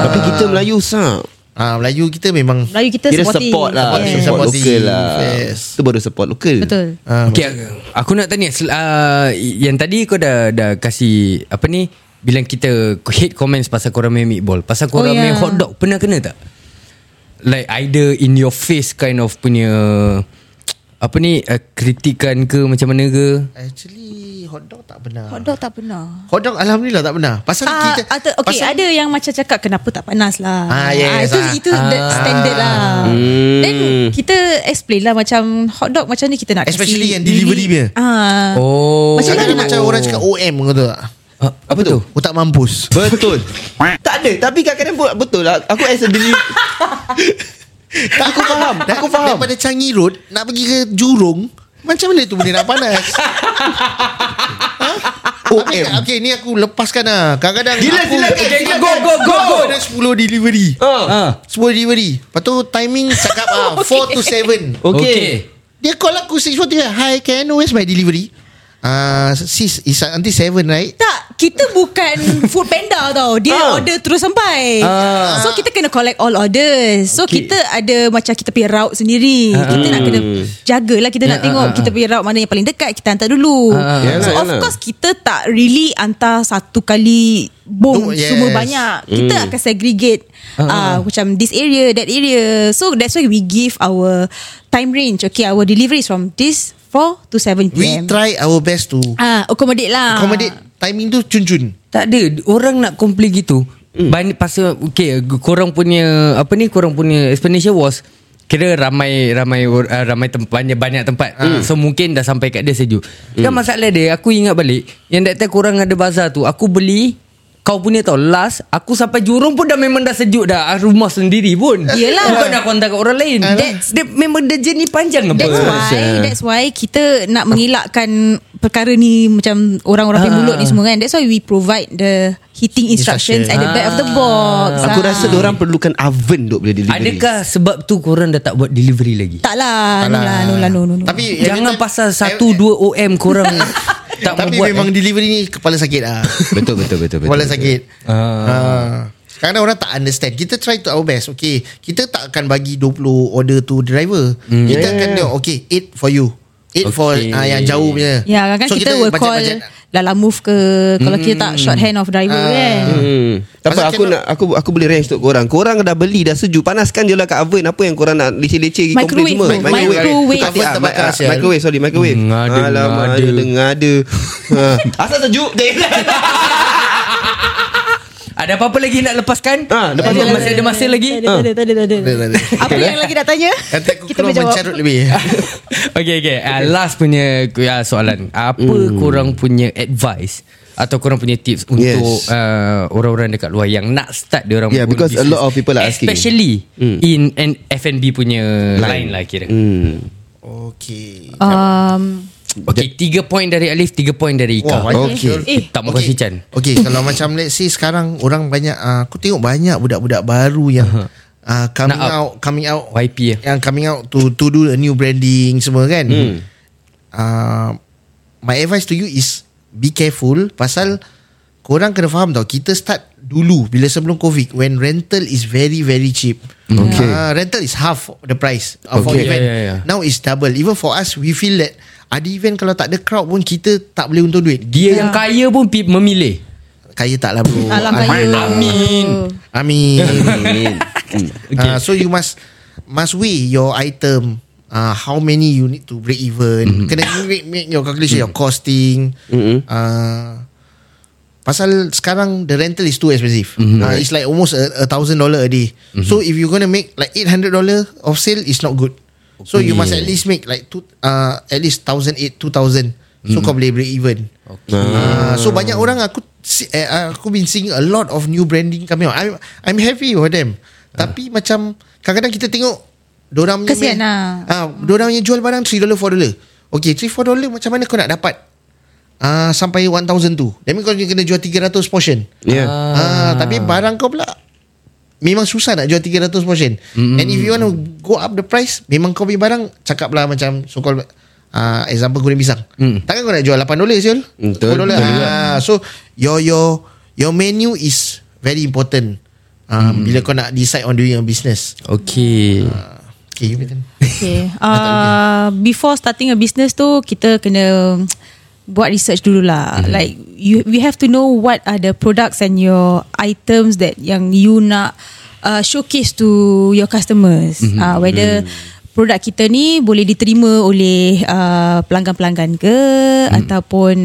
S2: Tapi kita Melayu sah
S6: Ah Melayu kita memang
S5: Melayu kita
S2: Kira
S5: supporting.
S2: support lah
S5: Yeah.
S6: Yes.
S2: Support lokal
S6: Supporting,
S2: lah
S6: yes.
S2: Itu baru support lokal
S5: Betul
S6: ah,
S3: okay, aku nak tanya sel- uh, yang tadi kau dah dah kasi apa ni bila kita hate comments pasal korang main meatball, pasal korang
S5: Oh, ya.
S3: main hot dog pernah kena tak? Like either in your face kind of punya apa ni uh, kritikan ke macam mana ke?
S6: Actually hotdog tak benar.
S5: Hot dog tak pernah
S6: Hotdog alhamdulillah tak benar. Pasal
S5: Ah,
S6: kita
S5: atau, okay,
S6: pasal,
S5: ada yang macam cakap kenapa tak panas lah.
S6: Ah, yes,
S5: itu
S6: ah.
S5: itu the standard lah. Then kita explain lah macam hot dog macam ni kita nak
S6: Especially
S5: kasi
S6: yang delivery punya.
S5: Ah.
S3: Oh.
S5: Macam
S6: ada
S5: mana nak-
S6: macam orang cakap OM kau tahu tak?
S3: Ah, apa tu?
S6: Otak mampus.
S2: Betul Tak ada Tapi kadang-kadang pun betul lah Aku as a delivery Aku faham Aku faham
S6: Daripada Changi Road Nak pergi ke Jurong Macam mana tu boleh nak panas OM okay, okay ni aku lepaskan lah Kadang-kadang
S2: Gila,
S6: aku,
S2: silakan,
S6: Okay,
S2: silakan.
S6: Go go go go Ada 10 delivery
S3: Ah.
S6: 10 delivery Lepas tu timing cakap ah, 4 to 7
S3: Okay.
S6: Dia call aku 6.40 Hi can I know where's my delivery Ah, uh, sis is until 7 right
S5: Tak, kita bukan food panda tau. Dia
S2: Ah.
S5: order terus sampai.
S3: Ah.
S5: So kita kena collect all orders. So
S3: Okay.
S5: kita ada macam kita punya route sendiri. Kita nak kena
S2: Hmm.
S5: jagalah kita
S3: Ya,
S5: nak tengok
S3: ah, ah,
S5: kita punya route mana yang paling dekat kita hantar dulu.
S3: Ah, ah, ah.
S5: so
S2: Yalah,
S5: of
S2: yalah.
S5: course kita tak really hantar satu kali
S6: Oh,
S5: boom
S6: yes.
S5: semua banyak. Kita
S2: Hmm.
S5: akan segregate ah, macam this area, that area. So that's why we give our time range. Okay, our delivery is from this 4 to 7
S6: We
S5: pm.
S6: try our best to
S5: Ah, accommodate lah.
S6: Accommodate timing tu cun-cun
S3: Tak ada Orang nak komplain gitu mm. Banyak pasal Okay Korang punya Apa ni Korang punya explanation was Kira ramai Ramai or- uh, ramai tempat Banyak, banyak tempat mm. So mungkin dah sampai kat dia sejuk mm. Kan masalah dia Aku ingat balik Yang that time korang ada bazar tu Aku beli Kau punya tau Last Aku sampai jurung pun dah Memang dah sejuk dah Ah, Rumah sendiri pun
S5: Yelah.
S3: Bukan nak kontak kat orang lain
S5: That's-
S3: Dia memang dia jenis panjang apa
S5: That's why That's why Kita nak mengelakkan Perkara ni Macam orang-orang
S3: Ah.
S5: pembulut ni semua kan That's why we provide The heating instructions At the back of the box
S2: Aku
S5: Ah.
S2: rasa orang perlukan oven duk boleh delivery.
S3: Adakah sebab tu korang dah tak buat delivery lagi?
S5: Tak lah No lah no lah no, no, no.
S6: Ah, Tapi every
S3: Jangan
S6: time-
S3: pasal
S6: eh,
S3: 1 2 OM korang tak eh.
S6: Tapi
S3: buat.
S6: memang delivery ni Kepala sakit
S3: (laughs)
S6: lah
S2: Betul betul betul betul.
S6: Kepala
S2: betul.
S6: sakit Ah. Kadang-kadang orang tak understand Kita try to our best Okay Kita tak akan bagi 20 order to driver
S3: Hmm.
S6: Kita akan tengok Okay 8 for you 8 okay. for
S3: Okay.
S6: uh, yang jauh punya
S5: Ya kadang-kadang so, kita, will call (laughs)
S6: bajet-
S5: Lala move ke Kalau kita tak short hand of driver kan
S2: Hmm. Tak apa
S6: Pasal
S2: aku
S6: cannot-
S2: nak aku aku boleh range untuk korang. Korang dah beli dah sejuk panaskan je lah kat oven apa yang korang nak leceh-leceh
S5: Microwave,
S2: komplain semua.
S5: bro. Microwave.
S2: Tukar tiap,
S6: Terbakar,
S2: ah,
S6: sial.
S2: Microwave sorry microwave.
S3: Ngada,
S2: Alamak
S3: ngada.
S2: Hmm, ada (laughs) ngada. Ha. Asal sejuk. (laughs)
S3: Ada apa-apa lagi nak lepaskan?
S2: Ah, lepas
S3: Masih-
S2: tu-
S3: masih ada masa lagi? (laughs)
S5: Tak ada, tak ada, tak ada, tak
S6: Tak
S5: ada.
S6: ada, tak ada.
S5: Apa yang lagi nak tanya
S6: Nanti aku
S5: Kita
S6: keluar
S5: berjawab (laughs)
S6: mencarut lebih
S3: okay, okay. Uh, last punya uh, soalan. Apa hmm. korang punya advice atau korang punya tips untuk yes.
S2: Yes.
S3: uh, orang-orang dekat luar yang nak start dia orang
S2: Yeah, because a lot of people are asking.
S3: Especially in an F&B punya line, line lah kira.
S2: Hmm.
S6: Okay
S5: um,
S3: Okay, tiga point dari Alif, tiga point dari Ika.
S6: Wah, banyak.
S2: Okay.
S5: Eh.
S3: Tak mau kasih Chan.
S6: Okay kalau macam let's say Sekarang orang banyak uh, Aku tengok banyak budak-budak baru yang uh, Coming
S3: Nak up.
S6: out Coming out
S3: YP ya.
S6: Yang coming out to to do a new branding semua kan. Hmm. Uh, my advice to you is be careful pasal korang kena faham tau kita start dulu bila sebelum covid when rental is very very cheap.
S2: Okay.
S6: Uh, rental is half the price uh, for
S3: Okay.
S6: event.
S3: Yeah, yeah, yeah.
S6: Now is double. Even for us we feel that ada event kalau tak ada crowd pun kita tak boleh untung duit.
S3: Dia yang kaya pun pi- memilih.
S6: Kaya tak lah bro.
S5: Alam kaya
S3: Amin.
S6: (laughs) Amin.
S3: Okay.
S6: Okay. Uh, so you must must weigh your item. Uh, how many you need to break even? Mm-hmm. Kena you make, make your calculation, mm. your costing. Mm-hmm. Uh, pasal sekarang the rental is too expensive. Mm-hmm. Uh, it's like almost a, a thousand dollar a day. Mm-hmm. So if you're gonna make like eight hundred dollar of sale, it's not good. So you must at least make like two, uh, at least thousand eight, two thousand. So kau boleh break even. Okay. Uh, so banyak orang aku si- eh, uh, aku been seeing a lot of new branding coming out. I'm I'm happy with them. Tapi macam kadang-kadang kita tengok dorang punya
S5: Kesian lah.
S6: Ah, dorang punya jual barang 3 dollar 4 dollar. Okay, 3 4 dollar macam mana kau nak dapat? Ah uh, sampai 1000 tu. That mean kau kena jual 300 portion.
S2: (laughs) Yeah.
S6: Ah, tapi barang kau pula memang susah nak jual 300 portion. Mm-hmm. And if you want to go up the price, memang kau punya barang cakap lah macam so called uh, example goreng pisang. Mm. Takkan kau nak jual 8 dolar Syul?
S2: Betul,
S6: 10 dolar. Ah, so your your your menu is very important. Um, mm. Bila kau nak decide on doing a business. Ah,
S3: Okay.
S6: Okay, you betul.
S3: (laughs)
S5: Okay. Uh, before starting a business tu kita kena buat research dulu lah.
S3: Hmm.
S5: Mm-hmm. Like you we have to know what are the products and your items that yang you nak uh, showcase to your customers.
S3: Hmm.
S5: Mm-hmm. Uh, whether produk kita ni boleh diterima oleh uh, pelanggan-pelanggan ke
S3: Hmm.
S5: mm. ataupun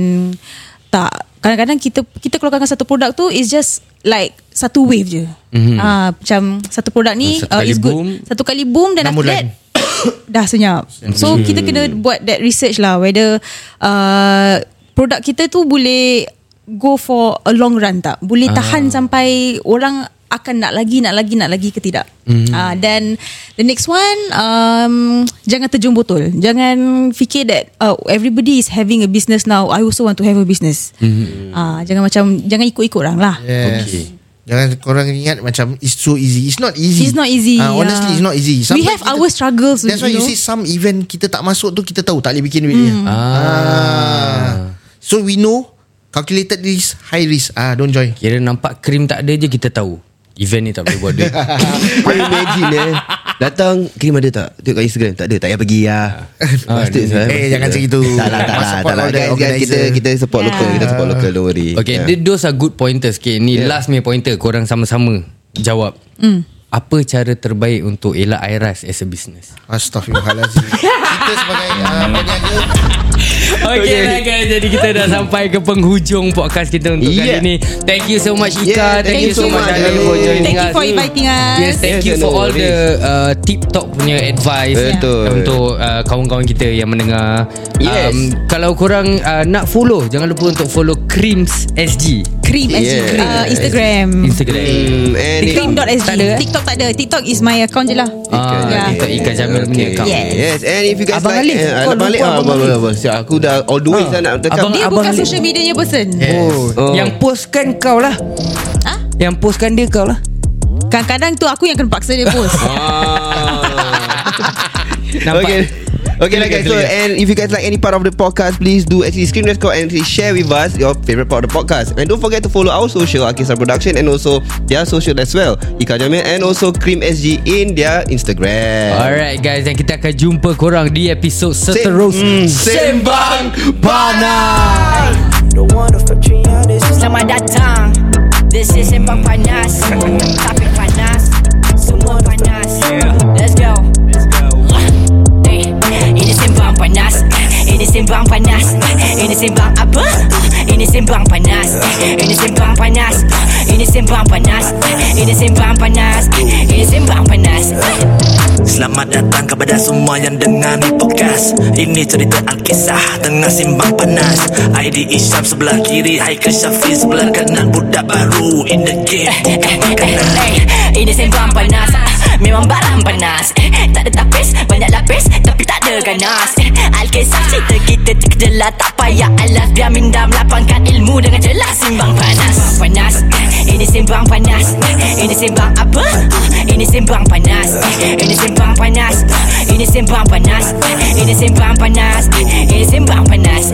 S5: tak kadang-kadang kita kita keluarkan satu produk tu is just like satu wave je. Mm-hmm. Uh, macam satu produk
S3: Hmm.
S5: ni
S3: Satu
S5: uh,
S3: kali
S5: is good.
S3: boom.
S5: Satu kali boom dan
S6: Enam
S5: after
S6: bulan.
S5: that (coughs) dah senyap. So kita kena buat that research lah whether uh, produk kita tu boleh go for a long run tak? Boleh tahan sampai orang akan nak lagi nak lagi nak lagi ke tidak. Mm. Uh, then the next one um, jangan terjun botol. Jangan fikir that uh, everybody is having a business now. I also want to have a business. Mm. Uh, jangan macam jangan ikut-ikut orang lah.
S6: Yes.
S3: Okay.
S6: Okay. Jangan korang ingat macam it's so easy. It's not easy.
S5: It's not easy,
S6: Ah,
S5: yeah.
S6: honestly, it's not easy.
S5: We have our struggles,
S6: That's why you
S5: you know. Mm.
S6: see some event kita tak masuk tu kita tahu tak boleh bikin duit dia. Ah. So we know calculated risk, high risk. Ah, don't join.
S3: Kira nampak krim tak ada je kita tahu. Event ni tak boleh buat duit.
S2: Kau imagine eh Datang Krim ada tak Tengok kat Instagram Tak ada tak payah pergi lah Pasti
S6: eh, jangan macam gitu.
S2: Tak lah tak lah,
S6: Support
S2: tak lah
S6: all the
S2: Guys, guys, Kita
S6: organizer.
S2: kita support
S5: Yeah.
S2: local Kita support local Don't worry Ya.
S3: Okay,
S2: Yeah.
S3: yeah. those are good pointers. Okay, ni yeah. last punya pointer. Korang sama-sama jawab. Mm. Apa cara terbaik untuk elak IRAS as a business?
S5: (laughs)
S6: Astaghfirullahalazim. kita sebagai ah, peniaga
S3: Okay, okay. Lah guys, jadi kita dah sampai ke penghujung podcast kita untuk
S2: Yeah.
S3: yeah. kali ni. Thank you so much Ika.
S2: Yeah,
S3: thank, you so much Ali for joining
S5: Thank
S3: us.
S5: you for inviting us.
S3: Yes, thank you
S2: Yes,
S3: for
S2: no
S3: all the uh, tip top punya advice
S2: Betul.
S3: untuk uh, kawan-kawan kita yang mendengar. Um,
S2: Yes.
S3: kalau korang uh, nak follow, jangan lupa untuk follow Creams SG.
S7: Cream yeah.
S2: Yeah.
S7: uh,
S5: Ah,
S7: Instagram
S3: Instagram
S2: Hmm, and it-
S7: Cream.sg
S3: Tak ada, eh?
S7: TikTok tak ada TikTok is my account je lah
S3: Ah,
S7: Yeah.
S3: TikTok Ika Jamil punya account
S7: Yes.
S2: Yes And if you guys
S3: Abang
S2: like
S3: Alif.
S2: eh,
S3: Kau
S2: Abang Alif
S3: lupa
S2: ah, Abang Alif abang Alif. Siap, Aku dah all the way
S3: Ah.
S2: saya nak cakap (laughs)
S3: Abang-
S7: Dia bukan
S3: Abang-
S7: social medianya person
S3: Oh.
S2: Oh.
S3: Yang postkan kau lah
S7: Ha?
S3: Yang postkan dia kau lah
S7: Kadang-kadang tu aku yang kena paksa dia post
S3: Nampak?
S2: Okay Okay lah guys So and if you guys like Any part of the podcast Please do actually Screen record And actually share with us Your favorite part of the podcast And don't forget to follow Our social Akisar Production And also Their social as well Ika Jamil And also Cream SG In their Instagram
S3: Alright guys Dan kita akan jumpa korang Di episod seterus
S2: mm, Sembang Panas
S1: Selamat datang This is Sembang (laughs) Panas Topik panas Semua panas Let's go (laughs) Eh, Ini Sembang Panas Ini Sembang Panas Ini Sembang apa? Ini Sembang Panas Ini Sembang Panas Ini Sembang Panas Ini Sembang Panas Ini Sembang Panas
S4: Selamat datang kepada semua yang dengar ni podcast Ini cerita Alkisah tengah simbang panas ID Isyam sebelah kiri Haikal Syafi sebelah kanan Budak baru in the game
S1: Eh, eh, eh, Ini sembang panas Ah, Memang barang panas Eh, Tak ada tapis Banyak lapis Tapi tak ada ganas Eh, Alkisah cerita kita terkejelah Tak payah alas Biar mindam lapangkan ilmu Dengan jelas Simbang panas Sembang panas Eh, Ini sembang panas Eh, Ini sembang apa? Ah, Ini sembang panas Eh, Ini sembang panas Ah, Eh, Ini sembang panas Eh, Ini sembang panas Eh, Ini sembang panas